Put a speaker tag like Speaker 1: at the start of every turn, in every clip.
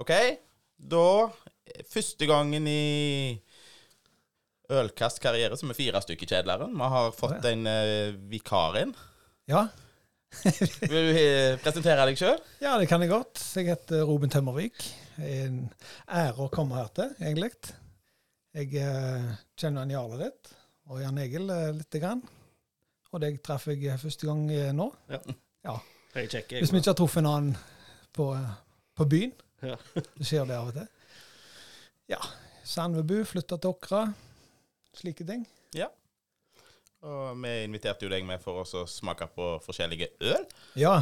Speaker 1: OK, da eh, Første gangen i Ølkast karriere, som er fire stykker i kjedeleren. Vi har fått en eh, vikar inn.
Speaker 2: Ja.
Speaker 1: Vil du eh, presentere deg sjøl?
Speaker 2: ja, det kan jeg godt. Jeg heter Ruben Tømmervik. Det er En ære å komme her til, egentlig. Jeg eh, kjenner han Jarle litt, og Jan Egil eh, lite grann. Og deg traff jeg eh, første gang eh, nå.
Speaker 3: Jeg sjekker,
Speaker 2: Hvis vi ikke har truffet en annen på, eh, på byen.
Speaker 3: Ja.
Speaker 2: Det skjer det av og til. Ja. Sandvebu, flytta til Åkra. Slike ting.
Speaker 1: Og vi inviterte jo deg med for oss å smake på forskjellige øl.
Speaker 2: Ja.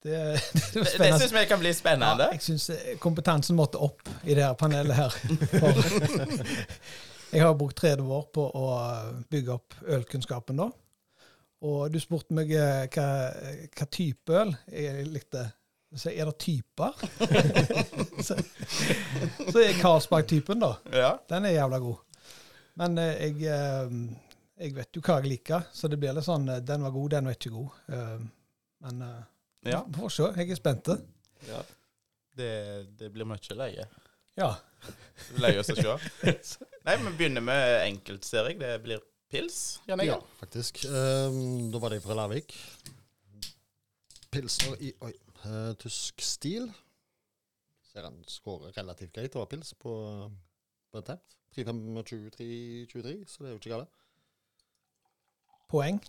Speaker 2: Det,
Speaker 1: Det,
Speaker 2: det, var
Speaker 1: det
Speaker 2: spennende.
Speaker 1: syns vi kan bli spennende.
Speaker 2: Ja, jeg syns eh, kompetansen måtte opp i det her panelet her. For jeg har brukt 30 år på å eh, bygge opp ølkunnskapen, da. Og du spurte meg eh, hva, hva type øl jeg likte. Så er det typer? så, så er Carlsberg-typen, da.
Speaker 1: Ja.
Speaker 2: Den er jævla god. Men eh, jeg, eh, jeg vet jo hva jeg liker, så det blir litt sånn eh, Den var god, den var ikke god. Eh, men eh,
Speaker 1: Ja.
Speaker 2: vi får se. Jeg er spente.
Speaker 3: Ja.
Speaker 1: Det, det blir mye leie.
Speaker 2: Ja.
Speaker 1: Leie oss å se. Nei, vi begynner med enkelt, ser jeg. Det blir pils. Jan
Speaker 4: Ja,
Speaker 1: Egil.
Speaker 4: faktisk. Ehm, da var det fra Larvik. Pilsner i oi, eh, tysk stil. Ser han skårer relativt greit over pils på, på dette. 3-5-23-23, så det er jo ikke galt.
Speaker 2: Poeng.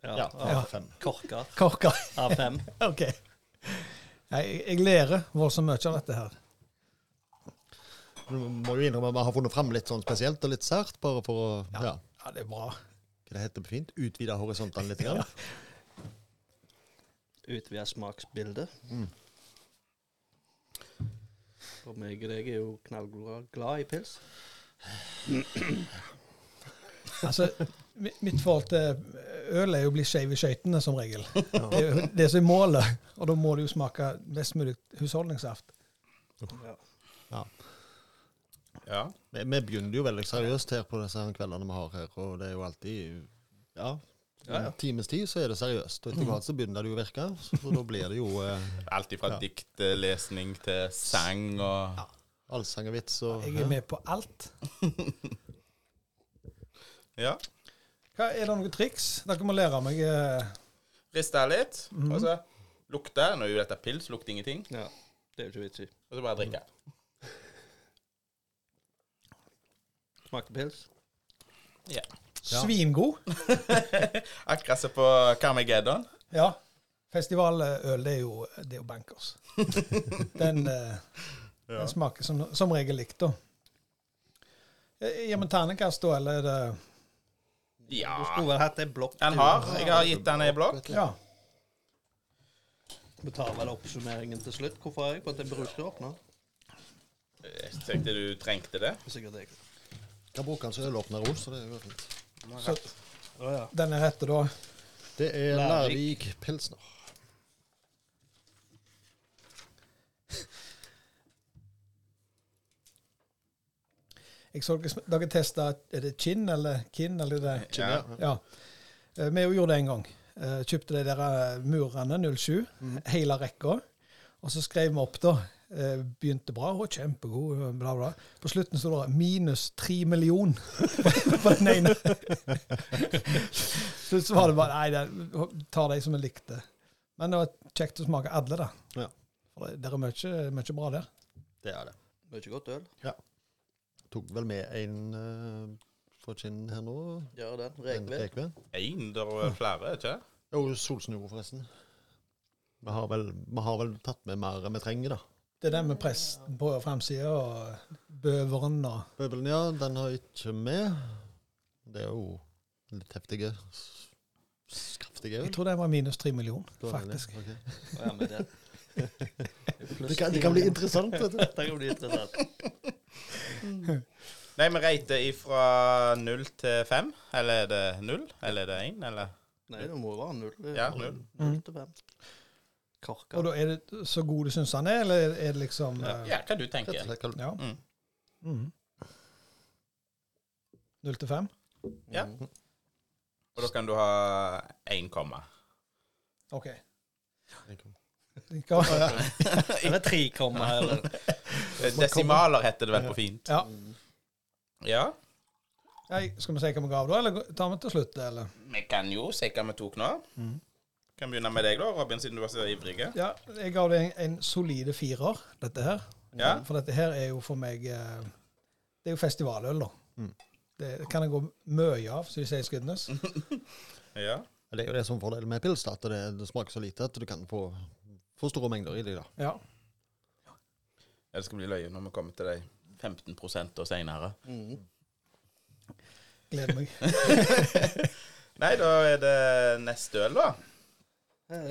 Speaker 3: Ja.
Speaker 4: Ja,
Speaker 3: Av
Speaker 2: Ja.
Speaker 4: fem.
Speaker 3: Korker
Speaker 2: Korker.
Speaker 3: av fem.
Speaker 2: OK. Nei, Jeg, jeg lærer voldsomt mye av dette her.
Speaker 4: Du må jo innrømme at vi har funnet fram litt sånn spesielt og litt sært, bare for å
Speaker 2: Ja.
Speaker 4: ja.
Speaker 2: Ja, det er bra.
Speaker 4: hva det heter på fint, utvide horisontene litt. Grann.
Speaker 3: Utvida smaksbilde.
Speaker 4: Mm.
Speaker 3: For meg og deg er jo knallglad i pils.
Speaker 2: Altså, mi- mitt forhold til øl er jo å bli skeiv i skøytene, som regel. Det er jo det som er målet, og da må du jo smake mest mulig husholdningssaft.
Speaker 3: Ja.
Speaker 1: Ja.
Speaker 4: Vi, vi begynner jo veldig seriøst her på disse her kveldene vi har her, og det er jo alltid ja,
Speaker 3: Ja, ja.
Speaker 4: en times tid så er det seriøst, og etter hvert så begynner det jo å virke, så, så da blir det jo eh,
Speaker 1: Alt ifra
Speaker 4: Ja.
Speaker 1: diktlesning til sang og
Speaker 4: allsang og vits og
Speaker 2: Jeg er
Speaker 4: ja.
Speaker 2: med på alt.
Speaker 1: Ja.
Speaker 2: Hva, er det noen triks? Dere må lære meg eh,
Speaker 1: Riste litt, og så lukte. Nå er jo dette pils, lukter ingenting.
Speaker 3: ja. Det er jo ikke vits i.
Speaker 1: Og så bare drikke.
Speaker 3: Smaker pils.
Speaker 4: Ja.
Speaker 2: svingod.
Speaker 1: Akkurat som på Carmageddon.
Speaker 2: Ja. Festivaløl, det er jo, det er jo bankers. Den, eh, den smaker som, som regel likt, da. Eh, Gir vi terningkast, da, eller er det
Speaker 1: Ja.
Speaker 3: Du skulle vel hatt ei blokk.
Speaker 1: Den
Speaker 3: du.
Speaker 1: har. Jeg har gitt den ei blokk.
Speaker 2: Ja.
Speaker 3: Vi tar vel oppsummeringen til slutt. Hvorfor har jeg fått en brusåpner?
Speaker 1: Jeg tenkte du trengte det.
Speaker 3: Sikkert jeg.
Speaker 4: Kan bruke den som ølåpner òg, så det er jo fint.
Speaker 2: Så
Speaker 3: Å ja.
Speaker 2: den er rette, da.
Speaker 4: Det er Larvik
Speaker 3: Larvik.
Speaker 4: Pilsner.
Speaker 2: Jeg så dere, sm- dere testa Er det Kinn eller Kinn? eller det?
Speaker 1: Ja.
Speaker 2: Ja. Eh, Vi jo gjorde det en gang. Eh, Kjøpte de der eh, murene 07,
Speaker 4: Mm.
Speaker 2: hele rekka. Og så skrev vi opp, da. Eh, Begynte bra, og kjempegod, eh, bla, bla. På slutten sto det minus tre million på den ene. Slutt så var det bare Nei, det, tar de som vi likte. Men det var kjekt å smake alle, da.
Speaker 4: Ja.
Speaker 2: For det, det er mye, mye bra der.
Speaker 4: Det er det.
Speaker 3: Mye godt øl.
Speaker 4: Tok vel med en uh, fra Kinn her nå.
Speaker 3: Gjør den.
Speaker 4: En
Speaker 3: Rekve.
Speaker 4: Rekve.
Speaker 1: Én, det var flere, ikke
Speaker 4: Og Solsnuro, forresten. Vi har, vel, vi har vel tatt med mer enn vi trenger, da.
Speaker 2: Det er den med presten på framsida, og bøveren og
Speaker 4: Bøbelen, ja, den har jeg ikke med. Det er jo litt heftige s- Skraftige
Speaker 2: Jeg
Speaker 4: øl.
Speaker 2: tror det var minus tre millioner,
Speaker 4: Da er det
Speaker 2: faktisk.
Speaker 4: det. Ok.
Speaker 3: Å ja, men det.
Speaker 4: Det, kan, det kan bli interessant, vet du.
Speaker 3: Det kan bli interessant.
Speaker 1: Nei, vi reiter ifra null til fem. Eller er det null? Eller er det én? Eller
Speaker 3: Nei, det må jo være null. Det er
Speaker 1: Ja, null.
Speaker 3: Null til fem. Korker.
Speaker 2: Og da er det så god du syns han er, eller er det liksom eh,
Speaker 1: Ja, hva du
Speaker 4: Rett og
Speaker 1: tenker.
Speaker 4: slett kan-
Speaker 2: ja.
Speaker 1: Mm.
Speaker 2: Mhm. Null til fem?
Speaker 1: Ja.
Speaker 3: Mm.
Speaker 1: Og da kan du ha én komma.
Speaker 2: OK. Hva?
Speaker 3: Eller tre komma, eller
Speaker 1: Desimaler heter det vel på fint.
Speaker 2: Ja.
Speaker 1: Ja.
Speaker 2: Nei, skal vi si hva vi ga av da, eller tar vi til slutt, eller?
Speaker 1: Vi kan jo se hva vi tok nå. Kan begynne med deg, da, Robin, siden du var så ivrig.
Speaker 2: Ja, jeg ga det en, en solide firer, dette her.
Speaker 1: Ja.
Speaker 2: For dette her er jo for meg eh, Det er jo festivaløl, da.
Speaker 4: Mm.
Speaker 2: Det kan jeg gå mye av, som de sier i Skudenes.
Speaker 1: Mm. Ja.
Speaker 4: Det er jo det som er fordelen med pils, da, at det, det smaker så lite at du kan få for store mengder i det. da.
Speaker 2: Ja.
Speaker 1: Ja, Det skal bli løye når vi kommer til de 15 og seinere.
Speaker 3: mm.
Speaker 2: Gleder meg.
Speaker 1: Nei, da er det neste øl, da.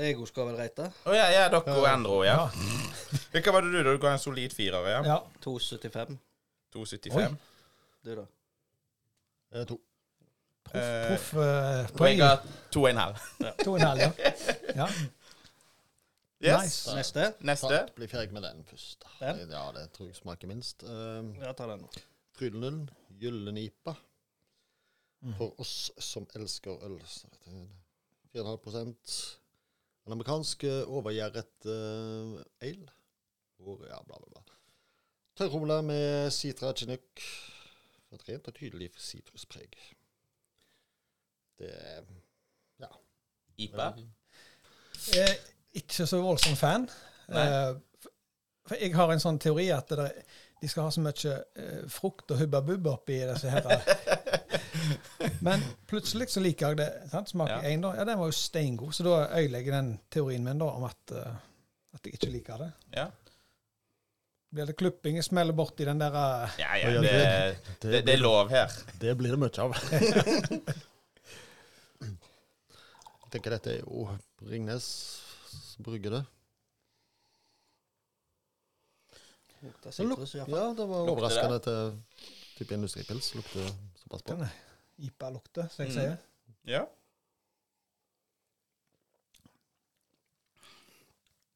Speaker 3: Ego Eh, skal vel reite.
Speaker 1: Å ja, ja, dere og andre òg, ja.
Speaker 2: Ja.
Speaker 1: Hva var det du, da? Du ga en solid firer, ja?
Speaker 2: ja.
Speaker 3: 2,75.
Speaker 1: 2,75.
Speaker 3: Du, da?
Speaker 4: Eh, to.
Speaker 2: Proff,
Speaker 1: Eh,
Speaker 2: proff eh,
Speaker 1: Og jeg
Speaker 2: poeng.
Speaker 1: ga 2,5.
Speaker 2: To og en halv, ja. ja.
Speaker 1: Yes.
Speaker 2: Nice.
Speaker 3: Neste?
Speaker 1: Neste.
Speaker 4: Ta- Bli ferdig med den først. da.
Speaker 3: Den?
Speaker 4: Ja, det tror jeg smaker minst. Eh,
Speaker 3: Ja, ta den nå.
Speaker 4: Frydenlund, Gyllenipa. For oss som elsker øl. så dette er 4,5 En amerikansk eh, overgjæret eh, ale. Hvor, ja, bla, bla, bla. Tørrromla med Citra Chinook. For et rent og tydelig sitruspreg. Det er
Speaker 1: Ipa.
Speaker 2: Jeg er Eh, ikke så voldsom fan.
Speaker 1: Nei.
Speaker 2: Eh, for- for jeg har en sånn teori at det, der- de skal ha så mye eh, frukt og hubba bubba oppi disse her. Men plutselig så liker jeg det. Sant? Smaker
Speaker 1: Ja.
Speaker 2: én, da. Ja, den var jo steingod, så da ødelegger den teorien min da om at, eh, at jeg ikke liker det.
Speaker 1: Ja.
Speaker 2: Blir det klupping, jeg smeller borti den der eh,
Speaker 1: Ja, ja, det, det, det er lov her.
Speaker 4: Det blir det mye av. Jeg tenker dette er jo Ringnes som brygger det.
Speaker 3: Lukter sitrus, iallfall.
Speaker 4: Ja, det var
Speaker 1: Lukter
Speaker 4: overraskende til type industripils. Lukter såpass bra.
Speaker 2: Den IPA-lukta, som jeg
Speaker 1: Mm.
Speaker 2: sier.
Speaker 1: Ja.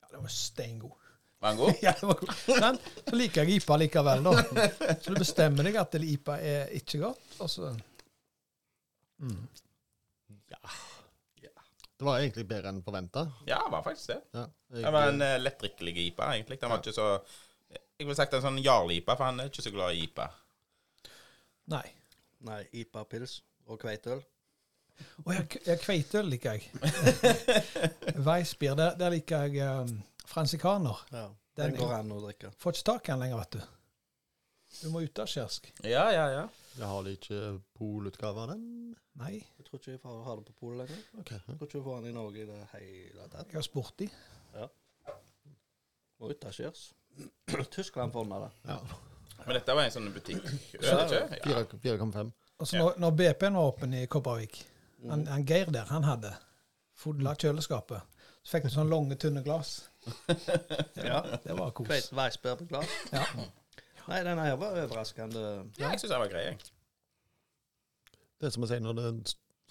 Speaker 2: Ja, den var steingod.
Speaker 1: Mango?
Speaker 2: Ja, det var god. Men så liker jeg IPA likevel, da. Så du bestemmer deg at IPA er ikke godt, og så
Speaker 4: Det var egentlig bedre enn forventa.
Speaker 1: Ja, det var faktisk det.
Speaker 4: Ja,
Speaker 1: Det var en eh, lettdrikkelig IPA, egentlig. Den var ikke så Jeg ville sagt en sånn Jarl-IPA, for han er ikke så glad i IPA.
Speaker 2: Nei.
Speaker 3: Nei, IPA-pils og kveitøl.
Speaker 2: Å, jeg, jeg kveitøl liker jeg. Weissbier, der, der liker jeg um, fransikaner.
Speaker 3: Ja. Den,
Speaker 2: Den er-
Speaker 3: går an å drikke.
Speaker 2: Får ikke tak i den lenger, vet du. Du må ut av skjersk.
Speaker 1: Ja, ja, ja.
Speaker 4: Jeg har de ikke polutgave av den?
Speaker 2: Nei,
Speaker 3: Jeg tror ikke jeg får ha det på polet lenger.
Speaker 4: Ok.
Speaker 3: Jeg tror ikke jeg får den i Norge i det hele tatt.
Speaker 2: jeg har spurt de.
Speaker 3: Må utaskjørs. Tyskland får den av det.
Speaker 4: Ja.
Speaker 1: Men dette var en sånn butikk. Øl, ikke? Ja.
Speaker 4: 4,5. 4,5.
Speaker 2: Og så når, når BP-en var åpen i Kobbervik, han, han Geir der, han hadde fodla kjøleskapet. Så fikk du sånne lange, tynne glass.
Speaker 3: Ja.
Speaker 2: Det var kos.
Speaker 3: Kveit Weissbær på glass.
Speaker 2: Ja.
Speaker 3: Nei, den her var overraskende.
Speaker 1: ja, jeg syns den var grei, jeg.
Speaker 4: Det er som å si når det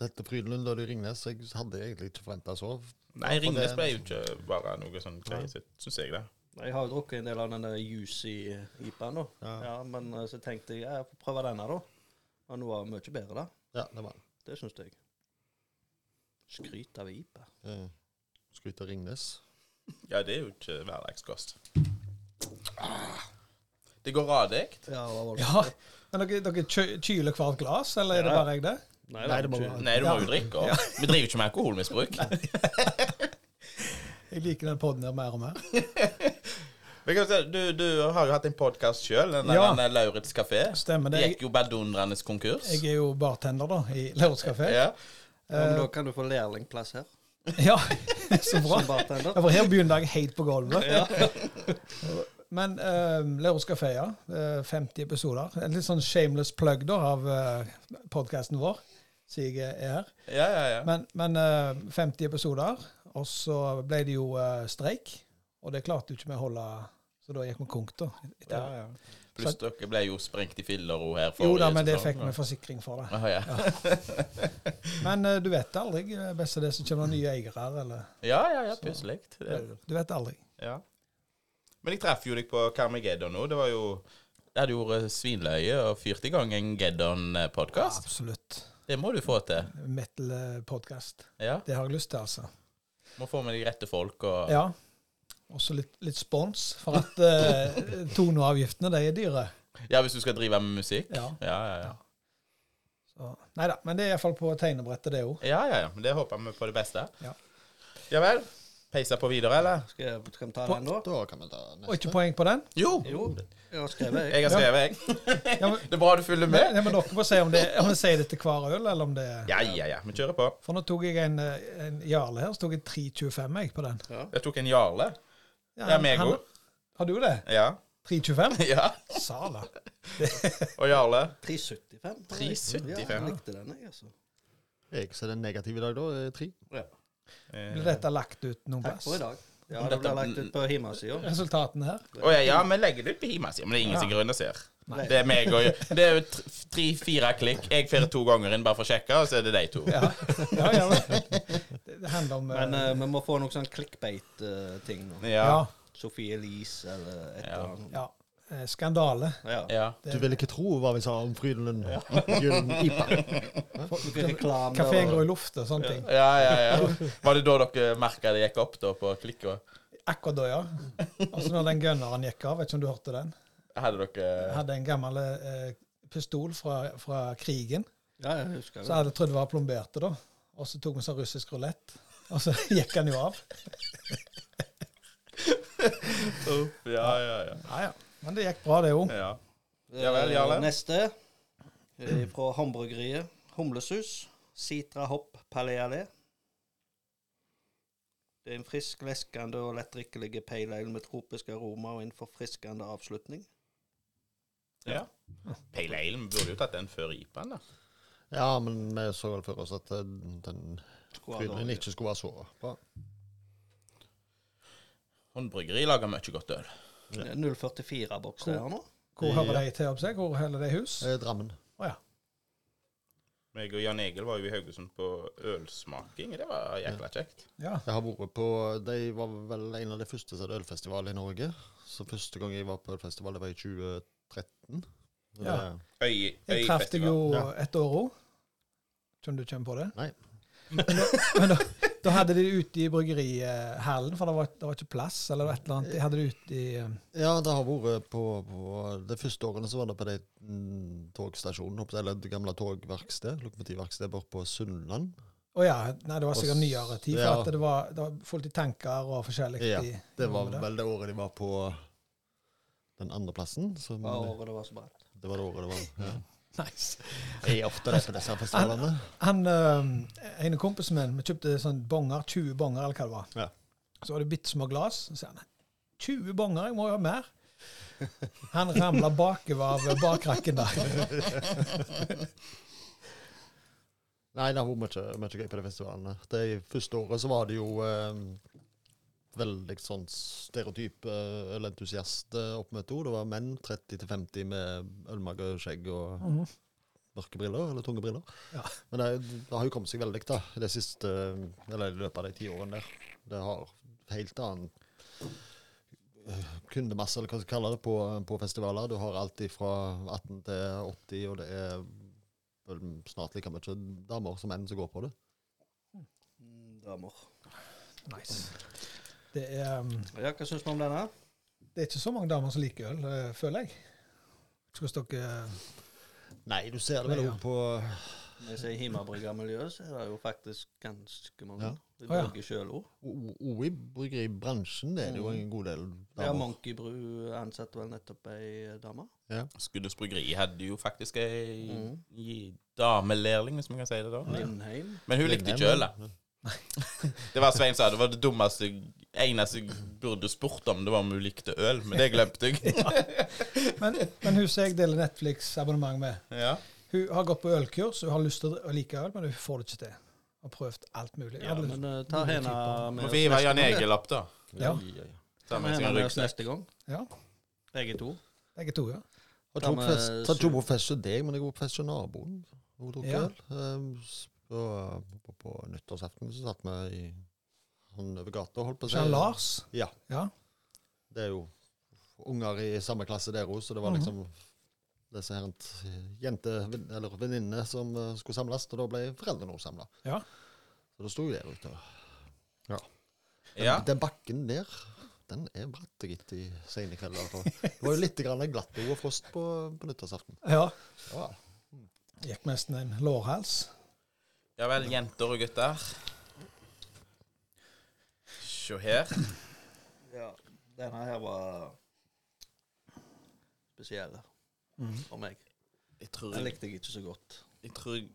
Speaker 4: heter Frydenlund og det er Ringnes. Jeg hadde egentlig ikke forventa så.
Speaker 1: Nei, Ringnes ble jo ikke bare noe sånn grei, syns jeg det.
Speaker 3: Jeg har jo drukket en del av den der juicy IPA-en, da. Ja.
Speaker 4: Ja.
Speaker 3: men eh, så tenkte jeg ja, jeg får prøve denne, da. Og den var mye bedre, da.
Speaker 4: Ja, det var
Speaker 3: Det syns jeg. Skryt av IPA.
Speaker 4: eh, Skryt av Ringnes.
Speaker 1: Ja, det er jo ikke hverdagskost. Det går radig.
Speaker 3: Ja, det var voldsomt.
Speaker 2: ja. Men dere, dere kjø- kyler hvert glass, eller er det
Speaker 3: Ja.
Speaker 2: bare jeg det?
Speaker 3: Nei,
Speaker 4: Nei,
Speaker 3: det
Speaker 4: det
Speaker 3: var
Speaker 4: må
Speaker 3: ikke-
Speaker 4: være-
Speaker 1: Nei, du må jo drikke. og Vi driver ikke med alkoholmisbruk.
Speaker 2: Jeg liker den podden der mer og mer.
Speaker 1: Vi kan se, Du, du har jo hatt en podkast sjøl, den der
Speaker 2: Ja.
Speaker 1: ja. Lauritz kafé.
Speaker 2: Stemmer det.
Speaker 1: Det
Speaker 2: Jeg,
Speaker 1: gikk jo badundrandes konkurs.
Speaker 2: jeg er jo bartender, da, i Lørdagskafé.
Speaker 1: Ja.
Speaker 3: Ja, men da kan du få lærlingplass her.
Speaker 2: Ja, så bra.
Speaker 3: Som bartender.
Speaker 2: Ja, for her begynner jeg helt på gulvet.
Speaker 3: Ja.
Speaker 2: Men uh, Lørdagskafé, ja. eh, 50 episoder. En litt sånn shameless plug da av uh, podkasten vår, siden jeg er her.
Speaker 1: Ja, ja, ja.
Speaker 2: Men, men eh, 50 episoder, og så ble det jo eh, streik. Og det klarte jo ikke vi å holde, så da gikk vi konk, da. etter-
Speaker 1: ja, ja. Pluss dere ble jo sprengt i filler og her.
Speaker 2: Jo da,
Speaker 1: forrige
Speaker 2: men det
Speaker 1: sesong,
Speaker 2: fikk
Speaker 1: da.
Speaker 2: vi forsikring for. det.
Speaker 1: Aha, ja.
Speaker 2: Men eh, du vet aldri. eh, Best av det som kommer nye eiere, eller
Speaker 1: ja, ja, ja, plutselig. Det er-
Speaker 2: Du vet aldri.
Speaker 1: Ja. Men jeg traff jo deg på Carmageddon nå. Det var jo Jeg hadde jo eh, svinløye og fyrte i gang en Geddon-podkast.
Speaker 2: Absolutt. eh,
Speaker 1: Det må du få til.
Speaker 2: Metal-podkast.
Speaker 1: Ja.
Speaker 2: Det har jeg lyst til, altså.
Speaker 1: Må få med de rette folk og
Speaker 2: Ja. Også litt, litt spons, for at eh, toneavgiftene, de er dyre.
Speaker 1: Ja, hvis du skal drive med musikk?
Speaker 2: Ja.
Speaker 1: Ja, ja, ja.
Speaker 2: Så, nei da, men det er iallfall på tegnebrettet, det òg.
Speaker 1: ja, ja, ja. Men det håper vi på det beste.
Speaker 2: Ja.
Speaker 1: Ja vel. Peisa på videre, eller?
Speaker 3: Skal, jeg- skal vi ta
Speaker 2: På-
Speaker 3: den nå?
Speaker 4: Da kan vi ta
Speaker 2: Og ikke
Speaker 4: neste.
Speaker 2: poeng på den?
Speaker 1: Jo!
Speaker 3: Jo, jeg har skrevet, jeg.
Speaker 1: Jeg har skrevet, jeg.
Speaker 2: Ja, men,
Speaker 1: Det er bra du følger
Speaker 2: men,
Speaker 1: med.
Speaker 2: men dere får si om, det, om jeg sier det til hver øl, eller om det er
Speaker 1: Ja, ja, ja. Vi kjører på.
Speaker 2: For nå tok jeg en, eh, en Jarle her, så tok jeg 3,25 jeg på den.
Speaker 1: Jeg tok en Jarle. Ja,
Speaker 2: han-
Speaker 1: meg
Speaker 2: han-
Speaker 1: òg.
Speaker 2: Har du det?
Speaker 1: Ja.
Speaker 2: 3,25?
Speaker 1: ja.
Speaker 2: Sala.
Speaker 1: Og Jarle.
Speaker 3: 375.
Speaker 1: 3,75,
Speaker 3: Ja, jeg
Speaker 1: ja.
Speaker 3: likte den, jeg, altså.
Speaker 4: Jeg som er den negative i dag, da. eh, er Tre.
Speaker 3: Ja.
Speaker 2: Blir dette lagt ut noen
Speaker 3: Takk
Speaker 2: plass?
Speaker 3: for i dag. Ja,
Speaker 1: Om
Speaker 3: det
Speaker 1: dette-
Speaker 3: ble lagt ut på hjemmesida.
Speaker 2: Resultatene her?
Speaker 1: Å ja, ja, vi legger det ut på hjemmesida, men det er ingen som grunner ser.
Speaker 3: Nei.
Speaker 1: Det er meg og Det er jo tre-fire klikk. Jeg får to ganger inn bare for å sjekke, og så er det de to.
Speaker 2: Ja. ja, ja men, det, det handler om eh,
Speaker 3: Men eh, vi må få noen sånn clickbait-ting nå.
Speaker 1: Ja.
Speaker 2: ja,
Speaker 3: Sophie Elise eller et
Speaker 1: Ja.
Speaker 3: eller annet.
Speaker 2: ja. Eh, Skandale.
Speaker 3: Ja.
Speaker 1: Ja.
Speaker 2: Det-
Speaker 4: Du vil ikke tro hva vi sa om Frydenlund. Gyllen ipa.
Speaker 3: Noe reklame
Speaker 2: Kafeen går
Speaker 3: og
Speaker 2: i lufta og sånne ting.
Speaker 1: Ja, ja, ja. Var det da dere merka det gikk opp, da, på klikka?
Speaker 2: Akkurat da, ja. Og så når den gunneren gikk av, vet ikke om du hørte den.
Speaker 1: Hadde dere
Speaker 2: Hadde en gammel eh, pistol fra, fra krigen,
Speaker 3: Ja, jeg
Speaker 2: så
Speaker 3: husker
Speaker 2: jeg
Speaker 3: det.
Speaker 2: hadde trodd det var plomberte, da. Og så tok vi sånn russisk rulett, og så gikk han jo av.
Speaker 1: Ja, ja, ja.
Speaker 2: Ja, ja. Men det gikk bra, det òg.
Speaker 1: ja. Ja vel, Jarle.
Speaker 3: Eh, Neste eh, fra Hamburgeriet. Humlesus. Sitra hopp palé-allé. Det er en frisk, leskende og lettdrikkelig pale ale med tropisk aroma og en forfriskende avslutning.
Speaker 1: ja. Pale Ale vi burde jo tatt den før IPA-en, da.
Speaker 4: Ja, men vi så vel for oss at eh, den
Speaker 3: Skulle ha
Speaker 4: Frydenlund
Speaker 3: dårlig.
Speaker 4: ikke skulle være så bra.
Speaker 1: Håndbryggeri lager mye godt øl.
Speaker 3: Det er 044-boks det her nå.
Speaker 2: Hvor hører de til opp seg? Hvor holder de hus?
Speaker 4: Eh, Drammen.
Speaker 2: Å ja.
Speaker 1: Meg og Jan Egil var jo i Haugesund på ølsmaking. Det var jækla kjekt.
Speaker 2: ja.
Speaker 4: Jeg har vært på De var vel en av de første som hadde ølfestival i Norge. Så første gang jeg var på ølfestival, det var i 2013. Så
Speaker 2: Ja.
Speaker 4: det-
Speaker 1: Øy,
Speaker 2: Jeg traff deg
Speaker 1: øyfestival.
Speaker 2: jo
Speaker 4: Ja.
Speaker 2: et år òg. Tror du du kommer på det?
Speaker 4: Nei.
Speaker 2: Men da, men da, da hadde de det ute i bryggerihallen, for det var, det var ikke plass eller et eller annet. De hadde det ute i eh,
Speaker 4: Ja, det har vært på, på De første årene så var det på de mm, togstasjonene, opp- eller det gamle togverksted, lokomotivverkstedet borte på Sunnland.
Speaker 2: Å ja, nei, det var sikkert nyere tid, for
Speaker 4: Ja.
Speaker 2: at det, var, det var fullt i tanker og forskjellig.
Speaker 4: Ja,
Speaker 2: i-
Speaker 4: Det var
Speaker 2: i rommet der.
Speaker 4: vel det året de var på den andre plassen. Så
Speaker 3: Hva året det var så bra.
Speaker 4: det var det året det var. Ja.
Speaker 2: Nice.
Speaker 4: Jeg er ofte der på disse festivalene.
Speaker 2: Han, eh, en av kompisen min, vi kjøpte sånn bonger, 20 bonger eller hva det var.
Speaker 4: Ja.
Speaker 2: Så var det bitte små glass. Så sier han 20 bonger, jeg må jo ha mer. Han ramla bakover av bakrakken der.
Speaker 4: Nei, det har vært mye, mye gøy på de festivalene. Det første året så var det jo eh, veldig sånn stereotype eh, ølentusiast-oppmøte. også. Det var menn 30-50 med ølmage, skjegg og mørke briller, eller tunge briller.
Speaker 2: Ja.
Speaker 4: Men det, det har jo kommet seg veldig, da, i det siste, eh, eller i løpet av de ti årene der. Det har helt annen eh, kundemasse, eller hva skal vi kalle det, på, på festivaler. Du har alt fra 18 til 80, og det er vel snart like mye damer som menn som går på det.
Speaker 3: Mm, Damer.
Speaker 2: Nice. Det er, um,
Speaker 3: Ja, hva syns vi om denne?
Speaker 2: det er ikke så mange damer som liker øl, eh, føler jeg. Skal dere
Speaker 4: Nei, du ser det vel
Speaker 2: Nei,
Speaker 4: òg
Speaker 2: ja.
Speaker 4: på
Speaker 3: Når jeg sier Himabrygga-miljøet, så er det jo faktisk ganske mange.
Speaker 4: Ja.
Speaker 3: Vi
Speaker 2: Å, ja.
Speaker 3: brygger sjøl òg.
Speaker 4: O- o- o- i bryggeribransjen. Det er det jo en god del
Speaker 3: Ja,
Speaker 4: damer.
Speaker 3: Monkey Brew ansetter vel nettopp ei dame.
Speaker 1: Skuddets Bryggeri hadde jo faktisk ei
Speaker 3: Mm.
Speaker 1: gi- damelærling, hvis man kan si det da.
Speaker 3: Lindheim.
Speaker 1: Men hun likte ikke øl, da. Det var Svein sa, det var det dummeste eneste jeg burde spurt om, det var om hun likte øl, men det glemte jeg.
Speaker 2: Men, men hun som jeg deler Netflix-abonnement med,
Speaker 1: Ja.
Speaker 2: hun har gått på ølkurs. Hun har lyst til å like øl, men hun får det ikke til. Har prøvd alt mulig.
Speaker 3: Ja,
Speaker 2: Alle-
Speaker 3: men eh, ta
Speaker 2: mulig
Speaker 3: henne
Speaker 2: typer.
Speaker 1: Må
Speaker 3: med
Speaker 1: vi hive Jan Egil opp, da.
Speaker 2: Ja.
Speaker 1: Ta
Speaker 3: Ta
Speaker 1: med seg
Speaker 3: henne
Speaker 1: en
Speaker 3: med oss
Speaker 1: ryggsekk.
Speaker 3: neste gang.
Speaker 2: ja,
Speaker 3: Begge to.
Speaker 2: begge to, ja.
Speaker 4: Har
Speaker 3: Da
Speaker 4: ikke
Speaker 3: med
Speaker 4: vært fest- har ikke
Speaker 3: sur-
Speaker 4: vært på fest hos deg, men jeg har vært på fest hos naboen. Hun drukket
Speaker 2: Ja.
Speaker 4: øl. Ehm, s- På, på, på nyttårsaften så satt vi i han over gata, holdt på å si.
Speaker 2: Jean Lars.
Speaker 4: Ja.
Speaker 2: Ja.
Speaker 4: Det er jo unger i samme klasse der òg, så det var
Speaker 2: Mhm.
Speaker 4: liksom disse her eh, jente- eller venninner som eh, skulle samles, og da ble foreldrene òg samla.
Speaker 2: Ja.
Speaker 4: Så da sto jeg der ute. og-
Speaker 1: Ja.
Speaker 4: Den, den bakken der den er bratt og gitt i sene kvelder. altså. Det var jo litt grann glatt og frost på, på nyttårsaften.
Speaker 2: Ja.
Speaker 4: Ja.
Speaker 2: Gikk nesten en lårhals.
Speaker 1: Ja vel, jenter og gutter. Se her.
Speaker 3: Ja, denne her var spesiell for meg.
Speaker 1: Jeg tror
Speaker 3: Den
Speaker 1: jeg,
Speaker 3: likte jeg ikke så godt.
Speaker 1: jeg, tror jeg,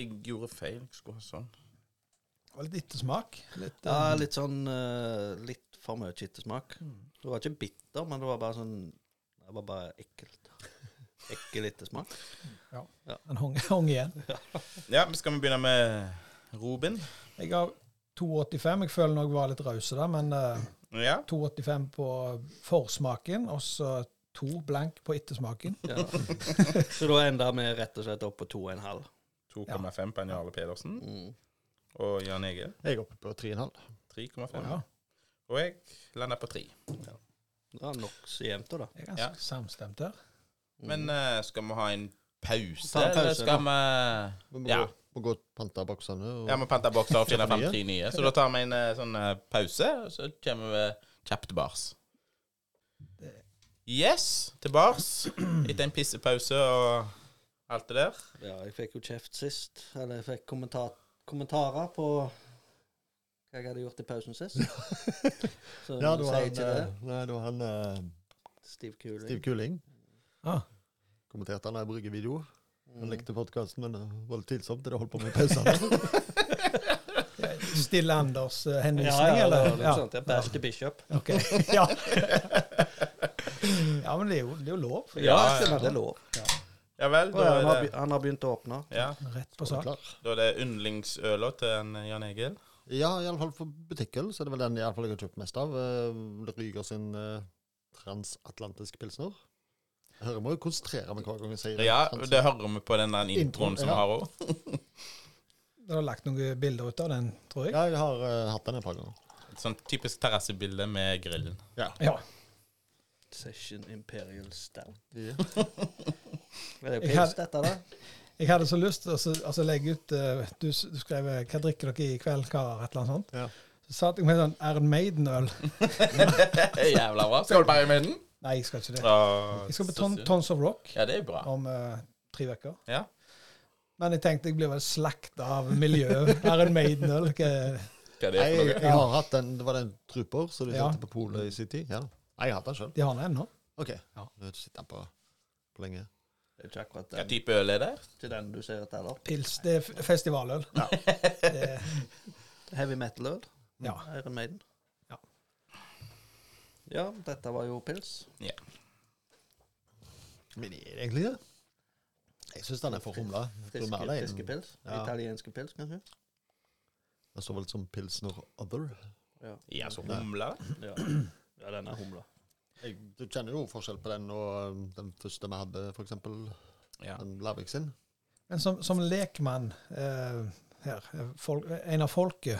Speaker 1: jeg gjorde feil. Jeg skulle ha sånn.
Speaker 2: Det var litt ettersmak. Litt,
Speaker 3: Ja,
Speaker 2: eh,
Speaker 3: litt sånn eh, Litt for mye kittesmak. Det var ikke bitter, men det var bare sånn Det var bare ekkelt. Ekkel ettersmak.
Speaker 2: Den hung, hung igjen.
Speaker 1: Ja, men skal vi begynne med Robin?
Speaker 2: Jeg har 2,85. Jeg føler nok jeg var litt raus da, men eh,
Speaker 1: Ja.
Speaker 2: 2,85 på forsmaken, og så to blank på ettersmaken.
Speaker 3: Ja. Så da enda vi rett og slett opp på 2,5.
Speaker 1: 2,5 på Jarle Pedersen
Speaker 3: Mm.
Speaker 1: og Jan Egil.
Speaker 4: Jeg er oppe på 3,5.
Speaker 1: 3,5.
Speaker 2: Ja,
Speaker 1: Og jeg landa på 3.
Speaker 3: Det var nokså jevnt, da.
Speaker 2: jeg er ganske
Speaker 1: Ja.
Speaker 2: samstemt her.
Speaker 3: Mm.
Speaker 1: Men eh, skal vi ha en pause,
Speaker 3: Ta en pause,
Speaker 1: eller skal vi
Speaker 4: Vi må,
Speaker 1: Ja.
Speaker 4: gå, må gå og pante boksene. Og,
Speaker 1: Ja, vi panter bokser og finner fram
Speaker 4: Nye.
Speaker 1: tre nye. Så da tar vi en eh, sånn eh, pause, og så kommer vi kjapt til bars. Yes, til bars. Etter en pissepause og alt det der.
Speaker 3: Ja, jeg fikk jo kjeft sist. Eller jeg fikk kommentar kommentarer på hva jeg hadde gjort i pausen sist. Så
Speaker 4: Ja,
Speaker 3: du
Speaker 4: det var
Speaker 3: sier
Speaker 4: han,
Speaker 3: ikke det.
Speaker 4: eh, Nei, det var han eh,
Speaker 3: Stiv kuling.
Speaker 4: Stiv Kuling.
Speaker 2: Ah,
Speaker 4: Kommenterte han en bryggevideo. Han
Speaker 3: Mm.
Speaker 4: likte podkasten, men det var litt tvilsomt. Det holdt på med pausene.
Speaker 2: Stille Anders-henvisning,
Speaker 3: Ja, ja, det
Speaker 2: eller?
Speaker 3: var litt sånn sånt. Jeg bæsjte biskop.
Speaker 2: Ok, ja. ja, men det er jo, det er jo lov.
Speaker 1: Ja, ja.
Speaker 3: det er lov.
Speaker 1: Ja vel,
Speaker 3: Og
Speaker 1: da
Speaker 3: Han har,
Speaker 1: er det
Speaker 3: be- han har begynt å åpne.
Speaker 1: ja,
Speaker 2: Rett på sak.
Speaker 4: Klar.
Speaker 1: da er det yndlingsøla til en Jan Egil.
Speaker 4: Ja, iallfall for butikkøl, så er det vel den i alle fall jeg har kjøpt mest av. Eh, Ryger sin eh, transatlantisk pilsner. Jeg hører jeg må jo konsentrere meg hver gang jeg sier det.
Speaker 1: Ja,
Speaker 4: Trans-
Speaker 1: det hører vi på den der introen som vi
Speaker 4: sånn ja.
Speaker 1: har òg.
Speaker 2: Du har lagt noen bilder ut av den, tror jeg.
Speaker 4: ja jeg har eh, hatt den et par ganger.
Speaker 1: Et sånn typisk terrassebilde med grillen.
Speaker 2: Ja.
Speaker 3: Session Imperial Stout.
Speaker 4: Ja.
Speaker 3: Er det jo
Speaker 2: Jeg
Speaker 3: pils,
Speaker 2: hadde-
Speaker 3: dette, da?
Speaker 2: Jeg hadde så lyst til å så- altså, legge ut eh, du, s- du skrev eh, 'Hva drikker dere i kveld, karer?' et eller annet sånt.
Speaker 4: Ja.
Speaker 2: Så satt jeg med sånn Iron Maiden-øl.
Speaker 1: Jævla bra. Skål, Barry Midden.
Speaker 2: Nei, jeg skal ikke det. Jeg skal på ton,
Speaker 1: Ja,
Speaker 2: Tons of Rock
Speaker 1: det er bra.
Speaker 2: om eh, tre uker.
Speaker 1: Ja.
Speaker 2: Men jeg tenkte jeg blir vel slakta av miljøet. Iron Maiden-øl. hva-
Speaker 1: Hva er det
Speaker 4: Nei,
Speaker 1: for
Speaker 4: jeg,
Speaker 1: noe?
Speaker 4: jeg har hatt den, det var den Trooper, så de
Speaker 2: Ja.
Speaker 4: satte på polet i sin tid. Ja. Nei, jeg har hatt den sjøl.
Speaker 2: De har den ennå.
Speaker 4: OK.
Speaker 2: Ja.
Speaker 4: Nå sitter den på på lenge.
Speaker 3: Det er ikke akkurat
Speaker 1: Hva
Speaker 3: den,
Speaker 1: type øl er det?
Speaker 3: ikke den du ser etter, eller?
Speaker 2: Pils. Det er f- festivaløl. Det,
Speaker 3: Heavy metal-øl.
Speaker 2: ja.
Speaker 3: Iron Maiden.
Speaker 2: Ja.
Speaker 3: Ja, dette var jo pils.
Speaker 4: Men er det egentlig det? Jeg syns den er for humla.
Speaker 3: Friske, friske
Speaker 4: Den
Speaker 3: pils.
Speaker 4: Ja.
Speaker 3: Italienske pils, kanskje.
Speaker 4: står vel som Pilsner Other.
Speaker 3: Ja,
Speaker 1: Ja, så humler.
Speaker 3: Ja, ja den er humla.
Speaker 4: Jeg, du kjenner jo forskjell på den og um, den første vi hadde, for eksempel.
Speaker 1: Ja.
Speaker 4: Den Lavik sin.
Speaker 2: Men som, som lekmann eh, her, eh, folk, en av folket,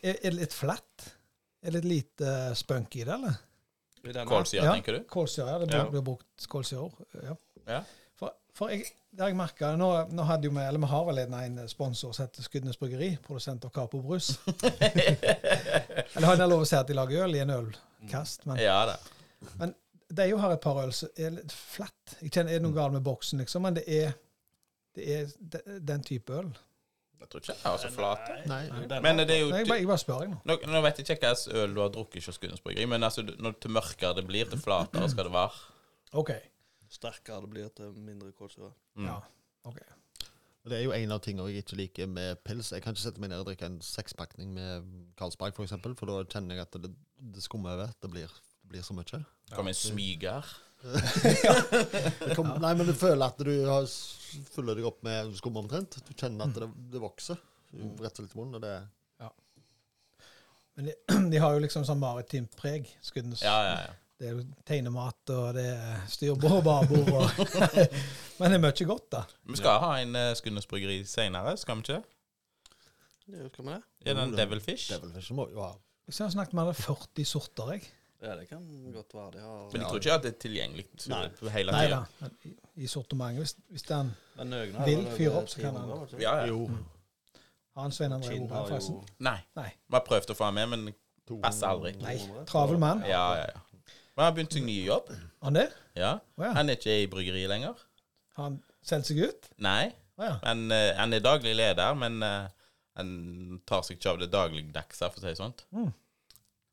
Speaker 2: er, er det litt flatt? Er det litt lite eh, spunk i det, eller?
Speaker 3: I denne-
Speaker 1: Kålsyre,
Speaker 2: Ja.
Speaker 1: tenker du?
Speaker 2: Kålsyre, ja. Det blir,
Speaker 1: Ja.
Speaker 2: blir brukt kålsyre. Ja.
Speaker 1: Ja.
Speaker 2: For, for jeg, det har jeg merka nå, nå hadde jo vi, eller vi har vel en, en sponsor som heter Skudenes Bryggeri, produsent av Capo Brus. eller har jeg lov å si at de lager øl i en ølkast? Men
Speaker 1: Ja da.
Speaker 2: de jo har et par øl som er litt flatt. Jeg kjenner, Er det noe
Speaker 1: Mm.
Speaker 2: galt med boksen, liksom? Men det er, det er de- den type øl.
Speaker 1: Jeg tror ikke jeg har så flate.
Speaker 4: Nei.
Speaker 3: Den
Speaker 1: Men
Speaker 3: har-
Speaker 1: det er jo
Speaker 2: Nei, Jeg
Speaker 1: ty-
Speaker 2: bare, jeg bare spør, jeg nå.
Speaker 1: nå, nå vet jeg ikke hva slags øl du har drukket hos Skudenes Bryggeri, men altså, du- når til mørkere det blir, til flatere skal det være.
Speaker 2: OK.
Speaker 3: sterkere det blir til mindre kålsyre.
Speaker 1: Mm.
Speaker 2: Ja. ok.
Speaker 4: Og Det er jo en av tingene jeg ikke liker med pils. Jeg kan ikke sette meg ned og drikke en sekspakning med Carlsberg, for eksempel, for da kjenner jeg at det, det skummer over. Det blir, det blir så mye.
Speaker 1: Det Kommer en smyger.
Speaker 4: Det kom, nei, men du føler at du har s- fyller deg opp med skum omtrent. Du kjenner at det, det vokser. Du Rett og slett i munnen, og det
Speaker 2: Men de, de har jo liksom sånn maritimt preg. Skuddens,
Speaker 1: Ja, ja, ja.
Speaker 2: Det er jo tegnemat, og det er styrbord og babord. Og, men det er mye godt, da.
Speaker 1: Vi skal ha en uh, Skudenes Bryggeri senere, skal vi ikke?
Speaker 3: Ja, Skal vi det?
Speaker 1: Er det en
Speaker 4: Jo, den-
Speaker 1: Devilfish?
Speaker 4: Devilfish må jo ha
Speaker 2: Jeg synes jeg har snakket med alle 40 sorter, jeg.
Speaker 3: Ja, det kan godt være de har
Speaker 1: Men jeg tror ikke at det er tilgjengelig på hele
Speaker 2: Nei da.
Speaker 1: tida.
Speaker 2: men I, i sortimentet. Hvis, hvis den
Speaker 3: Men Nøgne har
Speaker 2: Vil
Speaker 3: vel
Speaker 2: fyre
Speaker 3: over
Speaker 2: opp, så kan
Speaker 3: 300,
Speaker 2: han-
Speaker 3: vet du.
Speaker 1: Ja, ja.
Speaker 4: Jo.
Speaker 2: Har en Svein André Ora,
Speaker 3: Kinn har jo
Speaker 2: forresten?
Speaker 1: Nei.
Speaker 2: Nei.
Speaker 1: Vi har prøvd å få han med, men
Speaker 4: To-
Speaker 1: Passer aldri.
Speaker 2: Nei. Travel mann.
Speaker 1: Ja, ja, ja. Men han har begynt en ny jobb.
Speaker 2: Han det?
Speaker 1: Ja.
Speaker 2: Å ja.
Speaker 1: Han er ikke i bryggeriet lenger.
Speaker 2: Har han solgt seg ut?
Speaker 1: Nei.
Speaker 2: Å ja.
Speaker 1: Men eh, han er daglig leder, men eh, han tar seg ikke av det dagligdagse, for å si det sånn.
Speaker 2: Mm.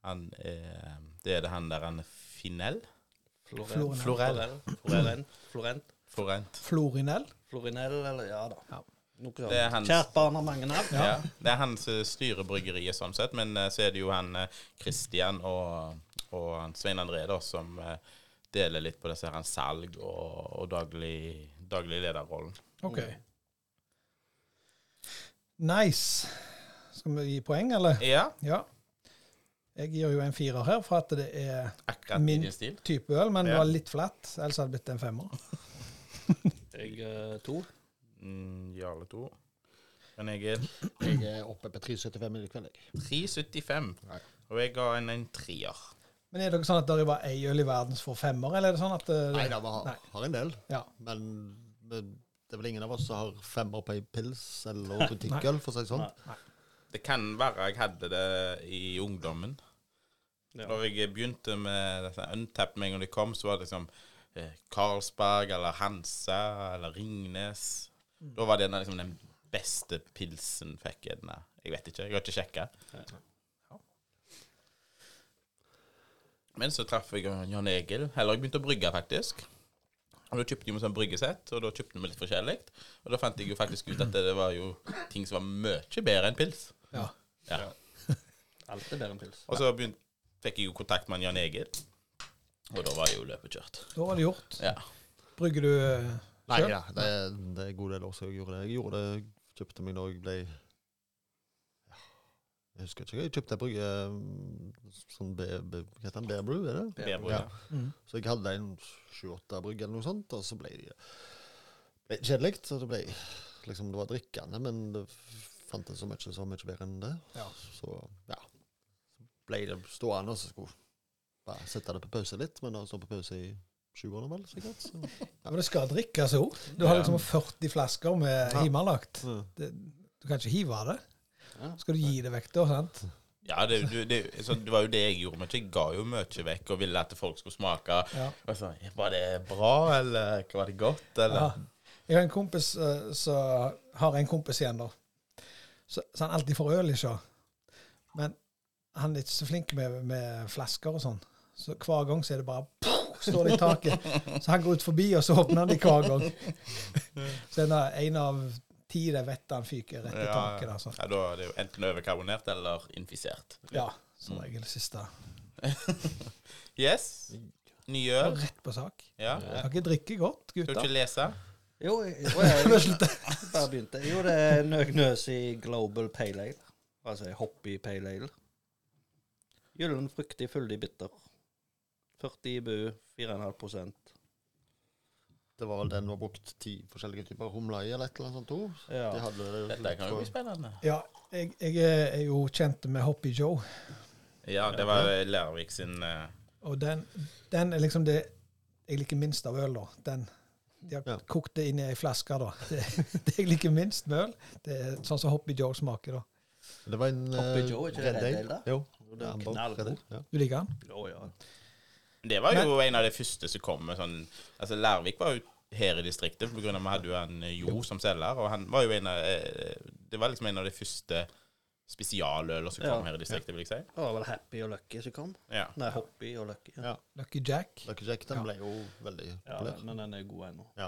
Speaker 1: Han er, det er det han der han er Finell?
Speaker 3: Florent.
Speaker 1: Florell.
Speaker 3: Florent. Florent.
Speaker 1: Forent.
Speaker 2: Florinell?
Speaker 3: Florinell, eller ja da.
Speaker 2: Ja.
Speaker 3: Noe
Speaker 1: Det er
Speaker 3: sånt.
Speaker 1: hans-
Speaker 3: Kjært barn har mange navn.
Speaker 1: Ja. Det er han som styrer bryggeriet, sånn sett, men eh, så er det jo han eh, Christian og, og han Svein André da, som eh, deler litt på disse her, han salg og, og daglig, daglig lederrollen.
Speaker 2: OK. Nice. Skal vi gi poeng, eller?
Speaker 1: Ja,
Speaker 2: Ja. Jeg gir jo en firer her, for at det er
Speaker 1: akkurat
Speaker 2: Min-
Speaker 1: i din stil.
Speaker 2: type øl, men det
Speaker 1: Ja.
Speaker 2: var litt flatt. Ellers hadde det blitt en femmer.
Speaker 3: Jeg eh, to.
Speaker 1: Mm, Jarle to. Men jeg er
Speaker 4: Jeg er oppe på 3,75 i kveld, jeg.
Speaker 1: 3,75,
Speaker 4: Nei.
Speaker 1: og jeg ga en en treer.
Speaker 2: Men er det ikke sånn at det var ei øl i verden som får femmer, eller er det sånn at eh,
Speaker 4: Nei da, vi har,
Speaker 2: Nei.
Speaker 4: har en del.
Speaker 2: Ja.
Speaker 4: Men men det er vel ingen av oss som har femmer på ei pils eller butikkøl, for å si det sånn.
Speaker 1: Det kan være jeg hadde det i ungdommen.
Speaker 3: Ja.
Speaker 1: Når jeg begynte med dette Untapped med en gang de kom, så var det liksom eh, Carlsberg eller Hansa eller Ringnes. Da var det en av liksom, den beste pilsen fikk jeg. Nei, jeg vet ikke, jeg har ikke sjekka. Men så traff jeg Jan Egil, eller jeg begynte å brygge faktisk. Og da kjøpte vi sånn bryggesett, og da kjøpte vi litt forskjellig. Og da fant jeg jo faktisk ut at det var jo ting som var mye bedre enn pils.
Speaker 2: ja.
Speaker 1: Ja.
Speaker 3: Alt er bedre enn pils.
Speaker 1: Og så begynte, fikk jeg jo kontakt med han Jan Egil, og da var det jo løpet kjørt.
Speaker 2: Da var det gjort.
Speaker 1: Ja.
Speaker 2: Brygger du eh,
Speaker 4: Nei
Speaker 2: Selv?
Speaker 4: da, det, er- det er en god del år siden jeg gjorde det. Jeg gjorde det, kjøpte meg når jeg ble Jeg husker ikke, jeg kjøpte en brygge mm, sånn be, be, Hva heter den? Bear Brew, er det?
Speaker 1: Bedre,
Speaker 4: Ja.
Speaker 1: ja.
Speaker 2: mm.
Speaker 4: Så jeg hadde en sju-åtte brygg eller noe sånt, og så ble det ble det kjedelig. Så det ble liksom Det var drikkende, men det f- fantes så mye som var mye bedre enn det.
Speaker 2: Ja.
Speaker 4: Så ja. Så ble det stående, og så skulle jeg bare sette det på pause litt. Men det har stått på pause i sju år nå, vel, sikkert. Så.
Speaker 2: Ja, men det skal drikkes òg. Du har
Speaker 1: Ja.
Speaker 2: liksom 40 flasker med
Speaker 4: Ja.
Speaker 2: hjemmelagt.
Speaker 4: Mm.
Speaker 2: Det, du kan ikke hive av det.
Speaker 3: Ja.
Speaker 2: Skal du gi det vekk, da? sant?
Speaker 1: Ja, det, du- det, så det var jo det jeg gjorde, men jeg ga jo mye vekk og ville at folk skulle smake.
Speaker 2: Ja.
Speaker 1: Og så, var det bra, eller var det godt, eller?
Speaker 2: Ja. Jeg har en kompis eh, som har en kompis igjen, da. Så, så han alltid får øl i sjå. Men han er ikke så flink med, med flasker og sånn. Så hver gang så er det bare pow, står det i taket. Så han går ut forbi, og så åpner han det hver gang. Så en av, en av ti der vet han fyker rett i taket. Da, sånn.
Speaker 1: Ja, da er det jo enten overkarbonert eller infisert.
Speaker 2: Ja,
Speaker 1: Mm.
Speaker 2: som regel siste.
Speaker 1: Yes. Ny øl.
Speaker 2: Rett på sak.
Speaker 1: Ja.
Speaker 2: Dere drikker godt,
Speaker 1: Skal du
Speaker 2: gutter.
Speaker 1: ikke lese?
Speaker 3: Jo, jeg, jo, jeg, jeg bare begynte. Jo, det er Nøgnøs i Global Pale Ale. Altså Hoppy Pale Ale. Gyllen, fruktig, fyldig, bitter. 40 i bu, 4,5
Speaker 4: Det var vel den vi har brukt ti forskjellige typer humle i, eller et eller annet sånt. også.
Speaker 3: Ja.
Speaker 4: De hadde det
Speaker 1: Dette kan jo bli spennende.
Speaker 2: Ja, jeg, jeg er jo kjent med Hoppy Joe.
Speaker 1: Ja, det var Lærvik sin eh,
Speaker 2: Og den, den er liksom det jeg liker minst av øl, da. Den de har
Speaker 4: Ja.
Speaker 2: kokt det inn i ei flaske, da. Det, det jeg liker minst med øl, det er sånn som Hoppy Joe smaker, da.
Speaker 4: Det var en
Speaker 3: Hoppy
Speaker 4: eh,
Speaker 3: Joe, ikke det
Speaker 4: Red
Speaker 3: Red
Speaker 4: Ale?
Speaker 3: Ale, da?
Speaker 4: Jo.
Speaker 3: Jo, det er
Speaker 4: Ja, han var
Speaker 3: knallgod.
Speaker 4: Red Ale, ja.
Speaker 2: Du liker den?
Speaker 3: Å ja.
Speaker 1: Det var jo en av de første som kom med sånn Altså, Lærvik var jo her i distriktet pga. at vi hadde jo en Jo som selger, og han var jo en av eh, Det var liksom en av de første spesialøler som kom
Speaker 3: Ja.
Speaker 1: her i distriktet, vil jeg si.
Speaker 3: Det var vel Happy og Lucky som kom.
Speaker 1: Ja.
Speaker 3: Nei, Hoppy og Lucky. Ja,
Speaker 4: Ja.
Speaker 2: Lucky Jack.
Speaker 4: Lucky Jack den
Speaker 2: Ja.
Speaker 4: ble jo veldig
Speaker 3: ja
Speaker 4: populær.
Speaker 3: men den er god ennå.
Speaker 4: Ja.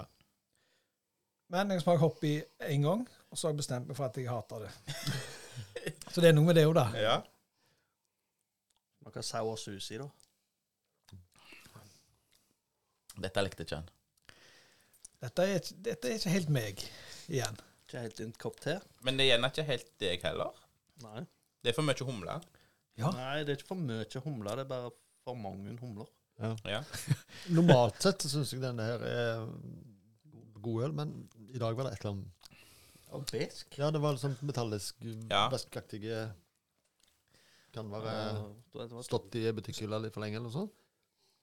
Speaker 2: Men jeg smaker Hoppy én gang, og så har jeg bestemt meg for at jeg hater det. Så det er noe med det òg, da.
Speaker 1: ja.
Speaker 3: Smaker sour sushi, da.
Speaker 1: Dette likte ikke han.
Speaker 2: Dette er, ikke- dette er ikke helt meg igjen.
Speaker 3: Ikke helt en kopp te.
Speaker 1: Men det er gjerne ikke helt deg heller.
Speaker 3: Nei.
Speaker 1: Det er for mye humle.
Speaker 2: Ja.
Speaker 3: Nei, det er ikke for mye humler, det er bare for mange humler.
Speaker 1: Ja.
Speaker 4: Normalt sett så syns jeg denne her er god øl, men i dag var det et eller annet
Speaker 3: Og besk.
Speaker 4: Ja, det var litt sånn metallisk,
Speaker 1: Ja.
Speaker 4: væskeaktige Kan være
Speaker 3: Ja, det var-
Speaker 4: stått i butikkhylla litt for lenge eller noe sånt.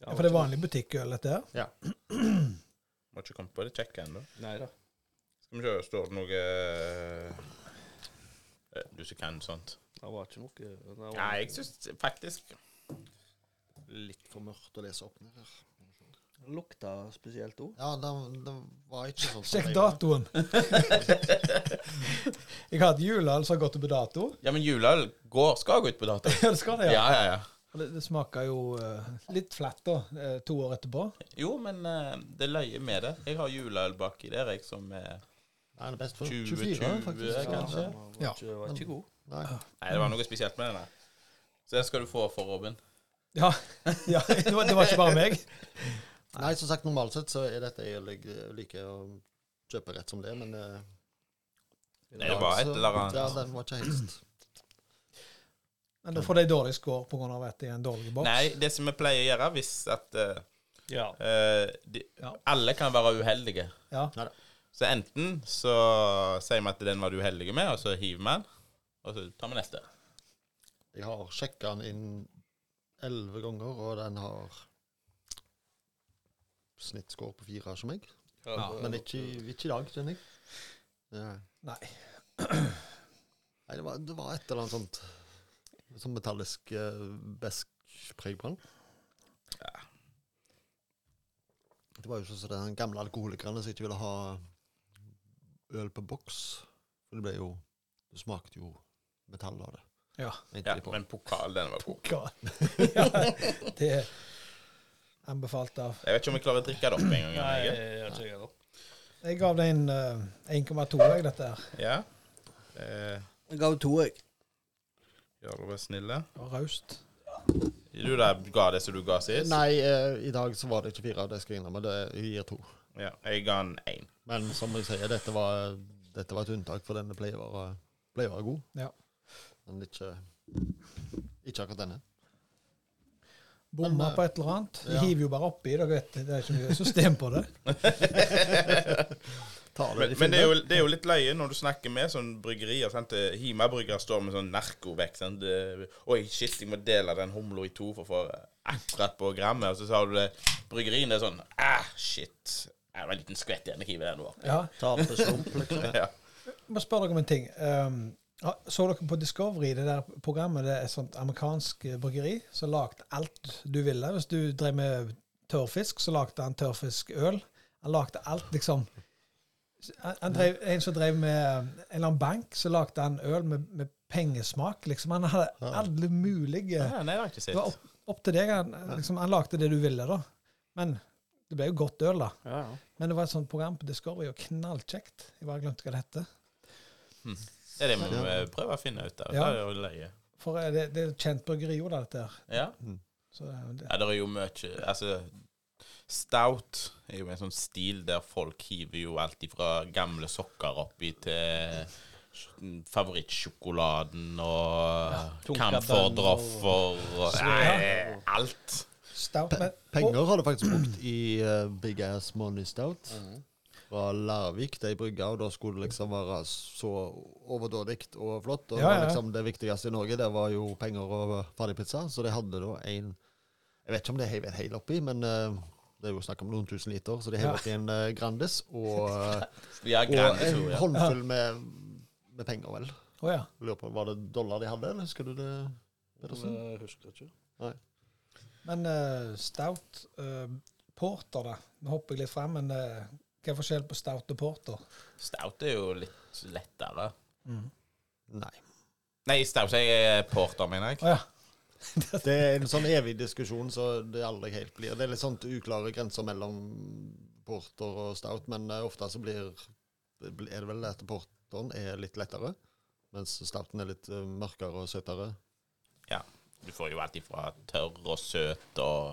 Speaker 3: Ja,
Speaker 2: For det er vanlig butikkøl, dette her.
Speaker 1: Må ikke komme på det kjekke ennå.
Speaker 3: Nei da.
Speaker 1: Skal vi se, står det noe Eh, Du som kan sånt.
Speaker 3: Det var ikke noe det var
Speaker 1: Nei, jeg syns faktisk
Speaker 4: Litt for mørkt å lese opp ned her.
Speaker 3: Lukta spesielt òg.
Speaker 4: Ja, det, det var ikke sånn som
Speaker 2: Sjekk
Speaker 4: jeg-
Speaker 2: datoen. jeg har hatt juleøl som har gått ut på dato.
Speaker 1: Ja, men juleøl går, skal gå ut på dato.
Speaker 2: Ja, det skal
Speaker 1: Ja,
Speaker 2: det, ja.
Speaker 1: ja, ja.
Speaker 2: Og Det, det smaker jo eh, litt flatt da, eh, to år etterpå.
Speaker 1: Jo, men eh, det løye med det Jeg har juleøl baki der, jeg, som er
Speaker 4: Nei, det er best for
Speaker 1: 20,
Speaker 4: 24, faktisk.
Speaker 1: Ja, kanskje.
Speaker 3: Den var,
Speaker 2: Ja.
Speaker 3: ikke, var ikke god.
Speaker 4: Nei.
Speaker 1: Nei, det var noe spesielt med den der. Så den skal du få for, Robin.
Speaker 2: Ja, ja det, var, det var ikke bare meg.
Speaker 4: Nei, som sagt, normalt sett så er dette jeg lik- liker å kjøpe rett som det, men eh,
Speaker 1: Nei, det var et
Speaker 4: så-
Speaker 1: eller annet.
Speaker 4: Ja, den var ikke helst.
Speaker 2: Men da får de dårlig score pga. at det er en dårlig boks.
Speaker 1: Nei, det som vi pleier å gjøre hvis at eh,
Speaker 3: Ja.
Speaker 1: eh, de,
Speaker 2: Ja.
Speaker 1: Alle kan være uheldige.
Speaker 2: Ja.
Speaker 1: Så enten så sier vi at den var du uheldig med, og så hiver vi den, og så tar vi neste.
Speaker 4: Jeg har sjekka den inn elleve ganger, og den har snittscore på fire som meg.
Speaker 2: Ja,
Speaker 4: Men ikke, ikke i dag, kjenner jeg. Ja.
Speaker 2: Nei.
Speaker 4: Nei, det var, det var et eller annet sånt Sånn metallisk eh, besk preg på den. Det var jo sånn som den gamle alkoholikerne som ikke ville ha øl på boks. For det ble jo Det smakte jo metall av det.
Speaker 2: Ja.
Speaker 4: mente
Speaker 1: Ja,
Speaker 4: de på.
Speaker 1: men pokal, den var god.
Speaker 2: Hva? Ja, det er anbefalt av
Speaker 1: Jeg vet ikke om jeg klarer å drikke det opp en gang.
Speaker 3: Nei,
Speaker 1: Jan
Speaker 3: jeg
Speaker 1: Ege.
Speaker 3: har ikke jeg heller.
Speaker 2: Jeg gav det en eh, 1,2, jeg, dette her.
Speaker 1: Ja. Eh,
Speaker 3: Jeg ga to, jeg.
Speaker 1: gjør dere snille.
Speaker 2: Og Raust.
Speaker 1: Du der ga det som du ga sist?
Speaker 4: Nei, eh, i dag så var det ikke fire, det skal jeg innrømme. Det jeg gir to.
Speaker 1: Ja, jeg ga den én.
Speaker 4: Men som jeg sier, dette var, dette var et unntak, for denne pleier å være- pleier å være god.
Speaker 2: Ja.
Speaker 4: Men ikke, ikke akkurat denne. Men,
Speaker 2: Bomma
Speaker 4: eh,
Speaker 2: på et eller annet. De
Speaker 4: ja.
Speaker 2: hiver jo bare oppi. Dere vet, det er ikke mye system på det.
Speaker 4: Ta
Speaker 1: Men,
Speaker 4: det,
Speaker 1: men det, er jo, det er jo litt løye når du snakker med sånn bryggerier. sant? Det- Hima brygger står med sånn narkovekt. sant? Det- Oi, shit, jeg må dele den humla i to for å få akkurat på grammet. Og så sa du det Bryggeriene er sånn Ah, shit. Ja, Det var en liten skvett igjen. Jeg hiver den over.
Speaker 2: Ja.
Speaker 3: Ta det slump, liksom.
Speaker 1: Ja.
Speaker 2: Jeg må spørre dere om en ting. Um, ha- så dere på Discovery, det der programmet, det er et sånt amerikansk eh, bryggeri som lagde alt du ville. Hvis du drev med tørrfisk, så lagde han tørrfiskøl. Han lagde alt, liksom. Han, han drev, en som drev med eh, en eller annen bank, så lagde han øl med, med pengesmak, liksom. Han hadde alle mulige
Speaker 1: Ja, nei, det har jeg ikke sett.
Speaker 2: Det var opp, opp til deg. Han, liksom, han lagde det du ville, da. Men det ble jo godt øl, da.
Speaker 3: Ja, ja.
Speaker 2: Men det var et sånt program på Discovery, og knallkjekt. Jeg bare glemte hva det heter.
Speaker 1: Det er det vi må eh, prøve å finne ut av.
Speaker 2: Ja.
Speaker 1: Det er jo løye.
Speaker 2: For eh, det, det er et kjent bryggeri òg, dette her.
Speaker 1: Ja.
Speaker 2: Så eh, det,
Speaker 1: ja, det er jo mye Altså, stout er jo en sånn stil der folk hiver jo alt ifra gamle sokker oppi til favorittsjokoladen og
Speaker 3: Tonka
Speaker 1: camphordroffer og Nei, alt.
Speaker 2: stout, men, og,
Speaker 4: Penger har du faktisk brukt i eh, Big Ass Money Stout.
Speaker 2: Mhm.
Speaker 4: Fra Larvik, de brygga, og da skulle det liksom være så overdådig og flott. Og
Speaker 2: Ja,
Speaker 4: det var
Speaker 2: ja.
Speaker 4: liksom det viktigste i Norge, det var jo penger og ferdigpizza. Så de hadde da en Jeg vet ikke om det heiv en hel oppi, men eh, det er jo snakk om noen tusen liter, så de heiv
Speaker 2: Ja.
Speaker 4: oppi en eh, Grandis og, eh,
Speaker 1: Ja,
Speaker 4: og eh, en
Speaker 1: Grandis. ja.
Speaker 4: håndfull med, med penger, vel.
Speaker 2: Å ja.
Speaker 4: Lurer på, Var det dollar de hadde, eller husker du det?
Speaker 2: eh,
Speaker 4: Pedersen?
Speaker 3: Jeg husker ikke.
Speaker 2: men eh, stout eh, Porter, da. Nå hopper jeg litt frem, men eh, hva er forskjellen på stout og porter?
Speaker 1: Stout er jo litt lettere. Mm.
Speaker 4: Nei.
Speaker 1: Nei, stout sier jeg porter, mener jeg.
Speaker 2: Å ja.
Speaker 4: Det er en sånn evig diskusjon så det aldri helt blir. Det er litt sånn uklare grenser mellom porter og stout, men eh, ofte så blir Er det vel at porteren er litt lettere, mens stouten er litt eh, mørkere og søtere.
Speaker 1: Du får jo alt ifra tørr og søt og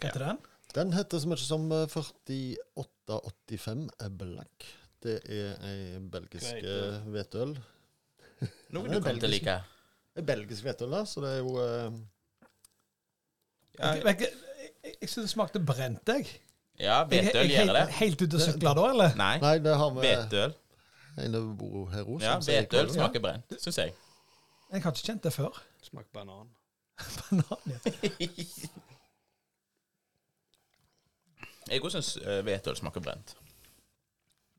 Speaker 2: Hva heter den?
Speaker 4: Den heter så mye som eh, 4885 Black. Det er ei belgisk eh, hvetøl.
Speaker 1: Noe du
Speaker 4: Ja,
Speaker 1: kommer til å
Speaker 4: belgisk.
Speaker 1: like.
Speaker 4: Ei Belgisk hvetøl, da, så det er jo eh,
Speaker 1: Ja,
Speaker 2: Jeg, jeg, jeg, jeg syns det smakte brent, jeg.
Speaker 1: ja
Speaker 2: Jeg, jeg,
Speaker 1: hvetøl
Speaker 2: helt,
Speaker 1: gjør det.
Speaker 2: helt ute og sykla da, eller?
Speaker 1: Nei,
Speaker 4: Nei, eh, det har vi
Speaker 1: hvetøl.
Speaker 4: en bord her òg.
Speaker 1: Ja, hvetøl smaker brent, syns jeg.
Speaker 2: Jeg har ikke kjent det før.
Speaker 3: Smak banan.
Speaker 2: Banan, ja.
Speaker 1: Jeg òg syns hvetøl smaker brent.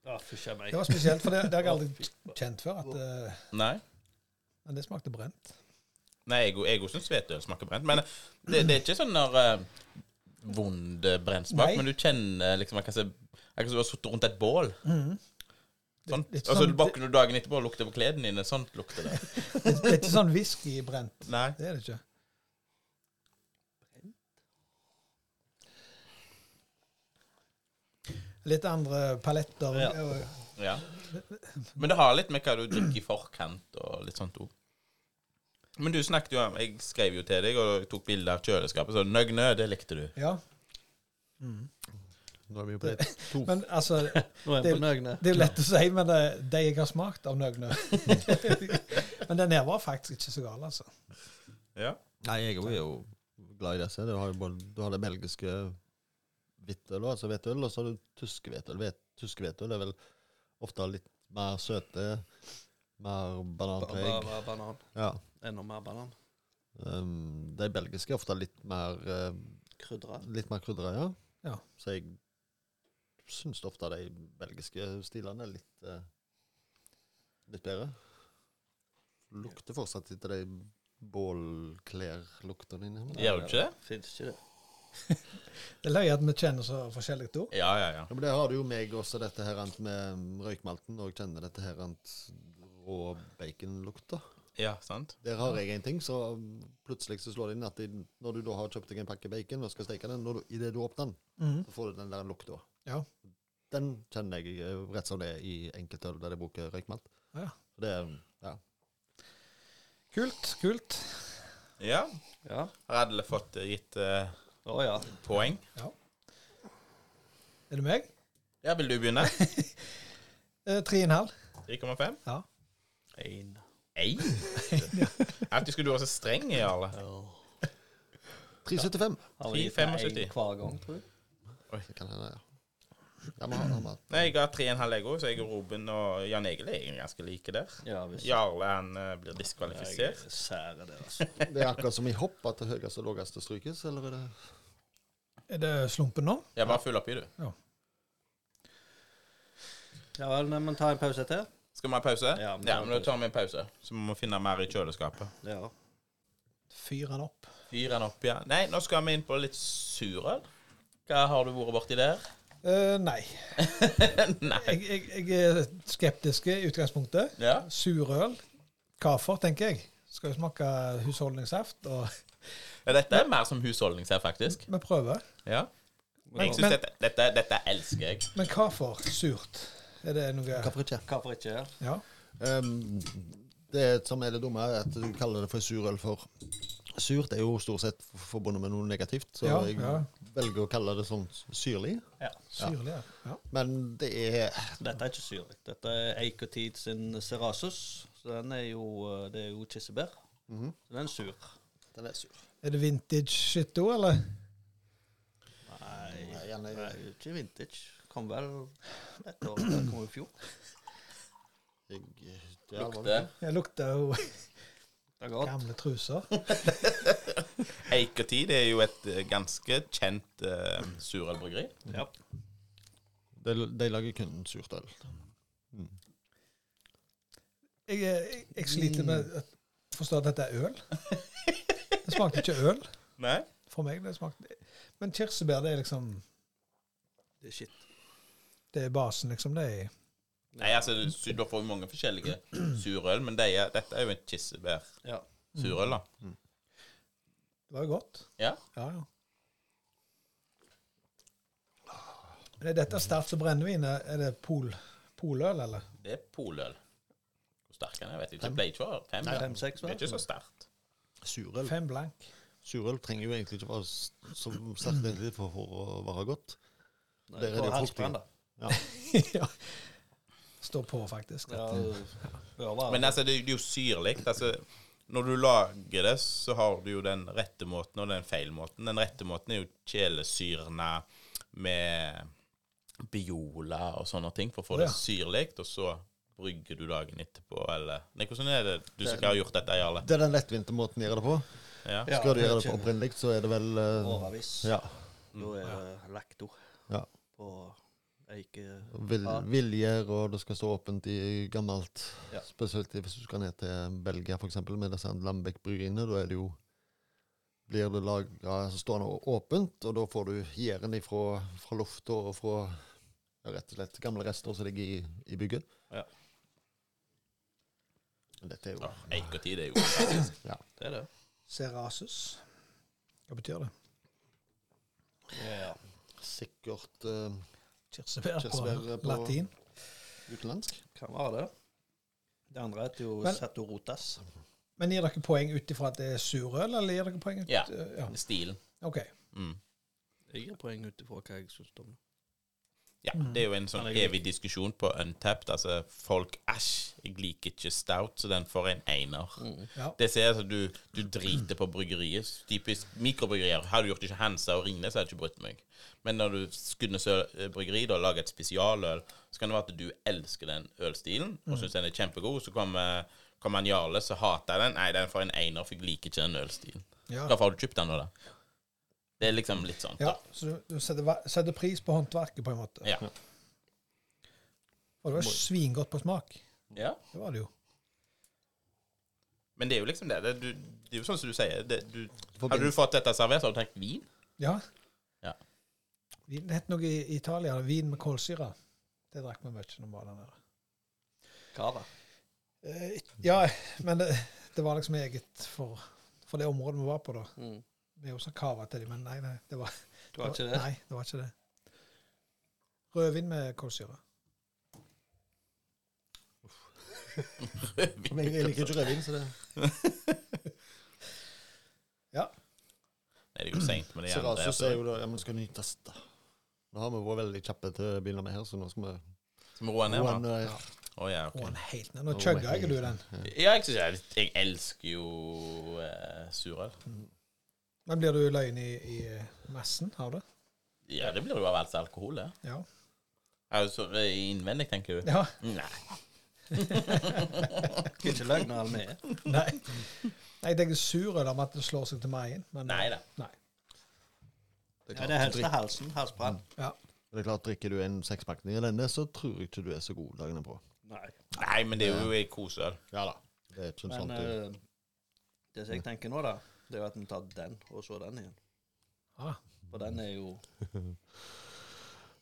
Speaker 3: Ja, fysj a meg.
Speaker 2: Det var spesielt, for det, det har jeg aldri kjent før. At eh,
Speaker 1: Nei.
Speaker 2: Men det smakte brent.
Speaker 1: Nei, jeg, jeg også syns hvetøl smaker brent. Men eh, det, det er ikke sånn der eh, vond eh, brent smak,
Speaker 2: Nei.
Speaker 1: men du kjenner liksom Akkurat som akkurat som du har sittet rundt et bål. Sånn.
Speaker 2: Det- det er
Speaker 1: og
Speaker 2: ikke
Speaker 1: så
Speaker 2: sånn-
Speaker 1: våkner du dagen etterpå og lukter på klærne dine. Sånt lukter det.
Speaker 2: Det, det er ikke sånn whiskybrent.
Speaker 1: Nei.
Speaker 2: Det er det ikke. Litt andre paletter.
Speaker 3: Ja.
Speaker 2: Det er jo-
Speaker 1: Ja. Men det har litt med hva du drikker i forkant og litt sånt òg. Men du snakket jo om Jeg skrev jo til deg og tok bilde av kjøleskapet, så nøgne, det likte du.
Speaker 2: Ja. Mm.
Speaker 4: Nå er vi jo på det to.
Speaker 2: Men altså,
Speaker 3: Nå er
Speaker 2: Det-
Speaker 3: jeg på nøgne.
Speaker 2: det er jo lett å si, men eh, de jeg har smakt av nøgne Men den her var faktisk ikke så gal, altså.
Speaker 1: Ja.
Speaker 4: Nei, jeg er jo glad i disse. Du har, jo både, du har det belgiske hvetøl, altså hvetøl, og så har du tysk hvetøl. Hvet- Tysk hvetøl er vel ofte litt mer søte, mer
Speaker 3: Bare,
Speaker 4: bananpreg.
Speaker 3: bare banan.
Speaker 4: Ja.
Speaker 3: Enda mer banan.
Speaker 4: Um, de belgiske er ofte litt mer eh,
Speaker 3: Krydra.
Speaker 4: Litt mer krydra, ja.
Speaker 2: Ja.
Speaker 4: Så jeg syns ofte de belgiske stilene er litt eh, litt bedre. Lukter fortsatt etter de bålklærluktene inni her.
Speaker 1: Gjør du ikke det?
Speaker 3: Fins ikke det.
Speaker 2: Det er løye at vi kjenner så forskjellige ord.
Speaker 1: Ja, ja, ja.
Speaker 4: Ja, men der har du jo meg også, dette her ant med røykmalten, og jeg kjenner dette her ant rå baconlukta.
Speaker 1: Ja, sant?
Speaker 4: Der har jeg en ting, så plutselig så slår det inn at i- når du da har kjøpt deg en pakke bacon og skal steke den, når du, i det du åpner den,
Speaker 2: Mhm.
Speaker 4: så får du den der lukta.
Speaker 2: Ja.
Speaker 4: Den kjenner jeg eh, rett som det er i enkeltøl der jeg bruker røykmalt.
Speaker 2: Ja.
Speaker 4: Så Det er ja.
Speaker 2: Kult, kult.
Speaker 1: Ja.
Speaker 3: Ja.
Speaker 1: Har alle fått eh, gitt eh,
Speaker 3: Å ja.
Speaker 1: poeng?
Speaker 2: Er det meg?
Speaker 1: Ja, vil du begynne?
Speaker 2: Eh, Tre og en halv.
Speaker 1: 3,5?
Speaker 2: Ja.
Speaker 3: Én.
Speaker 1: Ei. Alltid skulle du være så streng, Jarle.
Speaker 4: 375.
Speaker 3: Har vi gitt
Speaker 1: 3,75.
Speaker 3: en hver gang, tror du?
Speaker 4: Det kan hende, ja. ja men, han- han har-
Speaker 1: Nei, jeg ga 3,5 jeg òg, så jeg og Robin og Jan Egil er egentlig ganske like der.
Speaker 3: Ja visst.
Speaker 1: Jarle han eh, blir
Speaker 3: Jeg
Speaker 1: diskvalifisert.
Speaker 3: særer det, altså.
Speaker 4: det er akkurat som i hopp, at det høyeste og laveste strykes, eller er det
Speaker 2: Er det slumpen nå?
Speaker 1: Ja, bare fyll oppi, du.
Speaker 3: Ja vel, nei, men ta en pause til.
Speaker 1: Skal vi ha pause?
Speaker 3: Ja, vi tar
Speaker 1: Ja, men da
Speaker 3: en
Speaker 1: tar vi en pause. Så vi må finne mer i kjøleskapet.
Speaker 3: Ja.
Speaker 2: Fyr den opp.
Speaker 1: Fyr den opp, ja. Nei, nå skal vi inn på litt surøl. Hva har du vært borti der?
Speaker 2: Eh, nei.
Speaker 1: Nei.
Speaker 2: Jeg, jeg, jeg er skeptisk i utgangspunktet.
Speaker 1: Ja.
Speaker 2: Surøl. Kafer, tenker jeg. Skal jo smake husholdningssaft. Og
Speaker 1: ja, dette er mer som husholdnings her, faktisk.
Speaker 2: vi prøver.
Speaker 1: Ja.
Speaker 3: Men-
Speaker 1: Jeg synes dette, dette, dette elsker jeg.
Speaker 2: Men kafer, surt. Er det noe
Speaker 4: Hvorfor ikke?
Speaker 3: Hvorfor ikke?
Speaker 2: Ja.
Speaker 4: Um, det som er det dumme, er at du kaller det for surøl for Surt er jo stort sett f- forbundet med noe negativt, så
Speaker 2: Ja,
Speaker 4: jeg
Speaker 2: ja.
Speaker 4: velger å kalle det sånn syrlig.
Speaker 3: Ja.
Speaker 2: Syrlig, ja. ja.
Speaker 4: Men det er
Speaker 3: Dette er ikke syrlig. Dette er Eikotid sin Cerasus. Så den er jo eh, Det er jo kirsebær. Så den er sur.
Speaker 4: Mhm. Den er sur.
Speaker 2: Er det vintage shit da, eller?
Speaker 3: Nei,
Speaker 4: Nei, den er-
Speaker 3: det er jo ikke vintage. Kom vel et år Det kom i fjor.
Speaker 4: Jeg, det er
Speaker 1: Lukter
Speaker 2: Jeg lukter jo
Speaker 3: Det er godt.
Speaker 2: gamle truser.
Speaker 1: Eikerti det er jo et eh, ganske kjent uh, surølbryggeri.
Speaker 3: Ja.
Speaker 4: De, de lager kun surt øl.
Speaker 2: Jeg, jeg, jeg sliter med å forstå at dette er øl. Det smakte ikke øl
Speaker 1: Nei?
Speaker 2: for meg. det smakte. Men kirsebær, det er liksom
Speaker 3: Det er shit.
Speaker 2: Det er basen, liksom. Det er
Speaker 1: Nei, altså, su- da får vi mange forskjellige surøl, men de er, dette er jo et kirsebær-surøl,
Speaker 3: Ja.
Speaker 1: da.
Speaker 2: Det var jo godt.
Speaker 1: Ja.
Speaker 2: Ja, ja. Men er dette sterkt og brennevin? Er det pol, poløl, eller?
Speaker 1: Det er poløl. Hvor sterk den er, vet jeg ikke. Det ble ikke for fem. ja.
Speaker 3: Fem-seks,
Speaker 1: Det er
Speaker 3: vel?
Speaker 1: ikke så sterkt.
Speaker 4: Surøl
Speaker 2: Fem blank.
Speaker 4: Surøl trenger jo egentlig ikke være s- så sterkt egentlig for, for å være godt.
Speaker 3: Nei,
Speaker 4: Der er
Speaker 3: på
Speaker 4: det jo
Speaker 3: halsbrann,
Speaker 4: fruktig.
Speaker 3: da.
Speaker 2: ja. Står på, faktisk.
Speaker 3: Ja, bør være
Speaker 1: Men altså, det er jo- det er jo syrlig. Altså, når du lager det, så har du jo den rette måten og den feil måten. Den rette måten er jo kjelesyrna med biola og sånne ting for å få
Speaker 2: Å, ja.
Speaker 1: det syrlig, og så brygger du dagen etterpå, eller Nei, hvordan er det du som har gjort dette, Jarle?
Speaker 4: Det er den lettvinte måten å gjøre det på.
Speaker 1: Ja.
Speaker 3: Ja,
Speaker 4: Skal du gjøre det
Speaker 3: det
Speaker 4: på
Speaker 3: kommer
Speaker 4: opprinnelig, så er det vel eh,
Speaker 3: Årevis.
Speaker 4: Ja.
Speaker 3: Da er det lakto
Speaker 4: Ja.
Speaker 3: på Eike
Speaker 4: Vil,
Speaker 3: Ja.
Speaker 4: viljer, og det skal stå åpent i gammelt.
Speaker 3: Ja.
Speaker 4: Spesielt hvis du skal ned til Belgia, f.eks., med disse Lambek-bryggeriene. Da er det jo blir det laget, så står det åpent, og da får du gjæren ifra fra lufta og fra ja, rett og slett gamle rester som ligger i, i bygget.
Speaker 3: Ja.
Speaker 4: Dette er jo
Speaker 1: Ja, Eik og tid er jo fantastisk.
Speaker 3: Det er det.
Speaker 2: Serasus. Hva betyr det?
Speaker 3: Ja.
Speaker 4: sikkert eh,
Speaker 2: Kirsebær
Speaker 4: Kirsebær
Speaker 2: på
Speaker 4: på-
Speaker 2: latin.
Speaker 4: utenlandsk.
Speaker 3: Kan være det. Det andre heter jo
Speaker 2: Men-
Speaker 3: Satorotas.
Speaker 2: Men gir dere poeng ut ifra at det er surøl, eller gir dere poeng ut eh,
Speaker 1: Ja.
Speaker 2: ja.
Speaker 1: Stilen.
Speaker 2: OK.
Speaker 1: Mm.
Speaker 3: Jeg gir poeng ut ifra hva jeg syns om det.
Speaker 1: Ja, det er jo en sånn
Speaker 3: Den er god.
Speaker 1: evig diskusjon på Untapped. Altså, folk Æsj, jeg liker ikke stout, så den får en einer.
Speaker 2: Ja.
Speaker 1: Det ser jeg at du, du driter på bryggeriet. Typisk mikrobryggerier. Hadde du gjort det ikke Hansa og Ringnes, hadde jeg ikke brydd meg. Men når du Skudenes Øl- bryggeri da lager et spesialøl, så kan det være at du elsker den ølstilen
Speaker 4: Mm.
Speaker 1: og syns den er kjempegod. Så kommer kommer han Jarle, så hater jeg den. Nei, den får en einer, for jeg liker ikke den ølstilen.
Speaker 2: Ja.
Speaker 1: Hvorfor har du kjøpt den nå, da? Det er liksom litt sånn.
Speaker 2: ja. Så du, du setter, va- setter pris på håndverket, på en måte.
Speaker 1: Ja.
Speaker 2: Og det var svingodt på smak.
Speaker 1: ja.
Speaker 2: Det var det jo.
Speaker 1: Men det er jo liksom det. Det, du, det er jo sånn som du sier. Det, du,
Speaker 4: Forbind-
Speaker 1: hadde du fått dette servert, så hadde du tenkt vin.
Speaker 2: Ja.
Speaker 1: Ja.
Speaker 2: Vin, det het noe i Italia. Vin med kålsyre. Det drakk vi mye når vi var der nede.
Speaker 3: Cava.
Speaker 2: Eh, Ja, men det, det var liksom eget for, for det området vi var på, da.
Speaker 3: Mm.
Speaker 2: Vi også kava til dem, men nei, nei, det var,
Speaker 3: Det var ikke det.
Speaker 2: Nei, det var ikke det. Rødvin med kålsyre.
Speaker 4: Men jeg, jeg liker ikke rødvin, så det
Speaker 1: Nei, det er jo seint, men det er gjerne det.
Speaker 4: Serasus er jo da Ja, men skal nytes, da. Nå har vi vært veldig kjappe til å begynne med her, så nå skal vi
Speaker 1: Skal vi roe ned,
Speaker 4: roe
Speaker 1: da?
Speaker 4: ned.
Speaker 1: Å ja,
Speaker 2: Og
Speaker 1: ok.
Speaker 2: en helt ned. Nå chugga jeg jo du den.
Speaker 1: Ja, jeg, synes jeg, jeg elsker jo eh, surøl.
Speaker 2: Men blir du løgn i, i eh, massen av det?
Speaker 1: Ja, det blir jo av alt alkohol, det.
Speaker 2: Ja.
Speaker 1: Altså, innvendig, tenker du?
Speaker 2: ja.
Speaker 1: Nei.
Speaker 3: Skal ikke løgne all vi er.
Speaker 2: Nei. Nei, jeg er sur over at det slår seg til magen, men
Speaker 1: Nei da.
Speaker 2: Nei.
Speaker 4: Det er klart,
Speaker 3: Ja, det er
Speaker 4: så
Speaker 3: helt
Speaker 4: drikk-
Speaker 3: til halsen. Halsbrann.
Speaker 2: Ja.
Speaker 4: det er klart drikker du en sekspakning av denne, så tror jeg ikke du er så god dagene på.
Speaker 3: Nei.
Speaker 1: Nei, men det er jo en koseøl.
Speaker 4: Ja da. Det er ikke en
Speaker 3: Men
Speaker 4: sånn ting.
Speaker 3: eh, det som jeg tenker nå, da, det er jo at vi tar den, og så den igjen.
Speaker 2: Ah.
Speaker 3: For den er jo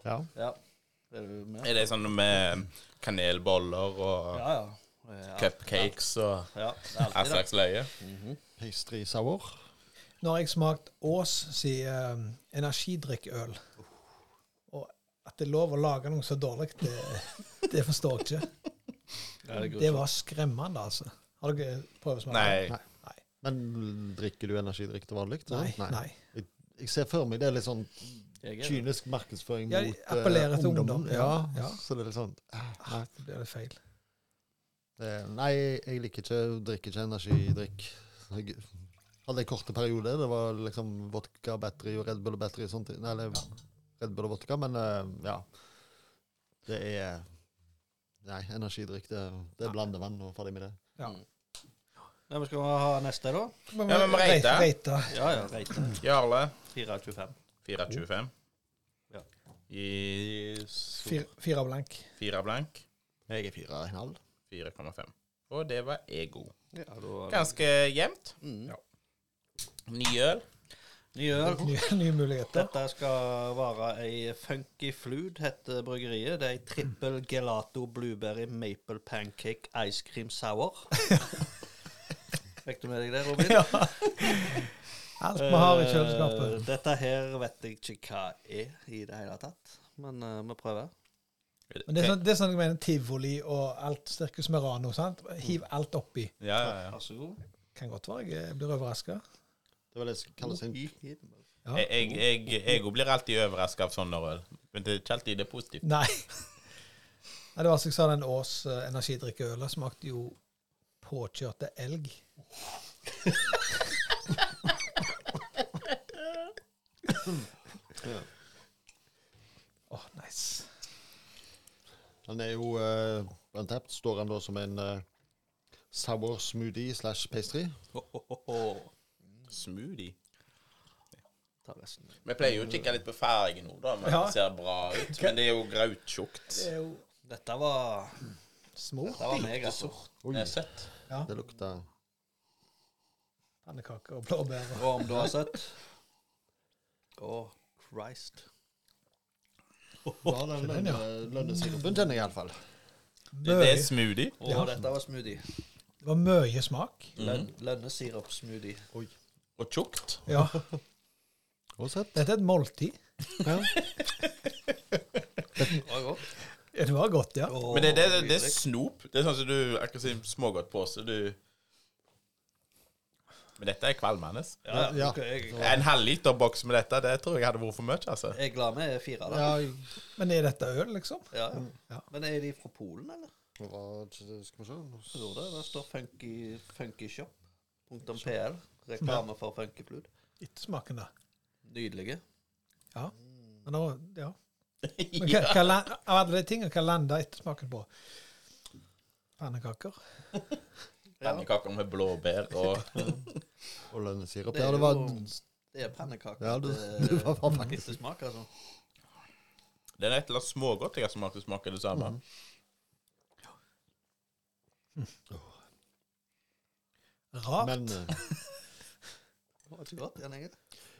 Speaker 4: Ja.
Speaker 3: Ja. Det er jo mer.
Speaker 1: Er det sånn med kanelboller og
Speaker 3: Ja, ja. Eh, alt-
Speaker 1: cupcakes og
Speaker 3: Ja, det er
Speaker 1: all
Speaker 3: alltid det.
Speaker 1: slags løye?
Speaker 3: Mhm.
Speaker 4: Pastry sour.
Speaker 2: Nå har jeg smakt Ås si eh, energidrikkøl. Og at det er lov å lage noe så dårlig, det, det forstår jeg ikke.
Speaker 3: Ja, det er
Speaker 2: Det
Speaker 3: grusomt.
Speaker 2: var skremmende, altså. Har dere prøvesmakt?
Speaker 1: Nei.
Speaker 4: Men drikker du energidrikk til vanlig? da?
Speaker 2: Nei. nei.
Speaker 4: Jeg ser for meg det er litt sånn
Speaker 3: Jeg er det.
Speaker 4: kynisk markedsføring
Speaker 2: Ja, de
Speaker 4: mot eh,
Speaker 2: appellerer til ungdom,
Speaker 4: Ja,
Speaker 2: ja, ja.
Speaker 4: Så det er litt sånn eh, Nei,
Speaker 2: Ah, Det blir litt feil.
Speaker 4: det, nei jeg liker ikke drikker ikke energidrikk. Jeg hadde en korte periode. Det var liksom vodka, battery og Red Bull og battery og sånt. Nei, eller Red Bull og vodka, men eh, ja. Det er Nei, energidrikk, det, det er blandevann og ferdig med det.
Speaker 2: Ja.
Speaker 3: Mm. Nei, men Skal vi ha neste, da?
Speaker 2: Men,
Speaker 1: Ja, men må reite.
Speaker 2: reite.
Speaker 3: Ja, ja. Reite.
Speaker 1: Jarle
Speaker 3: 425.
Speaker 1: 425.
Speaker 3: Ja.
Speaker 1: I
Speaker 2: Fire, fire blank.
Speaker 1: fire blank.
Speaker 4: Jeg er fire og en halv.
Speaker 1: 4,5. Og det var ego.
Speaker 3: Ja, da var det.
Speaker 1: Ganske jevnt.
Speaker 3: Mm.
Speaker 1: Ny øl.
Speaker 3: Ny øl.
Speaker 2: Nye, nye muligheter.
Speaker 3: Dette skal være ei funky flude, heter bryggeriet. Det er ei trippel gelato blueberry maple pancake ice cream sour. Fikk du med deg det, Robin?
Speaker 2: Ja. Alt vi har i
Speaker 3: Eh,
Speaker 2: kjøleskapet.
Speaker 3: Dette her vet jeg ikke hva er i det hele tatt, men eh, vi prøver.
Speaker 2: Men det er, sånn, det er sånn jeg mener tivoli og alt Sirkus Merano. sant? Hiv alt oppi.
Speaker 1: Ja, ja, ja.
Speaker 3: Vær så god.
Speaker 2: Kan godt være jeg blir overraska.
Speaker 4: Det var det som kalles en
Speaker 3: I himmel.
Speaker 2: Ja.
Speaker 1: Jeg, jeg, jeg, jeg jo blir alltid overraska av sånne øl. Men det er ikke alltid det er positivt.
Speaker 2: Nei. Nei. Det var som jeg sa, den Ås eh, energidrikkeølet smakte jo påkjørte elg. Åh, nice.
Speaker 4: Han er jo uh, untapped. Står han da som en eh, sour smoothie slash pastry?
Speaker 3: Ho, ho, ho, ho.
Speaker 1: Smoothie.
Speaker 3: ta resten.
Speaker 1: Vi pleier jo å kikke litt på fargen nå, da, men
Speaker 2: Ja.
Speaker 1: det ser bra ut. Men det er jo grauttjukt.
Speaker 2: Det er jo
Speaker 3: Dette var
Speaker 2: smør,
Speaker 3: Dette var meg, altså.
Speaker 4: Oi,
Speaker 1: Det er søtt.
Speaker 4: det lukter
Speaker 2: pannekaker og blåbær. og-
Speaker 3: Og om du har sett Å, Christ.
Speaker 4: Ja, den
Speaker 2: den, ja.
Speaker 4: lønne- lønnesirupen kjenner jeg iallfall.
Speaker 1: Det det
Speaker 2: Mye-
Speaker 1: er smoothie.
Speaker 3: Å,
Speaker 2: Ja.
Speaker 3: dette var smoothie.
Speaker 2: Det var mye smak.
Speaker 3: Lønn,
Speaker 4: Mhm.
Speaker 3: Lønnesirupsmoothie.
Speaker 4: Oi.
Speaker 1: Og tjukt.
Speaker 2: Ja,
Speaker 4: Og sett.
Speaker 2: dette er et måltid.
Speaker 4: Ja.
Speaker 3: Det var godt.
Speaker 2: Ja, Det var godt, ja.
Speaker 3: Å,
Speaker 1: Men det, det, det, det er
Speaker 3: nydelig.
Speaker 1: snop. Det er sånn som du akkurat sier smågodtpose. Du Men dette er kvalmende.
Speaker 3: Ja,
Speaker 4: Ja.
Speaker 3: ok, jeg,
Speaker 1: En halvliter boks med dette, det tror jeg hadde vært for mye, altså.
Speaker 3: jeg er glad vi er fire, da.
Speaker 4: ja jeg
Speaker 2: Men er dette øl, liksom?
Speaker 3: Ja.
Speaker 2: Ja.
Speaker 3: Men er de fra Polen, eller?
Speaker 4: Hva- Skal vi se
Speaker 3: Jeg tror det. Det står funky, funkyshop.pl. Reklame for funkyflud.
Speaker 2: Ettersmaken, da.
Speaker 3: Nydelige.
Speaker 2: Ja. Men nå, ja. Men hva,
Speaker 1: Ja.
Speaker 2: hva, land- av alle de tingene, hva landa ettersmaken på? Pannekaker.
Speaker 3: Ja,
Speaker 1: Pannekaker med blåbær og
Speaker 4: Og lønnesirup.
Speaker 3: Det er
Speaker 4: Ja, det var
Speaker 3: jo- det er pannekaker.
Speaker 4: Ja, du,
Speaker 3: Det-
Speaker 4: du var var faktisk
Speaker 3: Lite smak, altså.
Speaker 1: Det er et eller annet smågodt jeg har smakt som smaker det samme.
Speaker 2: Mm. Rart.
Speaker 4: Men eh,
Speaker 3: Det var ikke godt, Jan Egil.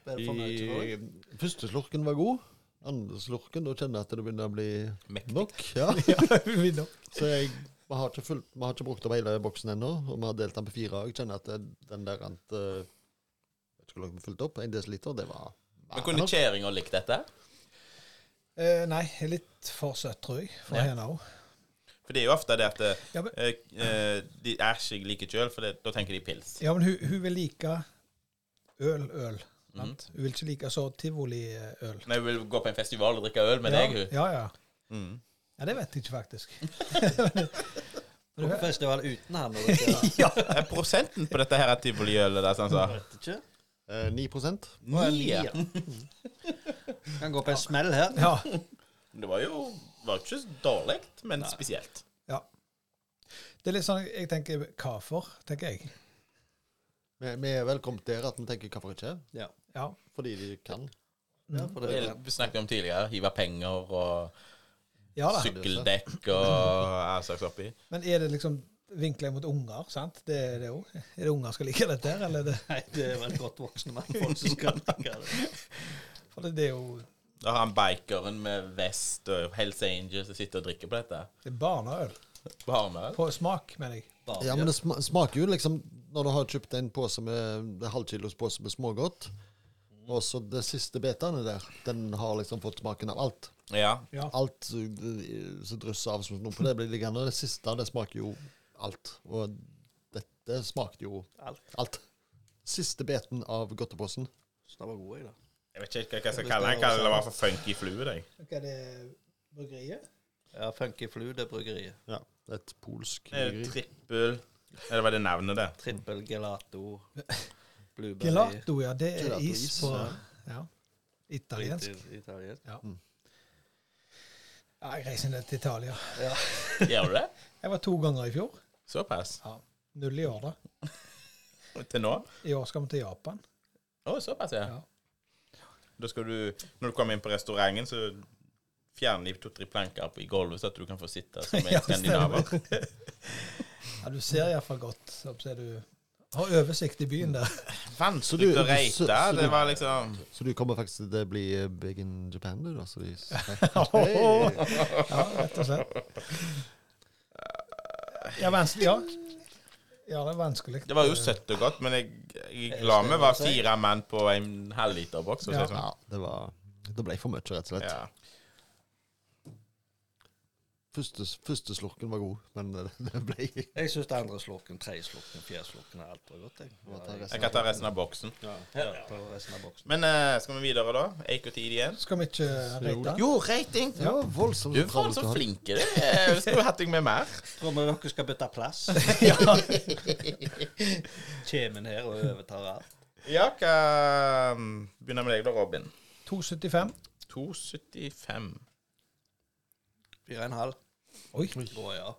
Speaker 3: Ble du fornøyd? tror jeg?
Speaker 4: eh, i, første slurken var god. Andre slurken, da kjenner jeg at det begynner å bli
Speaker 1: Mektig.
Speaker 4: nok. Ja.
Speaker 2: Vi nå-
Speaker 4: Så jeg vi har, ikke fulgt, vi har ikke brukt opp hele boksen ennå, og vi har delt den på fire. Jeg kjenner at det- den der rant eh, Vet ikke hvor langt vi fulgte opp. En desiliter, det var
Speaker 1: Men kunne kjerringa likt dette?
Speaker 2: eh, nei, litt for søtt, tror jeg, for
Speaker 1: Ja.
Speaker 2: henne òg.
Speaker 1: For det er jo ofte det at eh,
Speaker 2: Ja, men-
Speaker 1: eh, de æsj jeg liker ikke øl, for det, da tenker de pils.
Speaker 2: Ja, men hun, hun vil like øl, øl.
Speaker 1: Mhm.
Speaker 2: sant? Hun vil ikke like så tivoliøl.
Speaker 1: Når jeg vil gå på en festival og drikke øl med
Speaker 2: ja.
Speaker 1: deg, hun.
Speaker 2: Ja, ja.
Speaker 1: Mm.
Speaker 2: ja, det vet jeg ikke, faktisk.
Speaker 3: Hvorfor er festival uten her når dere
Speaker 1: Ja, eh, prosenten på dette her er tivoliølet der, sånn så.
Speaker 3: vet ikke?
Speaker 4: eh, 9
Speaker 1: Ni.
Speaker 3: Ja. Kan gå på en smell her.
Speaker 2: Ja.
Speaker 1: Det var jo var ikke så dårlig, men spesielt.
Speaker 2: ja. Det er litt sånn jeg tenker Hva for, tenker jeg.
Speaker 4: Vi, vi er vel kommet der at vi tenker hvorfor ikke?
Speaker 3: Ja.
Speaker 2: Ja.
Speaker 4: Fordi de kan.
Speaker 3: ja for det,
Speaker 1: Det Vi snakket om tidligere. Hive penger og
Speaker 2: ja da.
Speaker 1: sykkeldekk og all slags oppi.
Speaker 2: Men er det liksom vinklet mot unger, sant? Det er det òg. Er det unger skal like dette her, eller er det
Speaker 3: nei, det er vel godt voksne mannfolk som skal drikke det.
Speaker 2: For det, det er jo
Speaker 1: Da har han bikeren med vest og Hells Angels som sitter og drikker på dette.
Speaker 2: det er barneøl.
Speaker 1: Bare med øl.
Speaker 2: På smak, mener jeg.
Speaker 3: Bare,
Speaker 4: Ja, men det sma- smaker jo liksom Når du har kjøpt en pose med en halvkilos pose med smågodt, og så det siste betene der, den har liksom fått smaken av alt.
Speaker 1: Ja.
Speaker 2: Ja.
Speaker 4: Alt eh, som drysser av som noe på det, blir liggende. Det siste, det smaker jo alt. Og dette smakte jo
Speaker 3: Alt.
Speaker 4: alt. Siste beten av godteposen.
Speaker 3: Så det var god, jeg, da.
Speaker 1: Jeg vet ikke hva jeg skal kalle den. Jeg kaller det bare for funky flue, jeg.
Speaker 2: Hva er det bryggeriet?
Speaker 3: Ja, Funky Flu, det er bryggeriet.
Speaker 4: Ja. Et polsk
Speaker 1: Det er jo
Speaker 4: bryggeri.
Speaker 1: Trippel Eller var det navnet, det?
Speaker 3: Trippel gelato. Blueberry.
Speaker 2: Gelato, ja. Det er
Speaker 4: Gelato
Speaker 2: is
Speaker 4: is,
Speaker 2: på
Speaker 4: ja. Mm.
Speaker 2: ja. italiensk.
Speaker 3: Ital- Italiensk.
Speaker 2: Ja, jeg reiser ned til Italia.
Speaker 3: Ja.
Speaker 1: Gjør du det?
Speaker 2: Jeg var to ganger i fjor.
Speaker 1: Såpass?
Speaker 2: Null i år, da.
Speaker 1: Til nå?
Speaker 2: I år skal vi til Japan.
Speaker 1: Å, såpass, ja.
Speaker 2: Ja.
Speaker 1: Da skal du Når du kommer inn på restauranten, så fjerner de to-tre planker på- i gulvet, så at du kan få sitte som en
Speaker 2: Ja,
Speaker 1: skandinaver.
Speaker 2: Ja, Du ser iallfall godt. Så ser du har oversikt i
Speaker 4: Mm.
Speaker 2: byen der.
Speaker 4: Så du-
Speaker 1: Vanskelig å
Speaker 4: så-
Speaker 1: reite.
Speaker 4: så
Speaker 1: Det
Speaker 4: du-
Speaker 1: var liksom
Speaker 4: Så du kommer faktisk til det blir eh, big in Japan, du, da? Så de
Speaker 2: Ja, rett og slett. Ja, vanskelig, ja. Ja, det er vanskelig.
Speaker 1: Det var jo søtt og godt, men jeg, jeg er glad vi var fire mann på en halvliterboks. for å si det
Speaker 4: Ja, det var Det ble for mye, rett og
Speaker 1: sånn.
Speaker 4: slett.
Speaker 1: Ja.
Speaker 4: Første, første slurken var god, men eh, det ble
Speaker 3: Jeg syns andre slurken, tredje slurken, fjerde slurken og alt var godt, jeg.
Speaker 4: må ta
Speaker 1: Jeg
Speaker 4: resten
Speaker 1: kan
Speaker 4: av-
Speaker 1: ta resten av boksen.
Speaker 3: Ja, på resten av boksen.
Speaker 1: Men eh, skal vi videre, da? Eik og tid igjen.
Speaker 2: Skal vi ikke rate?
Speaker 1: Jo, rating!
Speaker 4: Det var voldsomt
Speaker 1: Du er faen så
Speaker 4: å ha.
Speaker 1: flink du er. Jeg Skulle hatt deg med mer.
Speaker 3: Tror vi dere skal bytte plass? Kjemen her og overtar alt.
Speaker 1: Ja, hva um, Begynner med deg da, Robin.
Speaker 2: 2,75.
Speaker 1: 2,75.
Speaker 3: Fire og en halv.
Speaker 2: Oi.
Speaker 3: Å ja.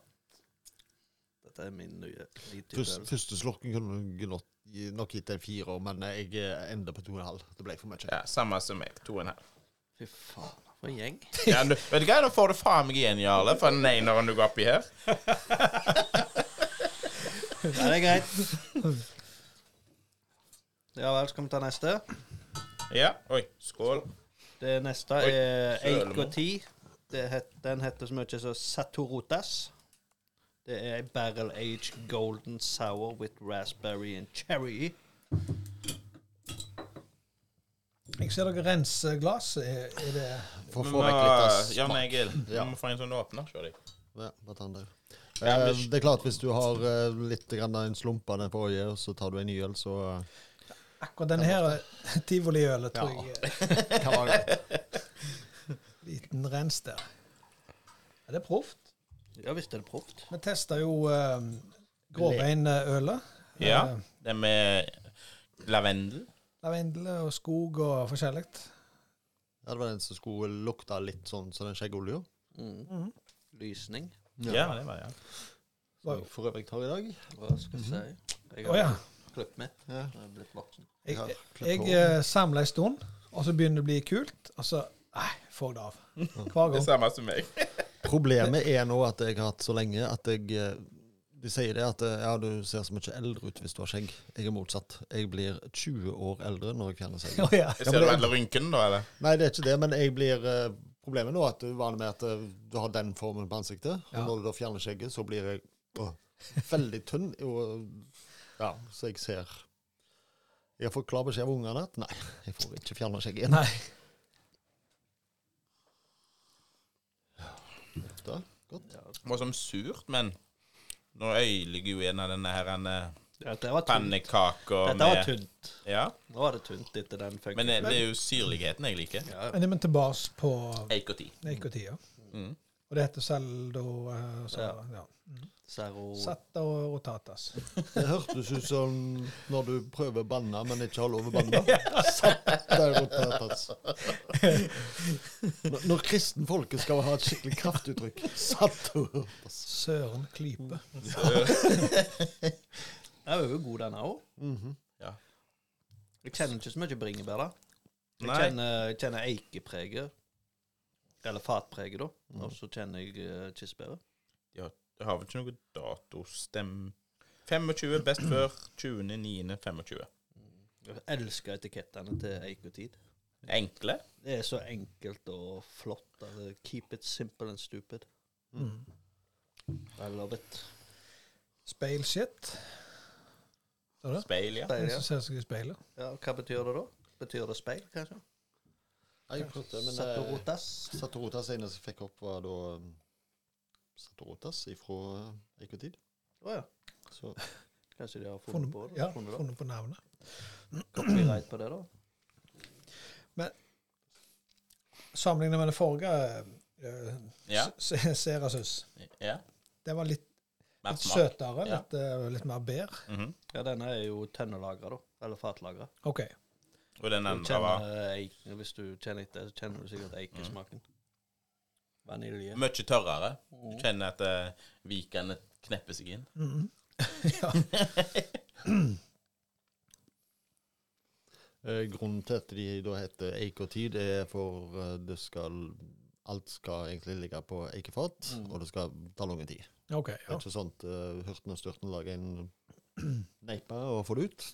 Speaker 3: Dette er min nye
Speaker 4: Første,
Speaker 3: lite
Speaker 4: første slurken kunne du gnått gi- nok gitt en fire, men jeg eh, ender på to og en halv. Det ble for mye.
Speaker 1: Ja, Samme som meg. To og en halv.
Speaker 3: Fy faen, for en gjeng.
Speaker 1: Ja, du, vet du hva, nå får du faen meg igjen, Jarle, for den eneren du går oppi her.
Speaker 3: Ja, det er greit. Ja vel, skal vi ta neste?
Speaker 1: Ja. Oi. Skål.
Speaker 3: Det neste
Speaker 1: Oi,
Speaker 3: er
Speaker 1: søren,
Speaker 3: 8 og 10. Det het, den heter så mye som Satorotas. Det er en barrel aged golden sour with raspberry and cherry.
Speaker 2: Jeg ser dere renser glasset. Er, er det
Speaker 4: For å
Speaker 1: Vi
Speaker 4: få
Speaker 1: må-
Speaker 4: vekk litt av
Speaker 1: Jan
Speaker 4: smak.
Speaker 1: Egil,
Speaker 4: eh, Ja.
Speaker 1: vi må få en sånn åpner. Se deg.
Speaker 4: Ja, bare ta den der.
Speaker 1: Ja,
Speaker 4: Eh,
Speaker 1: men-
Speaker 4: Det er klart, hvis du har eh, litt grann av en slump av den forrige, og så tar du en ny øl, så eh,
Speaker 2: akkurat denne her tivoliølet, tror
Speaker 4: Ja.
Speaker 2: jeg. er
Speaker 4: kan være greit.
Speaker 2: en Liten rens der. Ja, det er proft.
Speaker 3: Ja visst er det proft.
Speaker 2: Vi testa jo eh, gråveinølet.
Speaker 1: Ja.
Speaker 2: Eh,
Speaker 1: Det med lavendel.
Speaker 2: Lavendel og skog og forskjellig.
Speaker 4: Ja, det var den som skulle lukte litt sånn som den skjeggolja.
Speaker 3: Mm.
Speaker 2: Mhm.
Speaker 3: Lysning.
Speaker 1: Ja, det var ja.
Speaker 4: Som jeg for øvrig tar i dag.
Speaker 3: Hva skal jeg si? Jeg
Speaker 2: Å ja.
Speaker 3: har klippet mitt.
Speaker 4: Ja.
Speaker 3: Jeg er blitt voksen.
Speaker 4: Jeg har
Speaker 2: Jeg,
Speaker 4: klippet
Speaker 2: jeg eh,
Speaker 4: håret.
Speaker 2: samler en stund, og så begynner det å bli kult. Og så Nei, får jeg det av. Hver
Speaker 1: Det
Speaker 2: gang.
Speaker 1: samme som meg.
Speaker 4: Problemet er nå at jeg har hatt så lenge at jeg eh, De sier det at eh, ja, du ser så mye eldre ut hvis du har skjegg. Jeg er motsatt. Jeg blir 20 år eldre når jeg fjerner skjegget.
Speaker 2: Å ja.
Speaker 1: Ser du alle rynkene, da, eller?
Speaker 4: Nei, det er ikke det, men jeg blir eh, Problemet nå er at du er vant med at eh, du har den formen på ansiktet.
Speaker 2: Ja.
Speaker 4: Og når du da fjerner skjegget, så blir jeg åh, veldig tynn. Og, ja, så jeg ser Jeg har fått klar beskjed av ungene at nei, jeg får ikke fjerne skjegget igjen.
Speaker 2: Nei.
Speaker 4: Da.
Speaker 3: Ja.
Speaker 1: Det var som surt, men nå øyler jo en av denne her en, eh,
Speaker 3: Dette var tynt.
Speaker 1: pannekaka
Speaker 3: Dette var
Speaker 1: med
Speaker 3: tynt.
Speaker 1: Ja.
Speaker 3: Nå var det tynt etter den funken.
Speaker 1: Men det, det er jo syrligheten jeg liker.
Speaker 3: ja.
Speaker 2: Men det er vi tilbake på
Speaker 1: Eik og ti.
Speaker 2: Eikotida.
Speaker 1: Mm.
Speaker 2: Og det heter Seldo eh, så,
Speaker 3: Ja.
Speaker 2: ja.
Speaker 3: Zero.
Speaker 2: Satta og Rotatas.
Speaker 4: Det hørtes ut som når du prøver å banne, men ikke har lov å banne. Satt der og tatas. Når- Når kristen folke skal ha et skikkelig kraftuttrykk. Satt og
Speaker 2: Søren klype.
Speaker 3: Mm. Den er jo god, den òg.
Speaker 4: Mhm.
Speaker 3: Jeg kjenner ikke så mye bringebær, da. Jeg
Speaker 1: Nei.
Speaker 3: kjenner, jeg kjenner eikepreget. Eller fatpreget, da. Og så kjenner jeg eh, kirsebæret.
Speaker 1: Det har vel ikke noe datostem... 25 best før 20.9.25.
Speaker 3: Jeg elsker etikettene til Eik og Tid.
Speaker 1: Enkle.
Speaker 3: Det er så enkelt og flott. Altså, keep it simple and stupid.
Speaker 2: Mm.
Speaker 3: I love it.
Speaker 2: Speilshit. Så det?
Speaker 1: Speil, ja.
Speaker 2: Den
Speaker 3: Speil, ja.
Speaker 2: som ser seg i speilet.
Speaker 3: ja. Hva betyr det da? Betyr det speil, kanskje?
Speaker 4: Nei, jeg prøvde, men,
Speaker 3: Satt og
Speaker 4: eh,
Speaker 3: rotas?
Speaker 4: Satorotas eneste jeg fikk opp, var da um, Satorotas ifra eh, Eikotid.
Speaker 3: Å ja.
Speaker 4: Så
Speaker 3: Kanskje de har funnet
Speaker 2: Funnet,
Speaker 3: på det?
Speaker 2: ja,
Speaker 3: Funnet det?
Speaker 2: funnet på navnet.
Speaker 3: Copyright på det, da?
Speaker 2: Sammenlignet med det forrige uh,
Speaker 1: Ja.
Speaker 2: Serasus.
Speaker 1: ja.
Speaker 2: Det var litt,
Speaker 1: Mer
Speaker 2: litt
Speaker 1: smak.
Speaker 2: søtere,
Speaker 1: Ja.
Speaker 2: litt, eh, litt mer bær.
Speaker 1: Mhm.
Speaker 3: Ja, denne er jo tønnelagra, da. Eller fatlagra.
Speaker 2: OK.
Speaker 1: Og den
Speaker 3: Du
Speaker 1: andre var
Speaker 3: kjenner eik, hvis du kjenner etter, så kjenner du sikkert eikesmaken. Vanilje.
Speaker 1: mye tørrere. Du
Speaker 3: Mm.
Speaker 1: kjenner at eh, vikene knepper seg inn.
Speaker 2: Mhm.
Speaker 4: eh, grunnen til at de da heter Eikotid, er for eh, det skal Alt skal egentlig ligge på eikefat,
Speaker 3: Mm.
Speaker 4: og det skal ta lang tid.
Speaker 2: OK.
Speaker 4: Det
Speaker 2: Ja.
Speaker 4: er ikke sånt uh, hurten og størten lager en neipe og får det ut.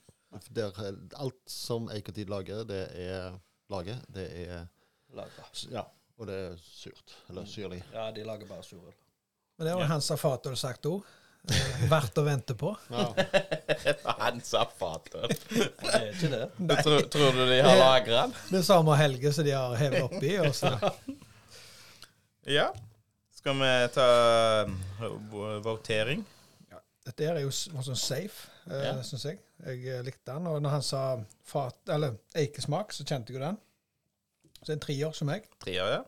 Speaker 4: Der, er- alt som Eikotid lager, det er lager, det er
Speaker 3: Lager.
Speaker 4: Ja. Og det er surt. Eller syrlig.
Speaker 3: Ja, de lager bare surøl.
Speaker 2: Men det har
Speaker 1: Ja.
Speaker 2: jo Hansa Fatøl sagt òg. Verdt å vente på.
Speaker 4: Ja.
Speaker 1: Han sa fater.
Speaker 3: Men Det er ikke det.
Speaker 1: Tror, tror du de har lagra den?
Speaker 2: Det er samme helge som de har hevet oppi. Og så.
Speaker 1: Ja. Skal vi ta eh, v- votering?
Speaker 2: Dette her er jo s- var sånn safe, eh,
Speaker 1: Ja.
Speaker 2: syns jeg. Jeg eh, likte den. Og når han sa fat, eller eikesmak, så kjente jeg jo den. Så en trier som meg.
Speaker 1: Treer, ja.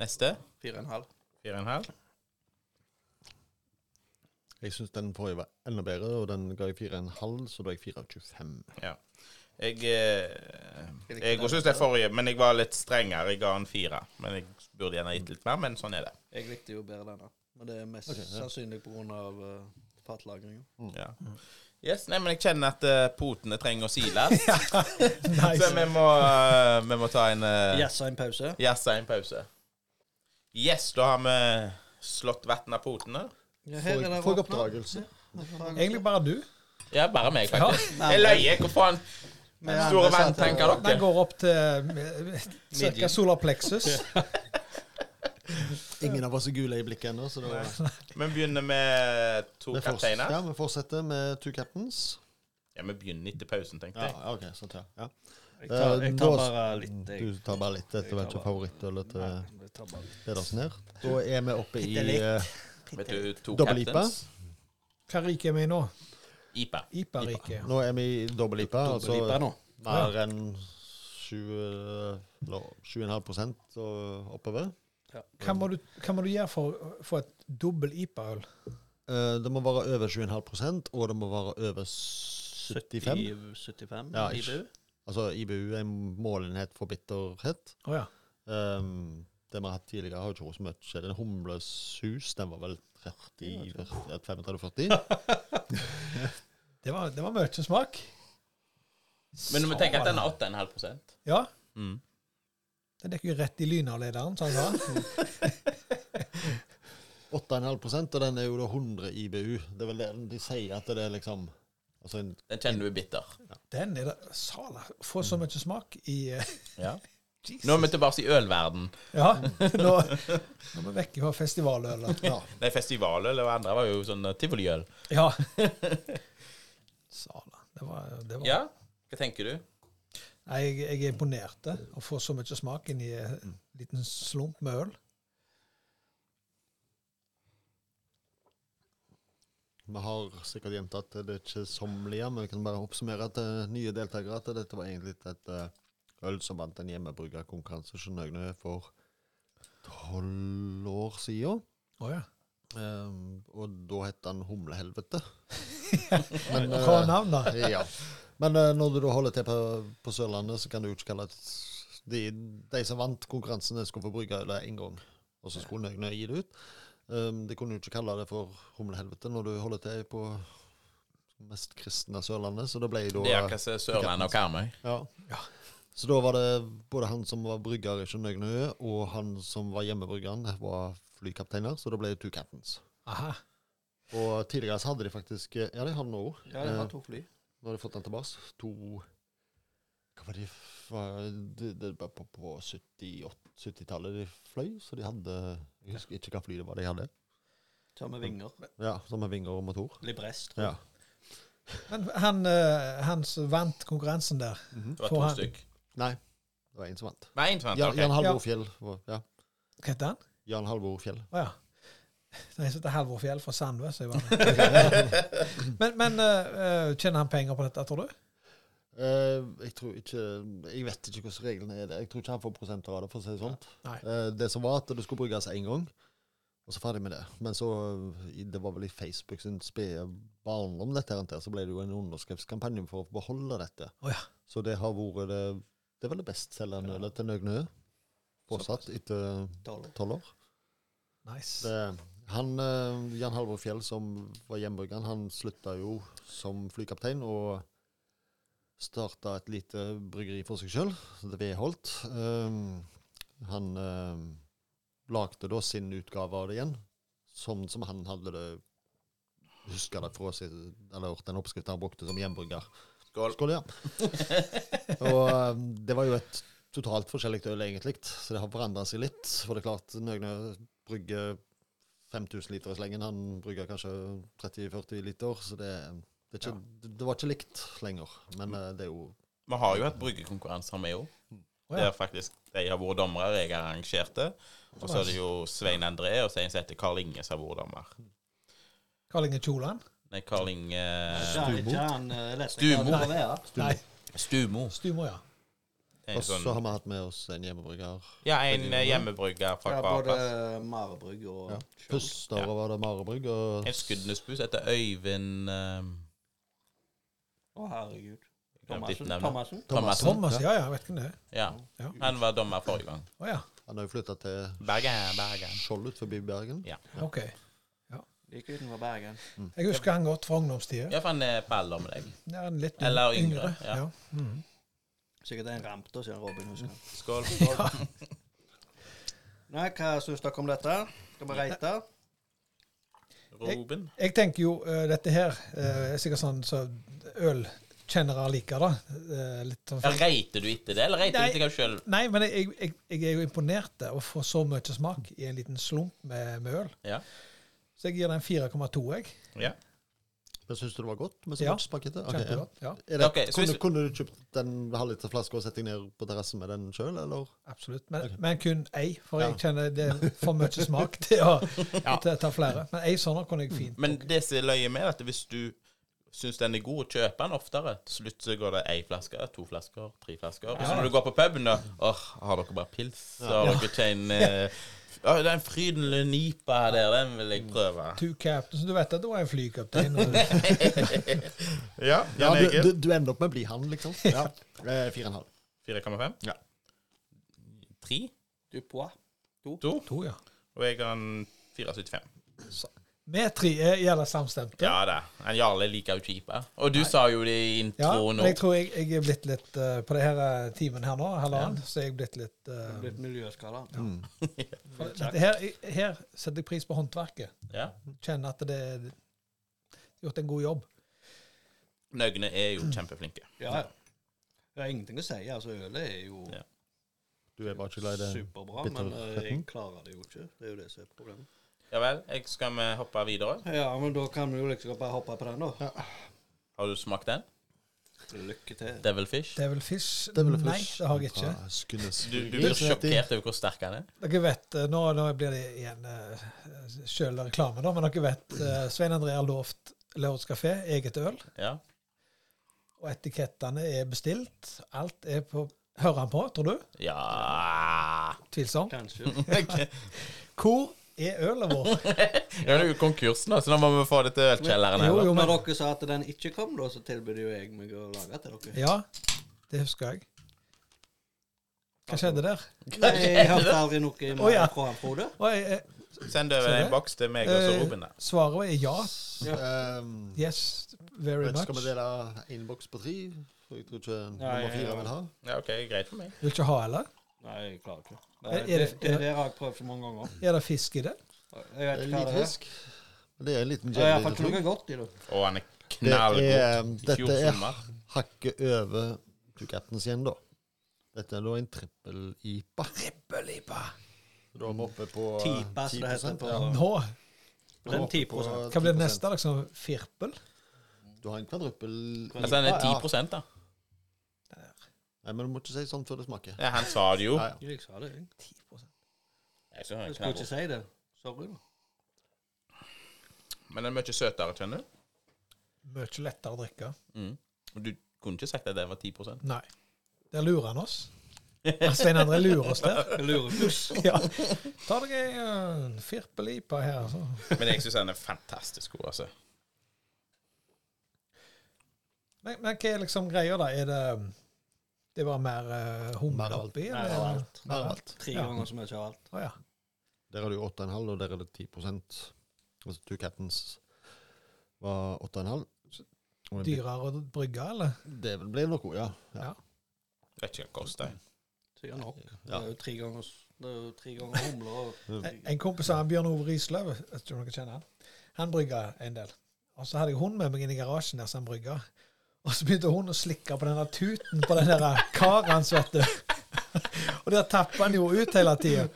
Speaker 1: Neste.
Speaker 3: Fire og en halv.
Speaker 1: Fire og en halv.
Speaker 4: Jeg syns den forrige var enda bedre, og den ga jeg 4,5, så da er jeg 4,25.
Speaker 1: Jeg, eh, jeg også synes det er forrige, men jeg var litt strengere. Jeg ga en fire. Men jeg burde gjerne gitt litt mer, men sånn er det.
Speaker 3: Jeg likte jo bedre denne. Men det er mest
Speaker 4: Ok, ja.
Speaker 3: sannsynlig pga. Uh, eh, fatlagringen.
Speaker 1: Ja. Yes, nei, men jeg kjenner at eh, potene trenger å siles, så
Speaker 2: Nice.
Speaker 1: vi må, eh, vi må ta en eh,
Speaker 3: Jazza en pause.
Speaker 1: jazza en pause. Yes, da har vi slått vann av potene.
Speaker 3: Ja, her
Speaker 4: For,
Speaker 3: er
Speaker 4: for
Speaker 3: det våpen.
Speaker 4: oppdragelse.
Speaker 2: Egentlig bare du.
Speaker 1: Ja, bare meg, faktisk. Jeg løy. Hvor faen
Speaker 3: Men
Speaker 1: store
Speaker 3: andre
Speaker 1: vann
Speaker 3: setter-
Speaker 1: tenker
Speaker 2: Den
Speaker 1: dere?
Speaker 2: går opp til ca.
Speaker 3: Medium.
Speaker 2: solar plexus.
Speaker 4: Ingen av oss er gule i blikket ennå, så det var
Speaker 1: Vi begynner med to
Speaker 4: Vi forts-
Speaker 1: kapteiner.
Speaker 4: Ja, vi fortsetter med two captains.
Speaker 1: Ja, vi begynner etter pausen, tenkte
Speaker 4: Ja,
Speaker 1: jeg.
Speaker 4: OK. Sant, ja. ja.
Speaker 3: Jeg tar, jeg tar
Speaker 4: Eh, da-
Speaker 3: bare litt, jeg.
Speaker 4: Du tar bare litt. Dette var
Speaker 3: Jeg tar
Speaker 4: ikke
Speaker 3: bare-
Speaker 4: favorittølet til
Speaker 3: Jeg tar bare litt.
Speaker 4: Pedersen her. Da er vi oppe i
Speaker 3: Bitte litt.
Speaker 4: eh,
Speaker 1: Vet du, to
Speaker 4: Double IPA?
Speaker 1: captains.
Speaker 2: Hva rike er vi i nå?
Speaker 1: IPA.
Speaker 2: Ipa-rike.
Speaker 4: Nå er vi i dobbel IPA, altså
Speaker 3: Dobbel IPA nå.
Speaker 4: mer enn 20 eller 7,5 og oppover.
Speaker 2: Hva må, du, hva må du gjøre for å få et dobbel Ipa-øl?
Speaker 4: Eh, Det må være over 7,5 og det må være over 75.
Speaker 3: 70, 75
Speaker 4: Ja,
Speaker 3: i
Speaker 4: ish.
Speaker 3: bu.
Speaker 4: Altså IBU er en målenhet for bitterhet.
Speaker 2: Å ja.
Speaker 4: Ehm, det vi har hatt tidligere, har jo ikke vært så mye. Den humlesus, den var vel 35-40.
Speaker 2: Det var, det var mye smak.
Speaker 1: Men du må tenke at den er 8,5
Speaker 2: Ja.
Speaker 1: Mm.
Speaker 2: Den dekker jo rett i Lynar-lederen, sa han da.
Speaker 4: 8,5 og den er jo da 100 IBU. Det er vel det de sier at det er liksom Altså en
Speaker 1: Den kjenner du er bitter.
Speaker 2: Den er det Sala. Få så mye smak i eh,
Speaker 1: Ja.
Speaker 2: Jesus.
Speaker 1: Nå er vi tilbake i ølverden.
Speaker 2: Ja, nå, nå er vi vekk fra festivalølet.
Speaker 4: Ja.
Speaker 1: Nei, festivaløl eller hva andre var jo sånn eh, tivoliøl.
Speaker 2: Ja. Sala. Det var, det var.
Speaker 1: Ja, hva tenker du?
Speaker 2: Nei, jeg, jeg er imponert eh, å få så mye smak inn i en liten slump med øl.
Speaker 4: Vi har sikkert gjentatt det, det er ikke sommelier, men vi kan bare oppsummere til nye deltakere at dette var egentlig et eh, øl som vant en hjemmebrukerkonkurranse i Skjønnøgne for tolv år siden.
Speaker 2: Å ja.
Speaker 4: Ehm, og da het han Humlehelvete. Men,
Speaker 2: Hva var
Speaker 4: eh,
Speaker 2: navnet?
Speaker 4: ja. Men eh, når du da holder til på, på Sørlandet, så kan du jo ikke kalle det de, de som vant konkurransen, de skulle få bruke det én gang, og så skulle Nøgne gi det ut. Um, de kunne jo ikke kalle det for humlehelvete når du holder til på mest kristne Sørlandet, så da ble det
Speaker 1: Det er
Speaker 4: da
Speaker 1: akkurat som Sørlandet og Karmøy.
Speaker 4: ja. Så da var det både han som var brygger i Skjønnøgnøy, og han som var hjemmebryggeren, var flykapteiner, så da ble det two captains.
Speaker 2: Aha.
Speaker 4: Og tidligere så hadde de faktisk Ja, de har den nå òg.
Speaker 3: Ja, det var to fly.
Speaker 4: Nå har de fått den tilbake. To Hva var det f- var- Det, det var på, på 78 70-tallet de fløy, så de hadde Jeg husker ikke hva fly det var de hadde.
Speaker 3: Tar med vinger.
Speaker 4: Ja, Som med vinger og motor.
Speaker 3: Librest. tror jeg.
Speaker 4: Ja.
Speaker 2: Men han, eh, han som vant konkurransen der
Speaker 1: Det var
Speaker 2: Får
Speaker 1: to
Speaker 2: han-
Speaker 1: stykk.
Speaker 4: Nei, det var en som vant.
Speaker 1: Nei, en som
Speaker 4: Jan,
Speaker 1: vant,
Speaker 4: Jan
Speaker 1: ok.
Speaker 4: Halvor Fjell. var- Ja.
Speaker 2: Hva heter han?
Speaker 4: Jan Halvor Fjell.
Speaker 2: Å ja. Den heter Halvor Fjell fra Sandvø. så jeg var med. Men, men eh, eh, tjener han penger på dette, tror du?
Speaker 4: Eh, jeg tror ikke Jeg vet ikke hvordan reglene er der. Jeg tror ikke han får prosenter av det, for å si det sånn.
Speaker 2: Nei.
Speaker 4: Eh, det som var at det skulle brukes én gang, og så ferdig med det. Men så, i- det var vel i Facebook sin spede barndom, dette her, så ble det jo en underskriftskampanje for å beholde dette.
Speaker 2: Å ja.
Speaker 4: Så det har vært det Det er vel det bestselgende ølet til Nøgnø fortsatt, etter
Speaker 3: Tolv.
Speaker 4: tolv år.
Speaker 2: Nice.
Speaker 4: Det, han, eh, Jan Halvor Fjell, som var hjemmebryggeren, han slutta jo som flykaptein og starta et lite bryggeri for seg sjøl, Veholt. Um, han um, lagde da sin utgave av det igjen, sånn som han hadde det Husker det fra sitt, eller den oppskriften han brukte som hjemmebrygger.
Speaker 1: Skål.
Speaker 4: Skål, ja. og um, det var jo et totalt forskjellig øl, egentlig, så det har forandra seg litt. For det er klart, Nøgne brygger 5000 liter i slengen. Han brygger kanskje 30-40 liter, så det, det, er ikke, det, det var ikke likt lenger.
Speaker 1: Mm.
Speaker 4: Men eh, det er jo
Speaker 1: Vi har jo hatt bryggekonkurranser med jo.
Speaker 2: Å
Speaker 1: Der
Speaker 2: ja.
Speaker 1: faktisk de har vært dommere, jeg har arrangert det. Og så er det jo Svein André og så en som heter Karl Inge som har vært dommer.
Speaker 2: Karl Inge Tjoland?
Speaker 1: Nei, Karl Inge
Speaker 3: Ja, ikke han, eh, lett-
Speaker 1: Stumo.
Speaker 3: Ja, det var det,
Speaker 2: Nei.
Speaker 1: Stumo.
Speaker 2: Stumo, ja.
Speaker 1: En
Speaker 4: Og så
Speaker 1: sånn,
Speaker 4: har vi hatt med oss en hjemmebrygger.
Speaker 1: ja, en eh, hjemmebrygger fra
Speaker 3: ja. Ja,
Speaker 1: hver plass.
Speaker 3: både Marebrygg og Skjold.
Speaker 4: Puster over var det Marebrygg. Og
Speaker 1: En Skudenesbus heter Øyvind eh,
Speaker 3: Å, herregud.
Speaker 1: glemte ditt
Speaker 3: Thomassen.
Speaker 1: navn.
Speaker 3: Thomassen.
Speaker 1: Thomassen.
Speaker 2: Thomas, ja, ja. jeg Vet ikke hvem det er.
Speaker 1: Ja.
Speaker 2: Ja.
Speaker 1: Han var dommer forrige gang.
Speaker 2: Å ja.
Speaker 4: han har jo flytta til
Speaker 1: Bergen, Bergen.
Speaker 4: Skjold ut forbi Bergen.
Speaker 1: Ja.
Speaker 2: OK.
Speaker 3: Like utenfor Bergen.
Speaker 2: Jeg husker han godt fra ungdomstida.
Speaker 1: Ja, for han er på alder med deg.
Speaker 2: Det er han litt yng-
Speaker 1: Eller
Speaker 2: yngre.
Speaker 1: yngre, ja.
Speaker 2: ja. Mhm.
Speaker 3: Sikkert det er en ramp, da, sier Robin. husker han.
Speaker 1: Skål. skål.
Speaker 3: Nei, hva syns dere om dette? Skal vi reite?
Speaker 1: Robin.
Speaker 2: Jeg tenker jo eh, dette her
Speaker 1: Mm.
Speaker 2: eh, er sikkert sånn så ølkjennere liker det. Eh, litt sånn
Speaker 1: Ja, Reiter du etter det, eller reiter du etter deg sjøl?
Speaker 2: Nei, men jeg, jeg, jeg er jo imponert over å få så mye smak i en liten slump med, med øl.
Speaker 1: Ja.
Speaker 2: Så jeg gir den 4,2, jeg.
Speaker 1: Ja.
Speaker 4: Men syns du det var godt? Med
Speaker 2: Ja.
Speaker 4: ja. Spagetti? Ok, ja.
Speaker 2: Kjempegodt. Ja,
Speaker 4: Er det,
Speaker 1: Ok, så
Speaker 4: kunne,
Speaker 1: hvis-
Speaker 4: kunne du kjøpt den halvliterflaska og sett deg ned på terrassen med den sjøl, eller?
Speaker 2: absolutt. Men, men kun ei, for
Speaker 4: Ja.
Speaker 2: jeg kjenner det er for mye smak til å til å ta flere. Men ei sånn kunne jeg fint.
Speaker 1: Men det som er løye med, er at hvis du syns den er god, kjøper den oftere. Til slutt så går det én flaske, to flasker, tre flasker. Og så når du går på puben, da Åh, har dere bare pils? Så har dere ikke en eh, Å, den frydenlige nipa der, den vil jeg prøve.
Speaker 2: Two captains. Du vet at det var en flykaptein. og-
Speaker 1: Ja,
Speaker 4: Ja, du, du, du ender opp med å bli han, liksom. Ja. Eh, Fire og en halv.
Speaker 1: 4,5?
Speaker 4: Ja.
Speaker 1: Tre?
Speaker 3: Du pois.
Speaker 1: To?
Speaker 2: To, ja.
Speaker 1: Og jeg har en 4,75.
Speaker 2: Vi tre er jævla samstemte.
Speaker 1: Ja da. En Jarle liker jo kjipe. Og du sa jo det i
Speaker 2: Ja,
Speaker 1: introen
Speaker 2: men jeg
Speaker 1: òg.
Speaker 2: tror jeg, jeg er blitt litt eh, På det her eh, timen her nå, halvannen, så er jeg blitt litt eh,
Speaker 3: Blitt miljøskada.
Speaker 2: for dette her, her setter jeg pris på håndverket.
Speaker 1: Ja.
Speaker 2: Kjenner at det er gjort en god jobb.
Speaker 1: Nøgne er jo kjempeflinke.
Speaker 3: Ja, ja. Det er ingenting å si. altså Ølet er jo
Speaker 1: Ja.
Speaker 4: Du er bare ikke glad i det.
Speaker 3: superbra,
Speaker 4: bitter
Speaker 3: men eh, jeg
Speaker 4: retten.
Speaker 3: klarer det jo ikke. Det er jo det som er problemet.
Speaker 1: Ja vel. Jeg skal vi hoppe videre?
Speaker 3: Ja, men da kan vi jo liksom bare hoppe på den, da.
Speaker 1: Har du smakt den?
Speaker 3: Lykke til.
Speaker 1: Devilfish?
Speaker 2: Devil fish?
Speaker 4: Devil
Speaker 2: Nei,
Speaker 4: fish.
Speaker 2: det har jeg ikke.
Speaker 4: Fra Skudenes.
Speaker 1: Du, du blir sjokkert over hvor sterk han er.
Speaker 2: Dere vet, eh, Nå, nå blir det igjen uh, sjøl reklame, da, men dere vet eh, Svein André har lovt Lørdags kafé eget øl.
Speaker 1: Ja.
Speaker 2: Og etikettene er bestilt. Alt er på Hører han på, tror du?
Speaker 1: ja.
Speaker 2: Tvilsomt.
Speaker 3: Kanskje.
Speaker 2: Hvor er ølet vårt?
Speaker 1: Ja, Det er jo konkursen, da, så nå må vi få det til ølkjelleren.
Speaker 2: Jo,
Speaker 1: eller?
Speaker 2: jo,
Speaker 3: Når
Speaker 2: men
Speaker 3: dere sa at den ikke kom, da, så tilbød jo jeg meg å lage til dere.
Speaker 2: Ja, det husker jeg. Hva skjedde der?
Speaker 3: Nei, jeg hørte aldri noe i
Speaker 2: Å, ja.
Speaker 3: fra han Frode.
Speaker 2: Å, jeg, jeg,
Speaker 1: Send over en boks til meg og så
Speaker 2: Eh,
Speaker 1: Robin. da.
Speaker 2: svaret er ja.
Speaker 4: Ehm,
Speaker 2: Yes, very
Speaker 4: men
Speaker 2: much.
Speaker 4: skal vi dele en boks på tre? For jeg tror ikke
Speaker 3: ja,
Speaker 4: nummer
Speaker 3: ja.
Speaker 4: fire vil ha.
Speaker 1: Ja, OK, greit for meg.
Speaker 2: Vil ikke ha, eller?
Speaker 3: Nei, jeg klarer ikke.
Speaker 2: Er-
Speaker 3: Det,
Speaker 2: er
Speaker 3: det, det,
Speaker 2: det- er det-
Speaker 3: der har jeg prøvd så mange ganger.
Speaker 2: Er det fisk i det?
Speaker 3: Jeg
Speaker 4: Det
Speaker 3: vet
Speaker 4: er
Speaker 3: ikke hva
Speaker 4: Litt
Speaker 3: det er.
Speaker 4: fisk. Men Det er en liten
Speaker 3: Det er iallfall
Speaker 4: jelly.
Speaker 3: ikke
Speaker 4: tror jeg.
Speaker 3: noe godt i det.
Speaker 1: Og han er
Speaker 4: Det
Speaker 1: knallgod.
Speaker 4: er,
Speaker 1: I
Speaker 4: dette
Speaker 1: fjor
Speaker 4: er
Speaker 1: sommer.
Speaker 4: hakket over Two Captains igjen, da. Dette er da en trippel-IPA.
Speaker 2: Bølipa.
Speaker 4: Da er vi oppe på eh,
Speaker 3: Tipa, som det heter
Speaker 4: 10%,
Speaker 3: på
Speaker 4: ja.
Speaker 2: Nå,
Speaker 4: Da er vi
Speaker 3: Den
Speaker 4: oppe
Speaker 3: 10
Speaker 4: på
Speaker 2: hva blir
Speaker 4: 10%.
Speaker 2: det neste? Liksom firpel?
Speaker 4: Du har en kvadruppel
Speaker 1: Altså, han er
Speaker 4: IPA, ja.
Speaker 1: 10 da.
Speaker 4: Nei, men du må ikke si sånn før det smaker.
Speaker 1: Ja, han sa det jo.
Speaker 4: Ja, ja.
Speaker 3: Jeg sa det, jeg.
Speaker 1: Jeg synes han
Speaker 3: Jeg
Speaker 1: er
Speaker 3: skulle ikke
Speaker 1: knallgod.
Speaker 3: si det. Sorry. da.
Speaker 1: Men den er mye søtere, skjønner du.
Speaker 2: Mye lettere å drikke.
Speaker 1: Mm. Og du kunne ikke sagt at den var 10
Speaker 2: Nei. Der lurer han oss. Svein André lurer oss der.
Speaker 3: Jeg lurer på
Speaker 2: Ja. Ta deg en firpelipa her, så.
Speaker 1: Men jeg syns den er fantastisk god, altså.
Speaker 2: Men, men hva er liksom greia, da? Er det det var mer eh, hummer
Speaker 4: Mer alt.
Speaker 2: oppi?
Speaker 3: Mer
Speaker 2: eller?
Speaker 3: alt.
Speaker 2: Mer alt.
Speaker 3: tre
Speaker 2: Ja.
Speaker 3: ganger så mye av alt.
Speaker 2: Å ja.
Speaker 4: Der er det jo 8,5, og der er det 10 Altså Two Captains var 8,5. Og en bit-
Speaker 2: Dyrere å brygge, eller?
Speaker 4: Det blir noe, ja. ja.
Speaker 1: Vet ikke hva det koster.
Speaker 3: Sikkert nok. Det
Speaker 4: Ja.
Speaker 3: er jo tre ganger, det er jo tre ganger humler og
Speaker 2: En Eh, en kompis av han, Bjørn Ove Risløv, jeg vet ikke om dere kjenner han, han brygga en del. Og så hadde jeg hun med meg inn i garasjen der som han brygga. Og så begynte hun å slikke på denne tuten på den der karen hans, vet du. Og der tappa han jo ut hele tida.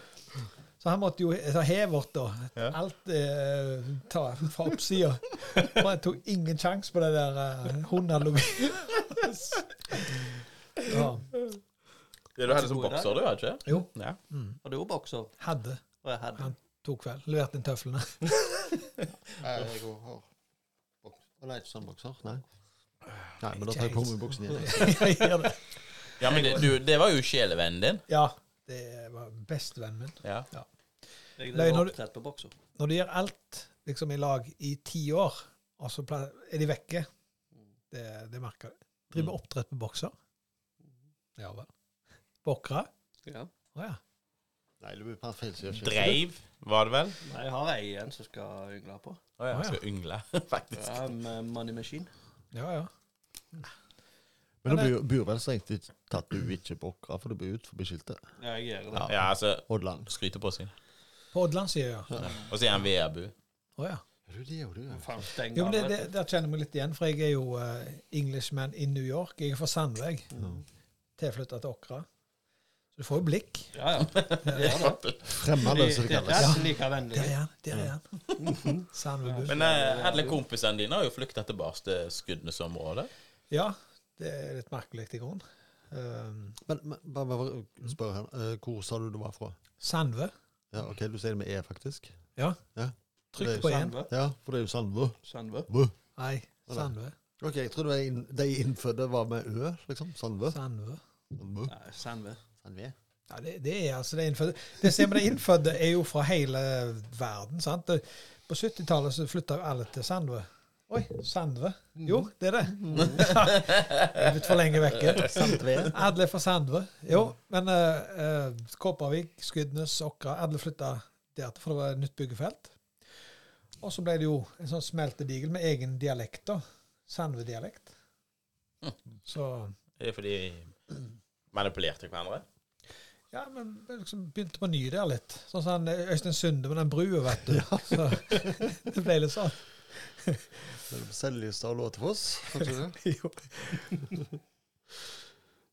Speaker 2: Så han måtte jo he- ta hevert, da.
Speaker 1: Ja.
Speaker 2: Alt eh, ta fra oppsida. Og han tok ingen sjanse på det der eh, hundeallergi.
Speaker 1: Ja,
Speaker 2: Ja.
Speaker 1: du hadde som bokser, du, hadde du ikke?
Speaker 2: Jo,
Speaker 1: Ja.
Speaker 3: Og det er jo bokser.
Speaker 2: Mm. hadde
Speaker 3: Og jeg hadde
Speaker 2: han to kveld. Leverte inn tøflene.
Speaker 4: Jeg har Nei, ikke sandbokser. Nei. Nei, men da tar jeg på meg buksen igjen. altså.
Speaker 2: Jeg gjør det.
Speaker 1: Ja, men det, du, det var jo sjelevennen din.
Speaker 2: Ja, det var bestevennen min.
Speaker 1: Ja.
Speaker 3: Jeg
Speaker 2: Løy,
Speaker 3: er
Speaker 2: når du-
Speaker 3: opptrett på bokser.
Speaker 2: Når de gjør alt liksom i lag i ti år, og så pla- er de vekke, det, det merker jeg. Driver
Speaker 1: Mm.
Speaker 2: Mm. oppdrett på bokser. Ja vel. Bokre?
Speaker 3: Ja.
Speaker 2: Å ja.
Speaker 4: Nei, det blir bare feil. så jeg skjønner ikke.
Speaker 1: Dreiv, var det vel?
Speaker 3: Nei, jeg har ei igjen som skal yngle
Speaker 1: Å
Speaker 3: på.
Speaker 1: ja,
Speaker 2: Å, ja.
Speaker 1: jeg skal yngle, faktisk.
Speaker 3: Ja, med eh, Money Machine.
Speaker 2: Ja, ja.
Speaker 4: Men det blir, jo- blir vel strengt tatt tatt du ikke på åkra, for det blir ut forbi skiltet.
Speaker 3: Ja, jeg gjør det.
Speaker 1: Ja, altså,
Speaker 4: Oddland.
Speaker 1: skryter på seg.
Speaker 2: På Odland sier jeg ja.
Speaker 1: Og så er han Veabu.
Speaker 2: Å, ja.
Speaker 4: Er du det, er du det?
Speaker 3: Faen, steng
Speaker 2: Jo, men det,
Speaker 3: av,
Speaker 2: det,
Speaker 3: vet du.
Speaker 2: Der kjenner jeg meg litt igjen, for jeg er jo eh, Englishman in New York. Jeg er fra Sandveg, tilflytta til Åkra. Så du får jo blikk.
Speaker 3: Ja, ja. Det gjør det.
Speaker 4: Fremmede,
Speaker 3: Det
Speaker 4: som det
Speaker 3: det er
Speaker 4: kalles.
Speaker 3: ikke like vennlig.
Speaker 2: Der er han! Der er han. Mm. Sandvebu.
Speaker 1: Men eh, alle kompisene dine har jo flykta tilbake til skuddenes område.
Speaker 2: Ja, det er litt merkelig i grunnen. Um,
Speaker 4: Men, men bare, bare spør her, eh, hvor sa du du var fra?
Speaker 2: Sandve.
Speaker 4: Ja, ok, Du sier det med E, faktisk.
Speaker 2: Ja.
Speaker 4: Ja.
Speaker 2: Trykk
Speaker 4: Det-
Speaker 2: på én.
Speaker 3: Sandve.
Speaker 4: Ja, for det er jo Sandvø.
Speaker 3: Sandve.
Speaker 4: Vø.
Speaker 2: Nei, Sandve.
Speaker 4: Ok, jeg trodde det var inn- de innfødte var med Ø, liksom. Sandvø.
Speaker 2: Sandve.
Speaker 4: Sandvø.
Speaker 3: Nei, Sandve.
Speaker 4: Sandvø.
Speaker 2: Ja, det, det er altså det innfødte. Det ser vi, det innfødte er jo fra hele verden, sant. Det- På 70-tallet så flytta jo alle til Sandve. Oi, Sandve.
Speaker 3: Mm.
Speaker 2: Jo, det er det. Jeg er blitt for lenge vekke.
Speaker 4: Sandvø.
Speaker 2: Alle er fra Sandve. Jo, men eh, eh, Kåpervik, Skudenes, Åkra, alle flytta der til, for det var et nytt byggefelt. Og så ble det jo en sånn smeltedigel med egen dialekt, da. Sandve-dialekt. Så
Speaker 1: Det er fordi de manipulerte hverandre.
Speaker 2: Ja, men jeg liksom begynte på ny der litt. Sånn som han, eh, Øystein Sunde med den brua, vet du. Så det ble litt sånn.
Speaker 4: Seljestad og Låtefoss, kanskje det?
Speaker 2: Jo.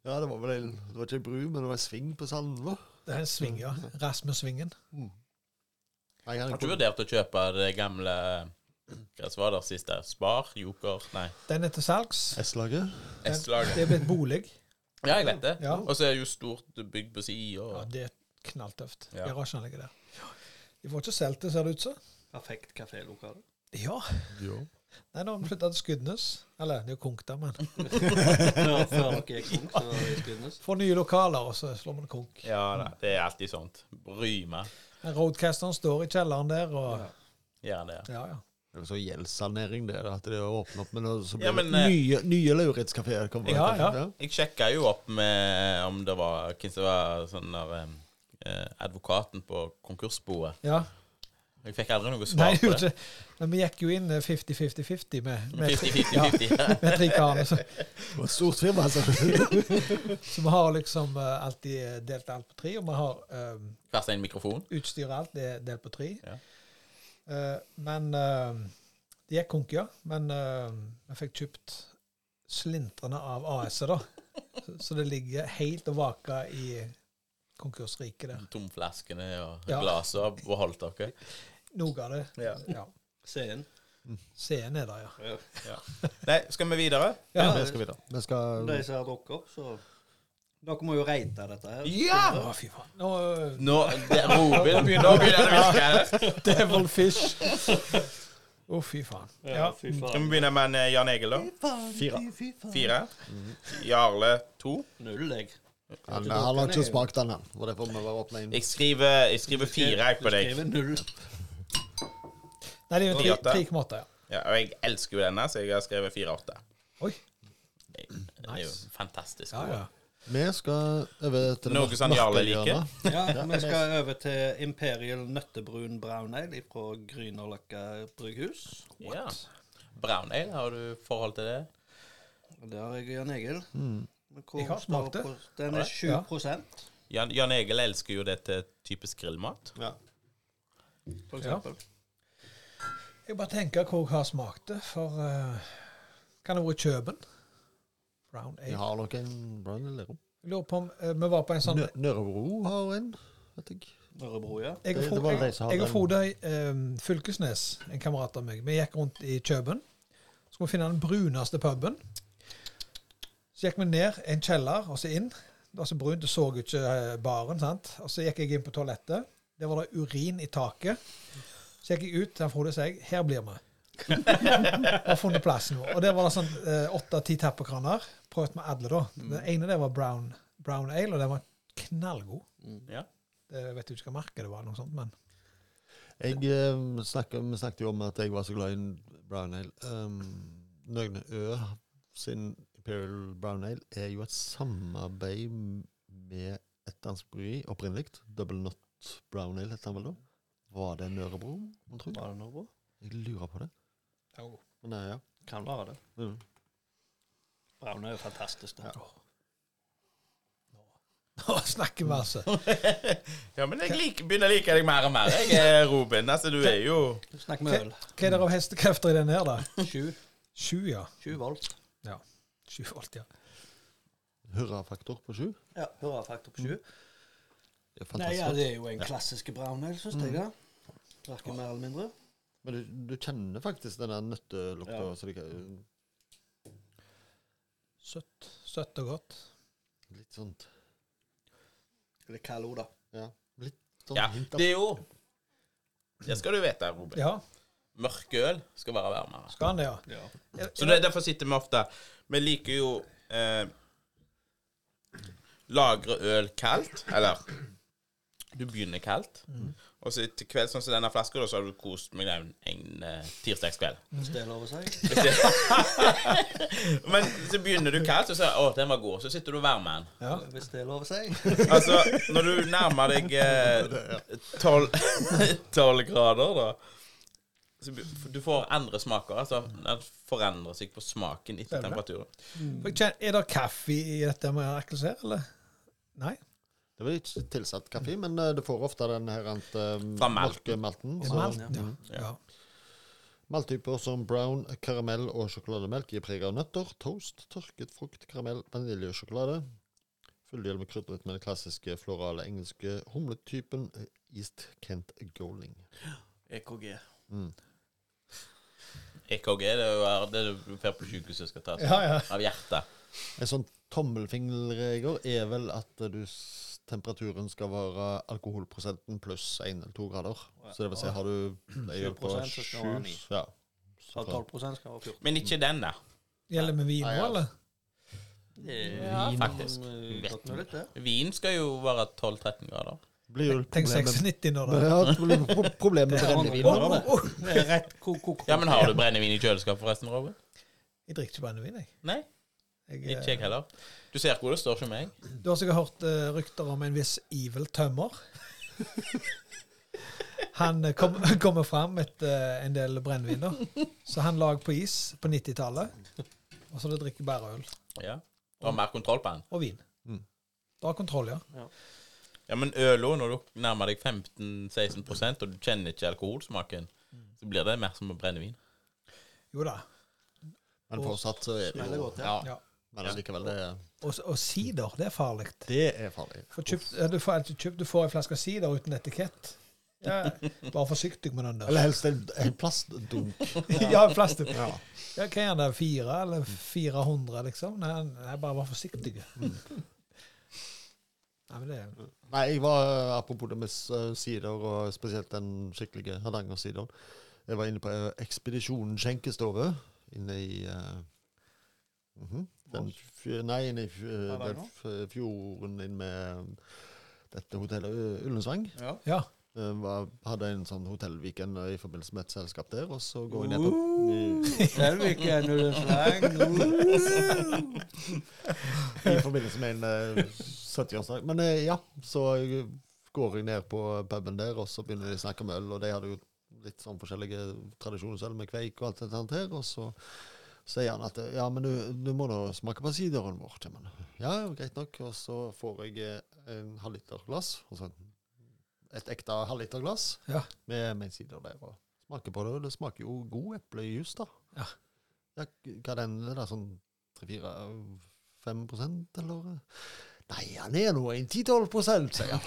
Speaker 4: Ja, det var vel en Det var ikke en bru, men det var en sving på Sandvø.
Speaker 2: Det er en sving, ja. Rasmus Svingen.
Speaker 4: Nei, han
Speaker 1: Har du vurdert å kjøpe det gamle Hva var det sist der? Spar? Joker? Nei,
Speaker 2: Den er til salgs.
Speaker 4: S-laget.
Speaker 1: S-laget.
Speaker 2: Det er blitt bolig.
Speaker 1: Ja, jeg vet det.
Speaker 2: Ja.
Speaker 1: Og så er det jo stort bygg på sida.
Speaker 2: Ja, det er knalltøft.
Speaker 1: Ja.
Speaker 2: Garasjen ligger der. De får ikke solgt det, ser det ut som.
Speaker 3: Perfekt kafélokale.
Speaker 2: Ja.
Speaker 4: Ja.
Speaker 2: Nei, nå har vi flytta til Skudenes. Eller, det er jo konk der, men
Speaker 3: Før før dere gikk ung, så var det i Skudenes.
Speaker 2: Får nye lokaler, og så slår vi det konk.
Speaker 1: Ja da, det er alltid sånt. Bry meg.
Speaker 2: Men Roadcasteren står i kjelleren der, og
Speaker 1: Gjør det.
Speaker 2: Ja, ja.
Speaker 4: Det er jo så gjeldssanering, det. At det å åpne opp med noe så blir
Speaker 1: Ja,
Speaker 4: det
Speaker 1: men, eh,
Speaker 4: nye, nye Lauritz-kafeer. kommer det
Speaker 2: Ja,
Speaker 4: til,
Speaker 2: ja.
Speaker 1: Jeg sjekka jo opp med om det var hvem som var sånn der eh, Advokaten på konkursboet.
Speaker 2: ja.
Speaker 1: Jeg fikk aldri noe
Speaker 2: Nei,
Speaker 1: svar
Speaker 2: jo,
Speaker 1: på det.
Speaker 2: det. Men vi gikk jo inn eh, 50-50-50 med, med,
Speaker 1: 50-50-50.
Speaker 2: med tre karene. Så,
Speaker 4: Det var et stort firma, altså.
Speaker 2: så vi har liksom eh, alltid eh, delt alt på tre, og vi har eh,
Speaker 1: Hver sin mikrofon.
Speaker 2: Utstyret og alt er delt på tre.
Speaker 1: Ja.
Speaker 2: Eh, men eh, det gikk konk, ja. Men eh, jeg fikk kjøpt slintrene av AS-et, da. Så- Så det ligger helt og vaker i konkursriket der.
Speaker 1: Tomflaskene og
Speaker 2: Ja.
Speaker 1: glasene og beholdt dere.
Speaker 2: Noe av det.
Speaker 1: Ja.
Speaker 2: Ja.
Speaker 3: Se inn.
Speaker 2: C-en er der, ja.
Speaker 3: Ja.
Speaker 1: Nei, skal vi videre?
Speaker 2: Ja,
Speaker 4: Vi skal videre. Vi skal
Speaker 3: De som har drukket opp, så Dere må jo reite dette her.
Speaker 1: Ja!
Speaker 2: Å, fy faen. Nå,
Speaker 1: Nå det- Robin begynner å begynne å virke. her.
Speaker 2: eh, Devil fish. Å, fy faen.
Speaker 3: Ja, fy
Speaker 1: Skal
Speaker 3: faen.
Speaker 1: vi begynne med en eh, Jan Egil, da?
Speaker 4: Fire.
Speaker 1: Fire. Jarle to.
Speaker 3: Null, jeg.
Speaker 4: Han, han har ikke smakt den, han. Og derfor må vi være åpne inn.
Speaker 1: Jeg skriver, jeg skriver fire jeg, på
Speaker 3: Du
Speaker 1: deg.
Speaker 3: skriver null.
Speaker 2: Nei, det er jo
Speaker 1: Åtte.
Speaker 2: 3,8, ja.
Speaker 1: Ja, og jeg elsker jo denne, så jeg har skrevet fire-åtte.
Speaker 2: Oi.
Speaker 1: Det er jo
Speaker 2: Nice.
Speaker 1: fantastisk.
Speaker 2: Ja, ja.
Speaker 4: Vi skal over til det
Speaker 1: Noe som
Speaker 4: mørke
Speaker 1: Jarle
Speaker 4: hjørnet.
Speaker 3: Ja, Vi skal over til Imperial Nøttebrun Brown Ale fra Grünerløkka brygghus.
Speaker 1: Ja. Brown ale, har du forhold til det?
Speaker 3: Og Det har jeg og Jan Egil. Men hvor
Speaker 2: Jeg har
Speaker 3: står
Speaker 2: smakt det.
Speaker 3: pros- Den er 7
Speaker 1: Jan, Jan Egil elsker jo det til typisk grillmat.
Speaker 4: Ja.
Speaker 3: for eksempel.
Speaker 2: Jeg bare tenker hvor jeg har smakt det, for eh, Kan det ha vært Kjøben? Brown
Speaker 4: Vi
Speaker 2: ale.
Speaker 4: har nok en Brown eller noe.
Speaker 2: Jeg lurer på om eh, vi var på en sånn
Speaker 4: Nø- Nørrebro har en, vet jeg.
Speaker 3: Ørebro, ja.
Speaker 2: Jeg og
Speaker 4: Det- det
Speaker 2: Frode,
Speaker 4: var de
Speaker 2: jeg,
Speaker 4: som hadde
Speaker 2: jeg og
Speaker 4: den.
Speaker 2: Frode eh, Fylkesnes, en kamerat av meg, vi gikk rundt i Kjøben. Så skulle vi finne den bruneste puben. Så gikk vi ned en kjeller og så inn. Det var så brunt, du så jo ikke eh, baren. sant? Og så gikk jeg inn på toalettet. Der var det urin i taket. Så gikk jeg ut til Frode og sa jeg, her blir vi. og har funnet plassen vår. Og der var det sånn eh, åtte-ti tappekraner. Prøvd med alle, da.
Speaker 4: Mm.
Speaker 2: Den ene der var brown, brown ale, og den var knallgod.
Speaker 3: Mm.
Speaker 1: Ja.
Speaker 2: Det, jeg vet jo ikke hva merke det var, noe sånt, men
Speaker 4: Jeg eh, snakket, vi snakket jo om at jeg var så glad i en brown ale. Um, Nøgne Ø sin Imperial Brown Ale er jo et samarbeid med et dansk bryggeri opprinnelig, Double Not Nørrebrot brown ale, heter den vel da. Var det Nørrebro, mon tro?
Speaker 3: Var det noe bra?
Speaker 4: Jeg lurer på det. Men nei, ja.
Speaker 3: Kan være det.
Speaker 4: Mm.
Speaker 3: Brown er jo fantastisk. da.
Speaker 2: Å, snakke masse.
Speaker 1: Ja, men jeg liker, begynner å like deg mer og mer, jeg, eh, Ruben. Altså, du er jo
Speaker 3: Snakk med øl.
Speaker 2: Hva er det av hestekrefter i den her, da?
Speaker 3: Sju.
Speaker 2: Sju, ja.
Speaker 3: Sju volt.
Speaker 2: ja. Sju volt, ja.
Speaker 4: Hurrafaktor på sju.
Speaker 3: Ja, hurrafaktor på sju.
Speaker 4: Det er
Speaker 3: Nei,
Speaker 4: fantastisk.
Speaker 3: Mm, ja, Mm. det er jo en klassisk brown ale, syns jeg. da. Verken mer eller mindre.
Speaker 4: Men du, du kjenner faktisk den der nøttelukta.
Speaker 3: Ja.
Speaker 4: så det kan-
Speaker 2: Søtt. Søtt og godt.
Speaker 4: Litt sånt
Speaker 3: Eller kald òg, da.
Speaker 4: Ja. Litt sånn
Speaker 1: Ja,
Speaker 4: hint av
Speaker 1: det er jo Det skal du vite, Ruben.
Speaker 2: Ja,
Speaker 1: Mørk øl skal være varmere.
Speaker 2: skal han det, ja.
Speaker 3: Ja.
Speaker 2: Er-
Speaker 1: Så det, er derfor sitter vi ofte Vi liker jo eh, lagre øl kaldt, eller Du begynner kaldt, og så til kveld, sånn som denne flaska, da, så har du kost med den en eh, tirsdagskveld.
Speaker 3: Hvis det er lov å si.
Speaker 1: Men så begynner du kaldt, og så sier du 'Å, den var god', så sitter du og varmer den.
Speaker 2: Ja.
Speaker 3: Hvis det er lov å si.
Speaker 1: Altså, når du nærmer deg eh, tolv grader, da så be- Du får andre smaker. Altså, den forandrer seg på smaken etter
Speaker 2: Stemmer.
Speaker 1: temperaturen.
Speaker 2: For jeg kjenner- Er det kaffe i dette med Erkels her, eller? Nei?
Speaker 4: Det var ikke tilsatt
Speaker 3: Mm.
Speaker 4: kaffe, men eh, du får ofte den her ant, um,
Speaker 1: Fra malten.
Speaker 4: mørke malten.
Speaker 2: Og
Speaker 4: så-
Speaker 2: malt, ja. ja.
Speaker 4: Malttyper som brown, karamell og sjokolademelk gir preg av nøtter, toast, tørket frukt, karamell, vanilje og sjokolade. Fulldel med krydret med den klassiske florale engelske humletypen eh, East Kent Goaling.
Speaker 3: EKG.
Speaker 1: EKG E det er jo her- det er du får på sykehuset skal tas
Speaker 2: Ja, ja.
Speaker 1: av hjertet.
Speaker 4: En sånn tommelfingerregel er vel at eh, du, s- temperaturen skal være alkoholprosenten pluss 1 eller 2 grader. Så det vil si, har du jeg er på
Speaker 3: 7%, så skal det være
Speaker 4: 7
Speaker 3: ni.
Speaker 4: ja.
Speaker 3: Så 12 Sånn skal være 14.
Speaker 1: Men ikke den, da.
Speaker 2: Gjelder med vin
Speaker 4: Nei,
Speaker 2: òg,
Speaker 4: ja.
Speaker 2: eller?
Speaker 1: Ja, faktisk.
Speaker 3: eh, Godt mulig, det.
Speaker 1: Vin skal jo være 12-13 grader.
Speaker 4: Blir jo
Speaker 2: Tenk
Speaker 4: problemet
Speaker 2: 96 nå, da.
Speaker 4: Ja, det blir jo pro- problemet med brennevin.
Speaker 2: Å, å, å.
Speaker 3: Det er Rett ko- ko- ko-
Speaker 1: Ja, men har du brennevin i kjøleskapet, forresten, Robin?
Speaker 2: Jeg drikker ikke brennevin, jeg.
Speaker 1: Nei,
Speaker 2: jeg
Speaker 1: ikke jeg heller. Du ser hvor det står som meg.
Speaker 2: eh, Du har sikkert hørt eh, rykter om en viss Evil Tømmer. Han eh, kom, kommer fram etter eh, en del brennevin, da. Så han lag på is på 90-tallet. Og så det drikker bare øl.
Speaker 1: Ja. Du har mer kontroll på den.
Speaker 2: Og vin.
Speaker 4: Mm.
Speaker 2: Du har kontroll, ja.
Speaker 1: Ja, men øl òg, når du nærmer deg 15-16 og du kjenner ikke alkoholsmaken, så blir det mer som å brenne vin.
Speaker 2: Jo da.
Speaker 4: Men fortsatt så er det
Speaker 3: Smeller
Speaker 4: jo
Speaker 3: godt, ja.
Speaker 4: ja.
Speaker 2: Ja.
Speaker 4: Men allikevel, det,
Speaker 2: Og, og sider, det er farlig.
Speaker 4: det er farlig.
Speaker 2: Får kjøpt, ja, du, får, alltid kjøpt, du får en flaske sider uten etikett. Ja, bare forsiktig med den der.
Speaker 4: Eller helst en, en plastdunk.
Speaker 2: Ja, en plastikk.
Speaker 4: Ja.
Speaker 2: Ja, hva er det, fire eller 400, liksom? Nei, nei bare vær forsiktig. Nei, men det er
Speaker 4: Nei, jeg var eh, apropos det med s- eh, sider, og spesielt den skikkelige Hardanger-sideren. Jeg var inne på eh, Ekspedisjonen skjenkestove inne i eh, mhm, den, fj- Nei, inne i fj- eh, den
Speaker 3: Hardanger?
Speaker 4: f- fjorden inn med eh, dette hotellet eh, Ullensvang.
Speaker 3: Ja.
Speaker 2: Ja.
Speaker 4: Eh, var, hadde en sånn hotellweekend eh, i forbindelse med et selskap der, og så går jeg ned på
Speaker 3: Selvik er nå en slang.
Speaker 4: i forbindelse med en eh, 70-årsdag. Men eh, ja, så jeg går jeg ned på puben der, og så begynner de å snakke om øl. Og de hadde jo litt sånn forskjellige tradisjoner selv med kveik og alt det der. her, Og så sier han at eh, ja, men du, du må nå smake på sideren vår. sier man. Ja, ja, greit nok. Og så får jeg eh, en halvliterglass. Altså et ekte halvliterglass
Speaker 2: Ja.
Speaker 4: med, med sider der. Og smaker på det. og Det smaker jo god eplejus, da.
Speaker 2: Ja.
Speaker 4: ja hva er den det er da, sånn 3-4-5 prosent, eller? Nei, han er nå en 10-12 prosent, sier han.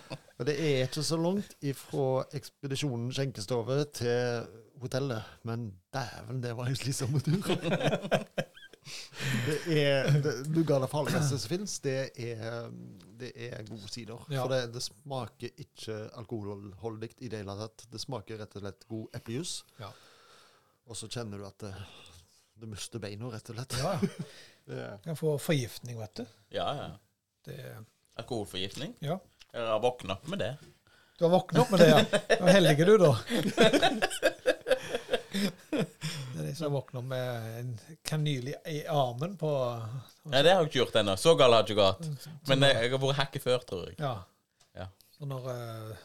Speaker 4: Og det er ikke så langt ifra ekspedisjonen skjenkestove til hotellet, men dæven, det var en slitsom tur. Det er, det, du ga det farligste som fins, det er, det er gode sider.
Speaker 2: Ja.
Speaker 4: For det, det smaker ikke alkoholholdig i det hele tatt. Det smaker rett og slett god eplejus.
Speaker 2: Ja.
Speaker 4: Og så kjenner du at det, du mister beina, rett og slett.
Speaker 2: ja.
Speaker 4: Det er-
Speaker 2: Kan få forgiftning, vet du.
Speaker 1: Ja, ja.
Speaker 2: Det, er-
Speaker 1: Alkoholforgiftning.
Speaker 2: ja.
Speaker 1: Jeg har våkna opp med det.
Speaker 2: Du har våknet opp med det, ja. Du er heldig, du, da. Det er de som våkner med en kanyle i armen på
Speaker 1: Nei, det har jeg ikke gjort ennå. Så gal har jeg ikke gått. Men jeg, jeg har vært hakket før, tror jeg.
Speaker 2: Ja.
Speaker 1: Ja.
Speaker 2: Sånn der eh,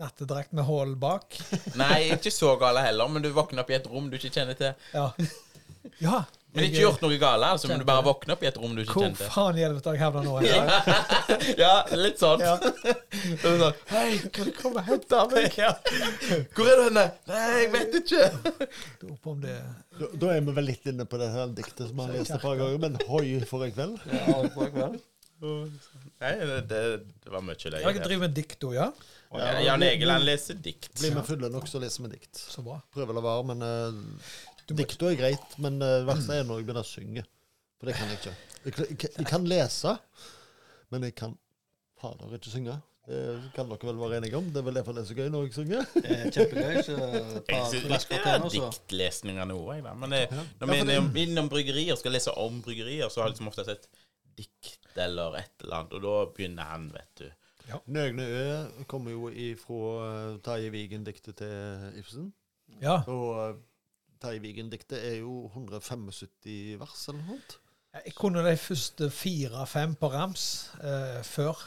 Speaker 2: nattedrakt med hull bak.
Speaker 1: Nei, ikke så gale heller, men du våkner opp i et rom du ikke kjenner til.
Speaker 2: Ja. ja
Speaker 1: Men
Speaker 2: jeg-
Speaker 1: ikke gjort noe gale, altså, men du bare
Speaker 2: Kjente det.
Speaker 1: våkner opp i et rom du ikke
Speaker 2: Hvor
Speaker 1: kjente.
Speaker 2: faen i helvete har jeg havna nå? Ja.
Speaker 1: Ja, litt sånn.
Speaker 2: Ja.
Speaker 1: Så du sånn, Hei, kan du komme og hente meg? Hvor er du henne? Nei, jeg vet ikke.
Speaker 2: Jeg lurer på om det
Speaker 4: Da, da er vi vel litt inne på det her diktet som han leste et par ganger, men hoi for en kveld.
Speaker 3: Ja, og på en kveld.
Speaker 1: Nei, det, det, det var mye
Speaker 2: Jeg
Speaker 1: løye.
Speaker 2: driver med dikto, ja.
Speaker 1: Ja, Jan Egil han leser dikt.
Speaker 4: Blir vi fulle nok, så leser vi dikt.
Speaker 2: Så bra.
Speaker 4: Prøver å la være, men uh, dikta er greit. Men uh, verst er når jeg begynner å synge. For det kan jeg ikke. Jeg, kl- jeg, kan- jeg kan lese, men jeg kan fader ikke synge. Det kan dere vel være enige om? Det er vel derfor det er så gøy når jeg synger.
Speaker 3: Det er kjempegøy. Så ta
Speaker 1: Jeg syns
Speaker 3: glass
Speaker 1: det
Speaker 3: cocktail,
Speaker 1: er
Speaker 3: og så
Speaker 1: diktlesninger nå, jeg, da. Men det,
Speaker 4: Ja,
Speaker 1: når vi
Speaker 4: for
Speaker 1: er innom- innom bryggerier, skal lese om bryggerier, så har jeg liksom ofte sett dikt eller et eller annet, og da begynner han, vet du.
Speaker 4: Nøgne Ø kommer jo ifra uh, Terje Vigen-diktet til Ibsen.
Speaker 2: Ja.
Speaker 4: Og uh, Terje Vigen-diktet er jo 175 vers eller noe sånt.
Speaker 2: Jeg kunne de første fire-fem på rams eh, før.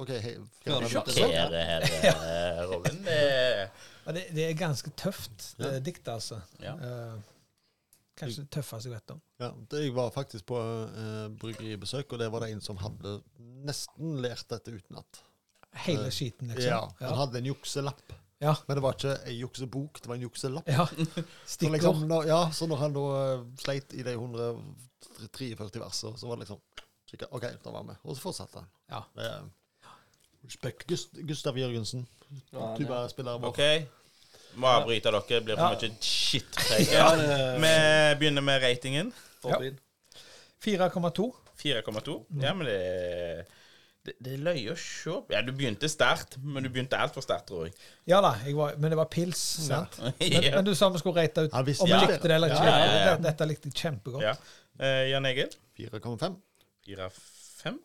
Speaker 4: OK, hei.
Speaker 3: Ja,
Speaker 1: Du
Speaker 3: det er sant.
Speaker 1: sjokkerer her, eh, Robin. Det,
Speaker 2: Ja, det, det er ganske tøft, det
Speaker 4: Ja.
Speaker 2: dikt, altså.
Speaker 1: Ja.
Speaker 2: Eh, kanskje det tøffeste jeg vet om.
Speaker 4: Ja, det, jeg var faktisk på eh, bryggeribesøk, og det var det en som hadde nesten lært dette utenat.
Speaker 2: Hele
Speaker 1: Eh,
Speaker 2: skiten,
Speaker 4: Ja,
Speaker 2: liksom.
Speaker 4: han hadde en jukselapp,
Speaker 2: Ja.
Speaker 4: men det var ikke ei juksebok, det var en jukselapp.
Speaker 2: ja.
Speaker 4: Så, liksom,
Speaker 2: Stikkord.
Speaker 4: når, ja, så når han da eh, sleit i de 143 verser, så var det liksom kikke, OK, da var vi. Og så fortsatte han.
Speaker 2: Ja.
Speaker 4: Eh, Respekt. Gust Gustav Jørgensen,
Speaker 3: Ja, han er-
Speaker 4: tubaspilleren vår.
Speaker 1: OK. Må avbryte dere. Det blir for
Speaker 2: Ja.
Speaker 1: mye shit-preik.
Speaker 3: Ja, det-
Speaker 1: Vi begynner med ratingen.
Speaker 3: Forbin.
Speaker 2: 4,2.
Speaker 1: 4,2.
Speaker 3: Mm.
Speaker 1: Ja, men det det, det er løye å se. Ja, du begynte sterkt, men du begynte altfor sterkt, tror jeg.
Speaker 2: Ja da, jeg var, men det var pils, sant? Men,
Speaker 1: ja.
Speaker 2: men du sa vi skulle rate ut
Speaker 4: Han
Speaker 2: om vi
Speaker 4: visste ikke bedre.
Speaker 2: likte det eller ikke.
Speaker 1: Ja, ja, ja.
Speaker 2: Dette- Dette likte jeg kjempegodt.
Speaker 1: ja. Eh, Jan Egil?
Speaker 4: 4,5.
Speaker 1: 4,5?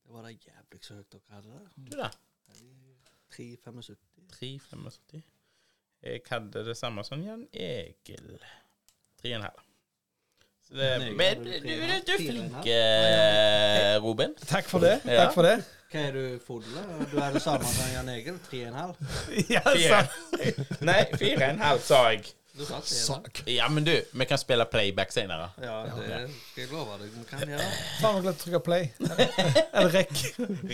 Speaker 3: Det var da jævlig så høyt dere hadde det.
Speaker 1: Du, da?
Speaker 3: 3,75.
Speaker 1: 3,75. Jeg hadde det samme som Jan Egil. 3,5. Så det,
Speaker 3: Jan Egil
Speaker 1: men du,
Speaker 3: hadde
Speaker 1: du,
Speaker 3: tre,
Speaker 1: du
Speaker 3: ja.
Speaker 1: er
Speaker 3: Fire,
Speaker 1: flink,
Speaker 3: ja.
Speaker 1: eh, Robin.
Speaker 2: Takk for det.
Speaker 1: Ja.
Speaker 2: Takk for det.
Speaker 3: Hva er du, Fodle? Du er det samme som Jan Egil? 3,5?
Speaker 2: Ja,
Speaker 1: Fire.
Speaker 2: sant.
Speaker 1: Nei, 4,5 sa jeg.
Speaker 3: Du sa 3,5?
Speaker 4: Sak.
Speaker 1: Ja, men du, vi kan spille playback senere.
Speaker 3: Ja, det skal jeg love deg. Vi kan gjøre det.
Speaker 2: Faen, jeg glemte å trykke play. Eller rekk.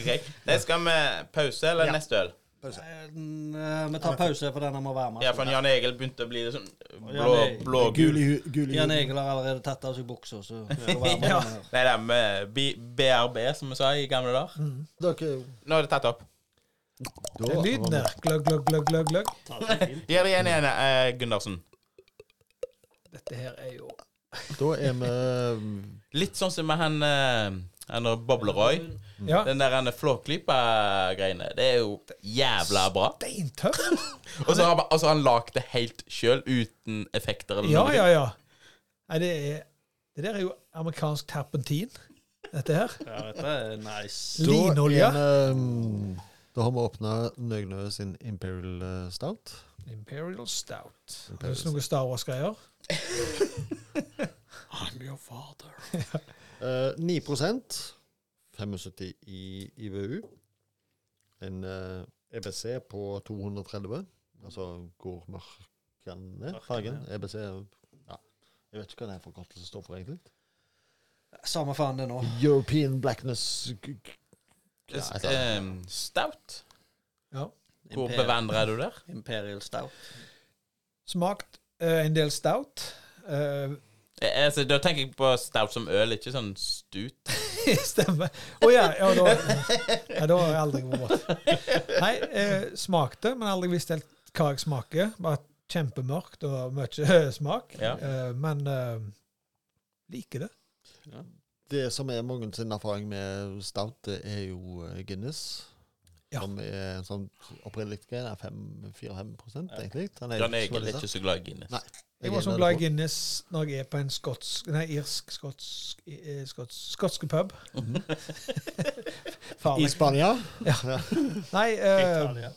Speaker 1: Greit. Nei, skal vi pause eller neste øl?
Speaker 3: Men, eh, Vi tar pause, for denne må være med.
Speaker 1: Ja, for Jan Egil begynte å bli liksom blå,
Speaker 3: Jan Egil.
Speaker 1: blå
Speaker 4: Gul
Speaker 1: gul.
Speaker 4: i hu- gul i
Speaker 3: Jan
Speaker 4: huden.
Speaker 3: Egil har allerede tatt av seg buksa, så vi får være med
Speaker 2: Ja.
Speaker 3: denne her.
Speaker 1: Nei, det er med B- BRB, som vi sa i gamle dager.
Speaker 4: Dere
Speaker 1: Nå er det tatt opp.
Speaker 4: da,
Speaker 2: Det er lyden der. Gløgg, gløgg, gløgg, gløgg. gløgg.
Speaker 1: Gjør det igjen, igjen, eh, Gundersen.
Speaker 2: Dette her er jo
Speaker 4: da er vi
Speaker 1: Litt sånn som med han, eh, han der Bobleroy.
Speaker 2: Ja,
Speaker 1: Den der han flåklypa-greiene. Det er jo jævla bra.
Speaker 2: steintøff.
Speaker 1: Og så har han- og så har han lagd det helt sjøl, uten effekter eller
Speaker 2: Ja,
Speaker 1: noe.
Speaker 2: ja, ja. Nei, det er Det der er jo amerikansk terpentin, dette her.
Speaker 3: Ja, dette er nice.
Speaker 4: Da er
Speaker 2: Linolje.
Speaker 4: en, eh, Da har vi åpna Nøgnø sin Imperial eh, Stout.
Speaker 2: Imperial Stout. Har du noe Star Wars-greier? I'm your father.
Speaker 4: Eh, 9 75 i IBU. En eh, EBC på 230. Altså går mørken ned, fargen. EBC ja. Jeg vet ikke hva den forkortelsen står for, egentlig.
Speaker 3: Samme faen det nå.
Speaker 4: European Blackness g- g-
Speaker 1: S-
Speaker 4: Ja, jeg tar
Speaker 1: ehm, Stout.
Speaker 2: Ja.
Speaker 1: Hvor
Speaker 3: Imperial-
Speaker 1: bevandra er du der?
Speaker 3: Imperial Stout.
Speaker 2: Smakt eh, en del stout. Eh,
Speaker 1: Eh, Altså, da tenker jeg på stout som øl, ikke sånn stut.
Speaker 2: Stemmer. Å ja, ja, da Nei, da har jeg aldri vært Nei, eh, smakte, men aldri visst helt hva jeg smaker. Bare kjempemørkt og mye smak.
Speaker 1: Ja.
Speaker 2: Eh, men eh, liker det.
Speaker 4: Det som er mange sin erfaring med stout, det er jo eh, Guinness.
Speaker 2: Ja.
Speaker 4: Som er en sånn opprinnelig greie. det er fem- 4-5 egentlig. Den
Speaker 1: Jan Egil
Speaker 4: ikke så veldig
Speaker 1: er ikke så glad i Guinness.
Speaker 4: Nei.
Speaker 2: Jeg var sånn glad i Guinness når jeg er på en skotsk Nei, irsk skotsk, eh, skotsk skotske pub.
Speaker 4: I
Speaker 2: Farlig.
Speaker 4: Spania?
Speaker 2: Nei, eh,
Speaker 3: Italia.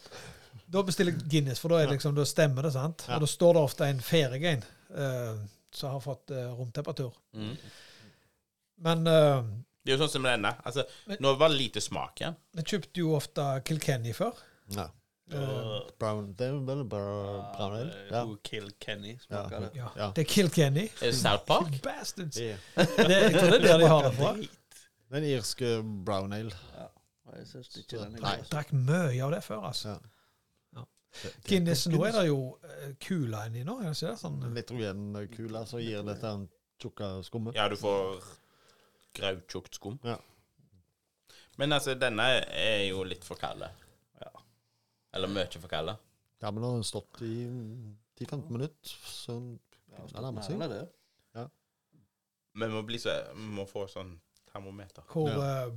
Speaker 2: da bestiller jeg Guinness, for da, er det liksom, da stemmer det, sant?
Speaker 4: Ja.
Speaker 2: Og da står det ofte en ferdig en eh, som har fått eh, romtemperatur.
Speaker 1: Mm.
Speaker 2: Men eh,
Speaker 1: Det er jo sånn som med denne. Altså, nå var det lite smak igjen.
Speaker 2: Vi kjøpte jo ofte Kilkenny før.
Speaker 4: Ja.
Speaker 2: Eh,
Speaker 4: Brown, det er vel bare brown ale? eh, Ja.
Speaker 3: Who Kill Kenny smaker det.
Speaker 2: ja.
Speaker 4: Ja.
Speaker 2: Det er Kilkenny.
Speaker 1: Er det South Park?
Speaker 2: Bastards.
Speaker 4: Det er-
Speaker 2: Det, jeg tror det er der de har det fra.
Speaker 4: det er en irsk eh, brown ale.
Speaker 3: Nei, Jeg synes ikke den er
Speaker 4: Nei.
Speaker 3: god. altså.
Speaker 2: Drakk mye av det før, altså.
Speaker 4: Ja.
Speaker 2: Ja.
Speaker 4: Det- det-
Speaker 2: Guinness, nå er det jo eh, kula inni nå, er det ikke det? Sånn,
Speaker 4: Nitrogenkule som gir dette en tjukka skumme.
Speaker 1: Ja, du får grautjukt skum.
Speaker 4: Ja.
Speaker 1: Men altså, denne er jo litt for kalde.
Speaker 3: Ja.
Speaker 1: Eller mye for kalde.
Speaker 4: Ja, men nå har den stått i mm, 10-15 minutter, så den
Speaker 3: Ja,
Speaker 4: Ja, det er masse.
Speaker 3: den er det.
Speaker 1: Vi må, bli så, vi må få sånn termometer.
Speaker 2: hvor eh,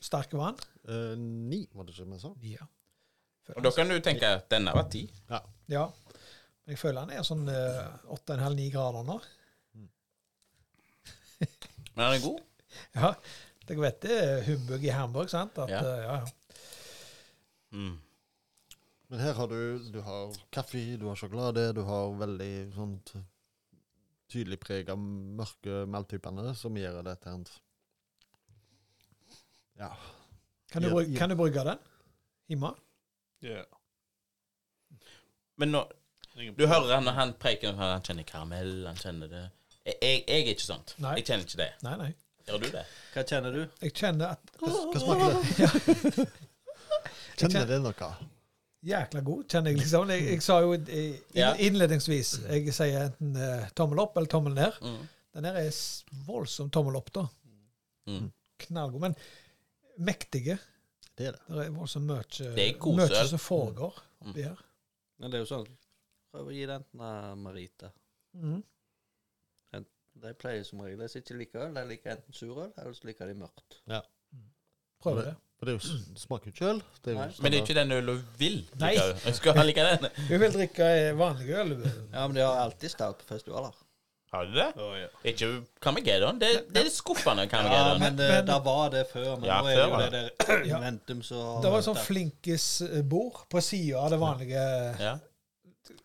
Speaker 2: sterke var den?
Speaker 4: eh, Ni, var det ikke vi sa?
Speaker 2: Ja. Føler
Speaker 1: Og da kan du tenke at denne var ti.
Speaker 2: den- ja. Men jeg føler den er sånn eh, 8,5-9 grader nå.
Speaker 1: Men den er god.
Speaker 2: Ja. Dere vet det er humbug i Hamburg, sant? At,
Speaker 1: Ja.
Speaker 2: eh, ja, ja.
Speaker 1: Mm.
Speaker 4: Men her har du, du har kaffe, du har sjokolade, du har veldig sånt tydelig preg av mørke malttypene som gjør det til en Ja.
Speaker 2: Kan, du
Speaker 4: Ja,
Speaker 2: bruke,
Speaker 4: ja.
Speaker 2: kan du bruke den hjemme?
Speaker 3: Ja.
Speaker 1: Men nå,
Speaker 3: Ingen
Speaker 1: du hører han når han preker, han han kjenner karamell, han kjenner det Jeg, jeg, jeg er ikke sånt.
Speaker 2: Nei.
Speaker 1: Jeg kjenner ikke det.
Speaker 2: Nei, nei.
Speaker 1: Gjør du det?
Speaker 3: Hva kjenner du?
Speaker 2: Jeg kjenner at
Speaker 4: Hva, hva smaker det? Kjenner det noe?
Speaker 2: Jækla god, kjenner jeg liksom. Jeg, jeg sa jo i-
Speaker 1: Ja.
Speaker 2: i- innledningsvis Jeg sier enten eh, tommel opp eller tommel ned.
Speaker 1: Mm.
Speaker 2: Den her er s- voldsom tommel opp, da.
Speaker 1: Mm.
Speaker 2: Knallgod. Men mektige.
Speaker 4: Det er det.
Speaker 2: Det er voldsomt mye
Speaker 1: Det er Mm. kosøl.
Speaker 2: mye som foregår oppi her.
Speaker 3: Men det er jo sånn Prøv å gi den til eh, Marita.
Speaker 2: Mm.
Speaker 3: De pleier som regel hvis de ikke liker øl. De liker enten surøl, eller så liker de mørkt.
Speaker 2: Prøver det.
Speaker 4: For det er jo, s- smaker jo ikke øl. Det er jo
Speaker 3: Nei.
Speaker 4: sånn
Speaker 1: Men det er ikke den øl du vil
Speaker 2: Nei.
Speaker 1: like. Jeg skal like den.
Speaker 2: Hun vil drikke eh, vanlig øl.
Speaker 3: Ja, men de har alltid stout på festivaler.
Speaker 1: Har du det?
Speaker 3: Oh, ja.
Speaker 1: Det er ikke Carmageddon. Det, det er litt skuffende
Speaker 3: Ja,
Speaker 1: Carmageddon.
Speaker 3: men
Speaker 2: Men-
Speaker 3: det,
Speaker 2: men-
Speaker 3: det var det før. Men
Speaker 1: Ja,
Speaker 3: nå er
Speaker 1: før
Speaker 3: det jo
Speaker 1: var
Speaker 3: det der
Speaker 2: Ja.
Speaker 3: Momentum så har
Speaker 2: Det var sånn
Speaker 3: vært
Speaker 2: flinkisbord eh, på sida av det vanlige.
Speaker 1: Ja.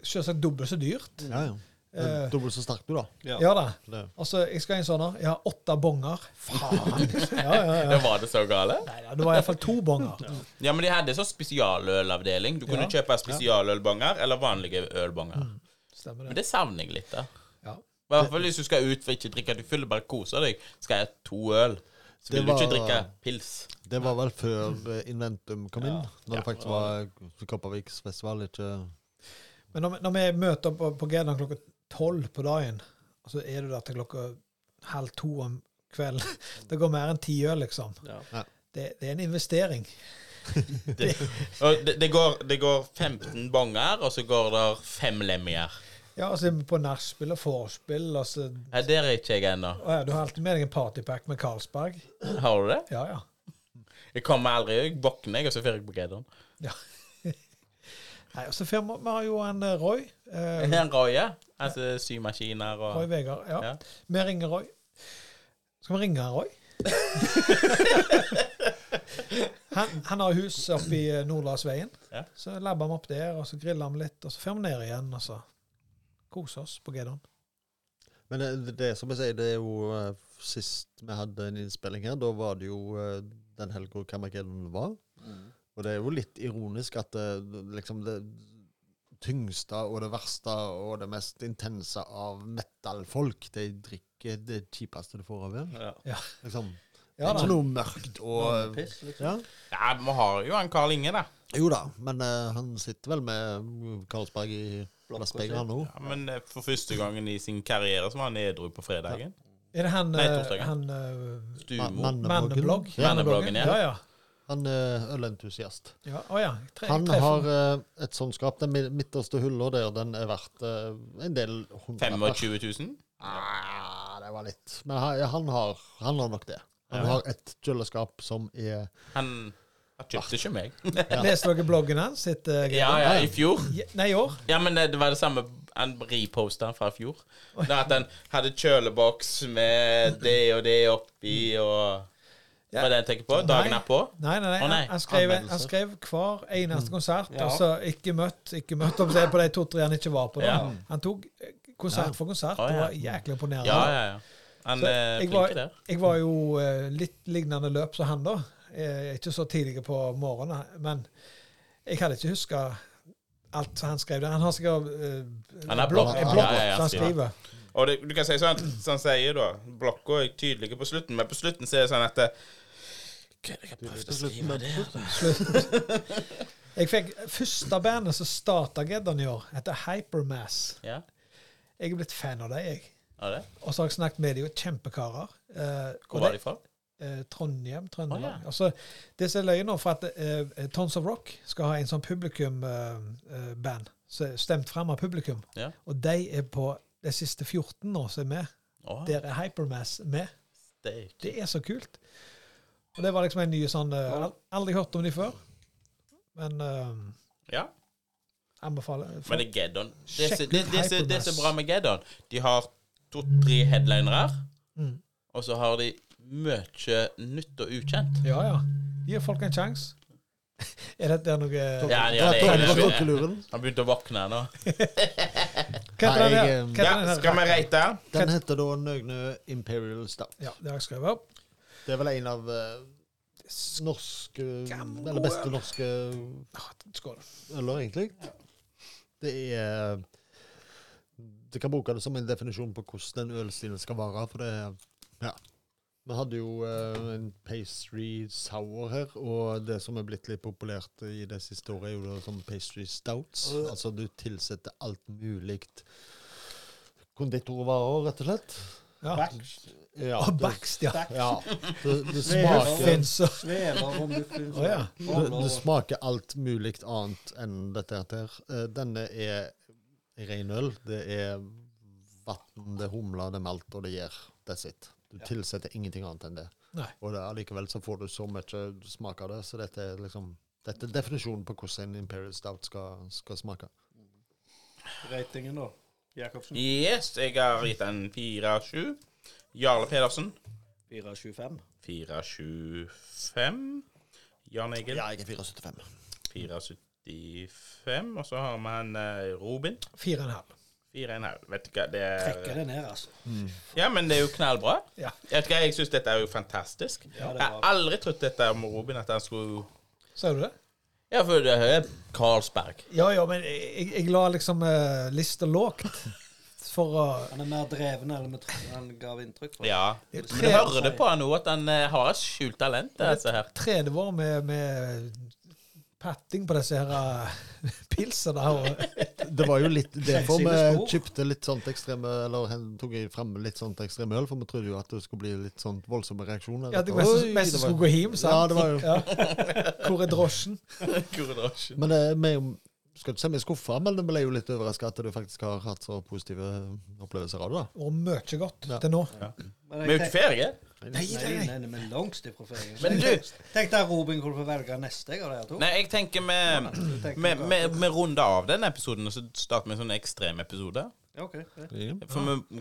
Speaker 2: Selvsagt dobbelt så dyrt.
Speaker 4: Ja, ja.
Speaker 2: Eh,
Speaker 4: Men Dobbelt så sterk du, da.
Speaker 3: Ja.
Speaker 2: Ja da.
Speaker 4: Det er-
Speaker 2: Altså, jeg skal ha en sånn her. Jeg har åtte bonger. Faen! Ja, ja,
Speaker 1: Da
Speaker 2: ja.
Speaker 1: var det så gale?
Speaker 2: Nei, da, det var iallfall to bonger.
Speaker 1: Ja, men de hadde sånn spesialølavdeling. Du kunne
Speaker 2: Ja.
Speaker 1: kjøpe spesialølbonger eller vanlige ølbonger.
Speaker 2: Stemmer
Speaker 1: Men
Speaker 2: det.
Speaker 1: det savner jeg litt, da.
Speaker 2: Ja.
Speaker 1: I hvert fall hvis du skal ut for ikke drikke du fyller, bare koser deg. Skal jeg ha to øl, så
Speaker 4: Det
Speaker 1: vil du ikke
Speaker 4: var-
Speaker 1: drikke pils.
Speaker 4: Det var vel før eh, Inventum kom inn,
Speaker 3: Ja.
Speaker 4: når det faktisk var Koperviksfestival, ikke
Speaker 2: Men når, vi- når vi møter på, på Gerdan klokka tolv på dagen, og så er du der til klokka halv to om kvelden Det går mer enn ti øl, liksom.
Speaker 3: Ja.
Speaker 2: Det, det er en investering.
Speaker 1: Det, og det, det, går, det går 15 bonger, og så går det fem lemmier.
Speaker 2: Ja, altså på nachspiel og vorspiel, og så
Speaker 1: Nei, der er ikke jeg ennå.
Speaker 2: Å ja, Du har alltid med deg en partypack med Carlsberg.
Speaker 1: Har du det?
Speaker 2: Ja, ja.
Speaker 1: Jeg kommer aldri. Jeg våkner, jeg, og så får jeg på Geddon.
Speaker 2: Nei, og så fir- Vi har jo en eh, Roy. Eh,
Speaker 1: En røye. Altså symaskiner og
Speaker 2: Roy Vegard. Ja.
Speaker 1: Ja.
Speaker 2: Vi ringer Roy. Skal vi ringe han, Roy? han, han har hus oppe i eh, Nordlandsveien.
Speaker 1: Ja.
Speaker 2: Så labber vi opp der, og så griller vi litt, og så fer vi ned igjen, og så koser oss på Geddon.
Speaker 4: Men det, det- det som jeg sier, det er jo eh, Sist vi hadde en innspilling her, da var det jo eh, den helga Kamageddon var.
Speaker 3: Mm.
Speaker 4: Og det er jo litt ironisk at eh, liksom det tyngste og det verste og det mest intense av metal-folk, de drikker det kjipeste du får av øl.
Speaker 3: Ja.
Speaker 4: Liksom.
Speaker 2: Ja
Speaker 4: det
Speaker 2: da.
Speaker 4: er ikke noe mørkt
Speaker 3: Noe
Speaker 4: og
Speaker 3: Piss, liksom.
Speaker 4: ja.
Speaker 1: Ja, vi har jo en Carl Inge, da.
Speaker 4: Jo da, men eh, han sitter vel med Karlsberg i
Speaker 3: Blokk og
Speaker 4: glassbeger nå.
Speaker 1: Ja, men eh, for første gangen i sin karriere så var han edru på fredagen.
Speaker 2: Er det han,
Speaker 1: Nei,
Speaker 2: eh,
Speaker 1: torsdagen.
Speaker 2: han eh,
Speaker 4: Ma-
Speaker 1: Stumo.
Speaker 2: Manneblogg?
Speaker 4: Ja,
Speaker 1: Mannebloggen, ja.
Speaker 2: ja. ja.
Speaker 4: han er ølentusiast.
Speaker 2: Ja, å ja. Jeg tre- jeg
Speaker 4: Han
Speaker 2: treffer-
Speaker 4: har eh, et sånt skap. Den mi- midterste hullet der, den er verdt eh, en del hundrelapper.
Speaker 1: 25 000?
Speaker 4: Ah, det var litt. Men han, han, har, han har nok det. Han
Speaker 1: Ja.
Speaker 4: har et kjøleskap som er
Speaker 1: Han han kjøpte ikke meg.
Speaker 2: Leste dere bloggen hans? sitt, eh,
Speaker 1: Ja, ja, i fjor.
Speaker 2: greie? Nei, i år?
Speaker 1: Ja, men det, det var det samme han reposta fra i fjor. Da at han hadde kjøleboks med det og det oppi og Hva er det jeg tenker på? Dagen
Speaker 2: Nei.
Speaker 1: erpå?
Speaker 2: Nei, nei, nei.
Speaker 1: Å, nei. Mm.
Speaker 2: Han, han, skrev,
Speaker 4: Anmeldelser.
Speaker 2: han skrev hver eneste konsert.
Speaker 3: Ja.
Speaker 2: Altså ikke møtt, ikke møtt om det på de to-tre han ikke var på. Da.
Speaker 1: Ja.
Speaker 2: Han tok eh, konsert for konsert.
Speaker 1: Å,
Speaker 2: Det
Speaker 1: ja.
Speaker 2: var jæklig imponerende.
Speaker 1: Ja, ja, ja. Han
Speaker 2: Så
Speaker 1: er
Speaker 2: jeg
Speaker 1: flink
Speaker 2: var-
Speaker 1: der.
Speaker 2: Jeg var jo eh, litt lignende løp som han da. Eh, ikke så tidlig på morgenen, men jeg hadde ikke huska alt som han skrev der. Han har sikkert eh,
Speaker 1: Han har
Speaker 2: blokk-
Speaker 4: blokk.
Speaker 2: en blokk
Speaker 1: Ja, ja, ja,
Speaker 2: som han
Speaker 1: skriver.
Speaker 2: skriver.
Speaker 1: Og det, du kan si sånn, som han sier da, blokka er tydelig på slutten, men på slutten så er det sånn at det, Hva er det jeg har prøvd å skrive der?
Speaker 2: Jeg fikk første bandet som starta Geddon i år, heter Hypermass.
Speaker 1: Ja,
Speaker 2: Jeg er blitt fan av dem, jeg.
Speaker 1: er det?
Speaker 2: Og så har jeg snakket med dem, og kjempekarer. Eh, og
Speaker 1: Hvor var de fra?
Speaker 2: eh, Trondheim, Trøndelag.
Speaker 1: Å, ja.
Speaker 2: altså, det som er løye nå, for at eh, Tons of Rock skal ha en sånn eh, publikumband, stemt frem av publikum.
Speaker 1: Ja.
Speaker 2: Og de er på de siste 14 nå som er med.
Speaker 1: Å,
Speaker 2: Der er Hypermass med.
Speaker 1: steik.
Speaker 2: Det er så kult. Og det var liksom en ny sånn eh, al- Aldri hørt om de før. Men eh,
Speaker 1: Ja.
Speaker 2: anbefaler.
Speaker 1: Men det er Geddon. Det er så-
Speaker 2: Sjekk ut
Speaker 1: det- det er så- det er så
Speaker 2: Hypermass.
Speaker 1: bra med Geddon. De har to-tre headlinere,
Speaker 2: Mm.
Speaker 1: og så har de mye nytt og ukjent.
Speaker 2: Ja, ja. Gi folk en sjanse. er dette der noe
Speaker 1: Ja, ja, det er-
Speaker 4: Dra- dra-
Speaker 1: det er-
Speaker 4: dra- drukkeluren.
Speaker 1: Han begynte å våkne nå.
Speaker 2: Hva heter
Speaker 4: Nei,
Speaker 2: den her?
Speaker 4: jeg, eh,
Speaker 2: Hva heter den
Speaker 1: Ja,
Speaker 2: her?
Speaker 1: skal vi reite?
Speaker 4: Den heter da Nøgne Imperial Stout.
Speaker 2: Ja, det har jeg skrevet opp.
Speaker 4: Det er vel en av eh, norske
Speaker 2: Gamle
Speaker 4: Eller beste norske
Speaker 2: Ah, Skål.
Speaker 4: øler, egentlig. Det er Du kan bruke det som en definisjon på hvordan en ølstil skal være, for det er Ja. Vi hadde jo eh, en pastry sour her, og det som er blitt litt populært i det siste året, er jo da sånn pastry stouts. Altså du tilsetter alt mulig konditorvarer, rett og slett.
Speaker 2: Ja.
Speaker 4: Ja,
Speaker 2: Og
Speaker 4: det-
Speaker 2: Bakst, ja.
Speaker 4: Ja. Det, det
Speaker 3: Smaker.
Speaker 4: smaker
Speaker 2: Fins og
Speaker 3: Svever om du finner
Speaker 2: Å, ja.
Speaker 4: Det, det smaker alt mulig annet enn dette her. Eh, Denne er ren øl. Det er vann, det er humle, det er malt, og det gjær. That's it. Du tilsetter ingenting annet enn det.
Speaker 2: Nei.
Speaker 4: Og det, allikevel så får du så mye smak av det, så dette er liksom dette er definisjonen på hvordan en Imperial Stout skal, skal smake.
Speaker 3: Ratingen, da. Jacobsen.
Speaker 1: Yes, jeg har gitt en 4-7. Jarle Pedersen.
Speaker 3: 4,25.
Speaker 1: 4-7-5. Jan Egil.
Speaker 4: jeg er 475.
Speaker 1: 4,75. Og så har vi han eh, Robin.
Speaker 2: fire og en halv.
Speaker 1: 4,5. Vet du hva, det er
Speaker 3: Trekker det ned, altså.
Speaker 1: Ja, men det er jo knallbra.
Speaker 2: Ja.
Speaker 1: Vet du hva, jeg syns dette er jo fantastisk.
Speaker 3: Ja, det
Speaker 1: Jeg
Speaker 3: var-
Speaker 1: har aldri trodd dette om Robin, at han skulle
Speaker 2: Ser du det?
Speaker 1: Ja, for det er Carlsberg.
Speaker 2: Ja, ja, men jeg, jeg la liksom uh, lista lågt. For å
Speaker 3: Han er mer dreven enn vi trodde han gav inntrykk for.
Speaker 1: Ja.
Speaker 2: Det er
Speaker 1: Men
Speaker 2: tre-
Speaker 1: du hører det på han nå, at han eh, har et skjult talent. Det, altså, her.
Speaker 2: tredje vår med, med patting på disse her eh, pilsene her. og-
Speaker 4: Det var jo litt derfor vi
Speaker 3: Selvsides ord.
Speaker 4: kjøpte litt sånt ekstreme Eller hen- tok jeg frem litt sånt ekstreme øl, for vi trodde jo at det skulle bli litt sånn voldsomme reaksjoner.
Speaker 2: Ja, det var
Speaker 4: Oi,
Speaker 2: mest, mest
Speaker 4: det var-
Speaker 2: skulle gå hjem, sant?
Speaker 4: Ja, det var jo
Speaker 2: Ja. Hvor er drosjen?
Speaker 1: Kurderasjen.
Speaker 4: Men eh, vi er jo- skal ikke si vi er skuffa, men vi ble jo litt overraska at du faktisk har hatt så positive opplevelser av det. da.
Speaker 2: Og mye godt
Speaker 4: Ja.
Speaker 2: til nå.
Speaker 1: Vi er jo ikke ferdige.
Speaker 3: Nei,
Speaker 2: Nei,
Speaker 3: nei,
Speaker 2: nei, nei.
Speaker 3: nei, vi er langt ifra ferien.
Speaker 1: Men du-
Speaker 3: Tenk deg Robin kunne få velge neste jeg av dere to.
Speaker 1: Nei, jeg tenker vi
Speaker 3: Du tenker
Speaker 1: vi-
Speaker 3: noe
Speaker 1: vi-
Speaker 3: annet.
Speaker 1: vi runder av den episoden, og så starter vi en sånn ekstrem episode.
Speaker 3: Ja, ok, ja.
Speaker 1: For vi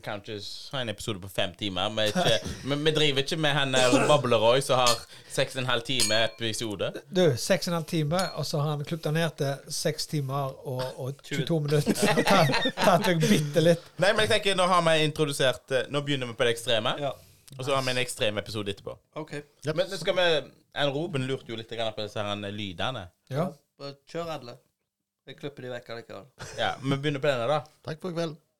Speaker 1: kan ikke ha en episode på fem timer. Vi, er ikke, vi, vi driver ikke med han der Bableroy som har seks og en halv time episode.
Speaker 2: Du, seks og en halv time, og så har han klippet ned til seks timer og, og 22 minutter. Tatt- Tatt meg bitte litt.
Speaker 1: Nei, men jeg tenker, nå har vi introdusert eh, Nå begynner vi på det ekstreme,
Speaker 3: Ja,
Speaker 1: og så har vi en ekstrem episode etterpå.
Speaker 3: OK.
Speaker 1: Men nå skal vi en Roben lurte jo litt grann på disse her eh, lydene.
Speaker 2: Ja.
Speaker 3: Bare Kjør alle. Jeg klipper de vekk allikevel.
Speaker 1: Ja, Vi begynner på denne, da.
Speaker 4: Takk for i kveld.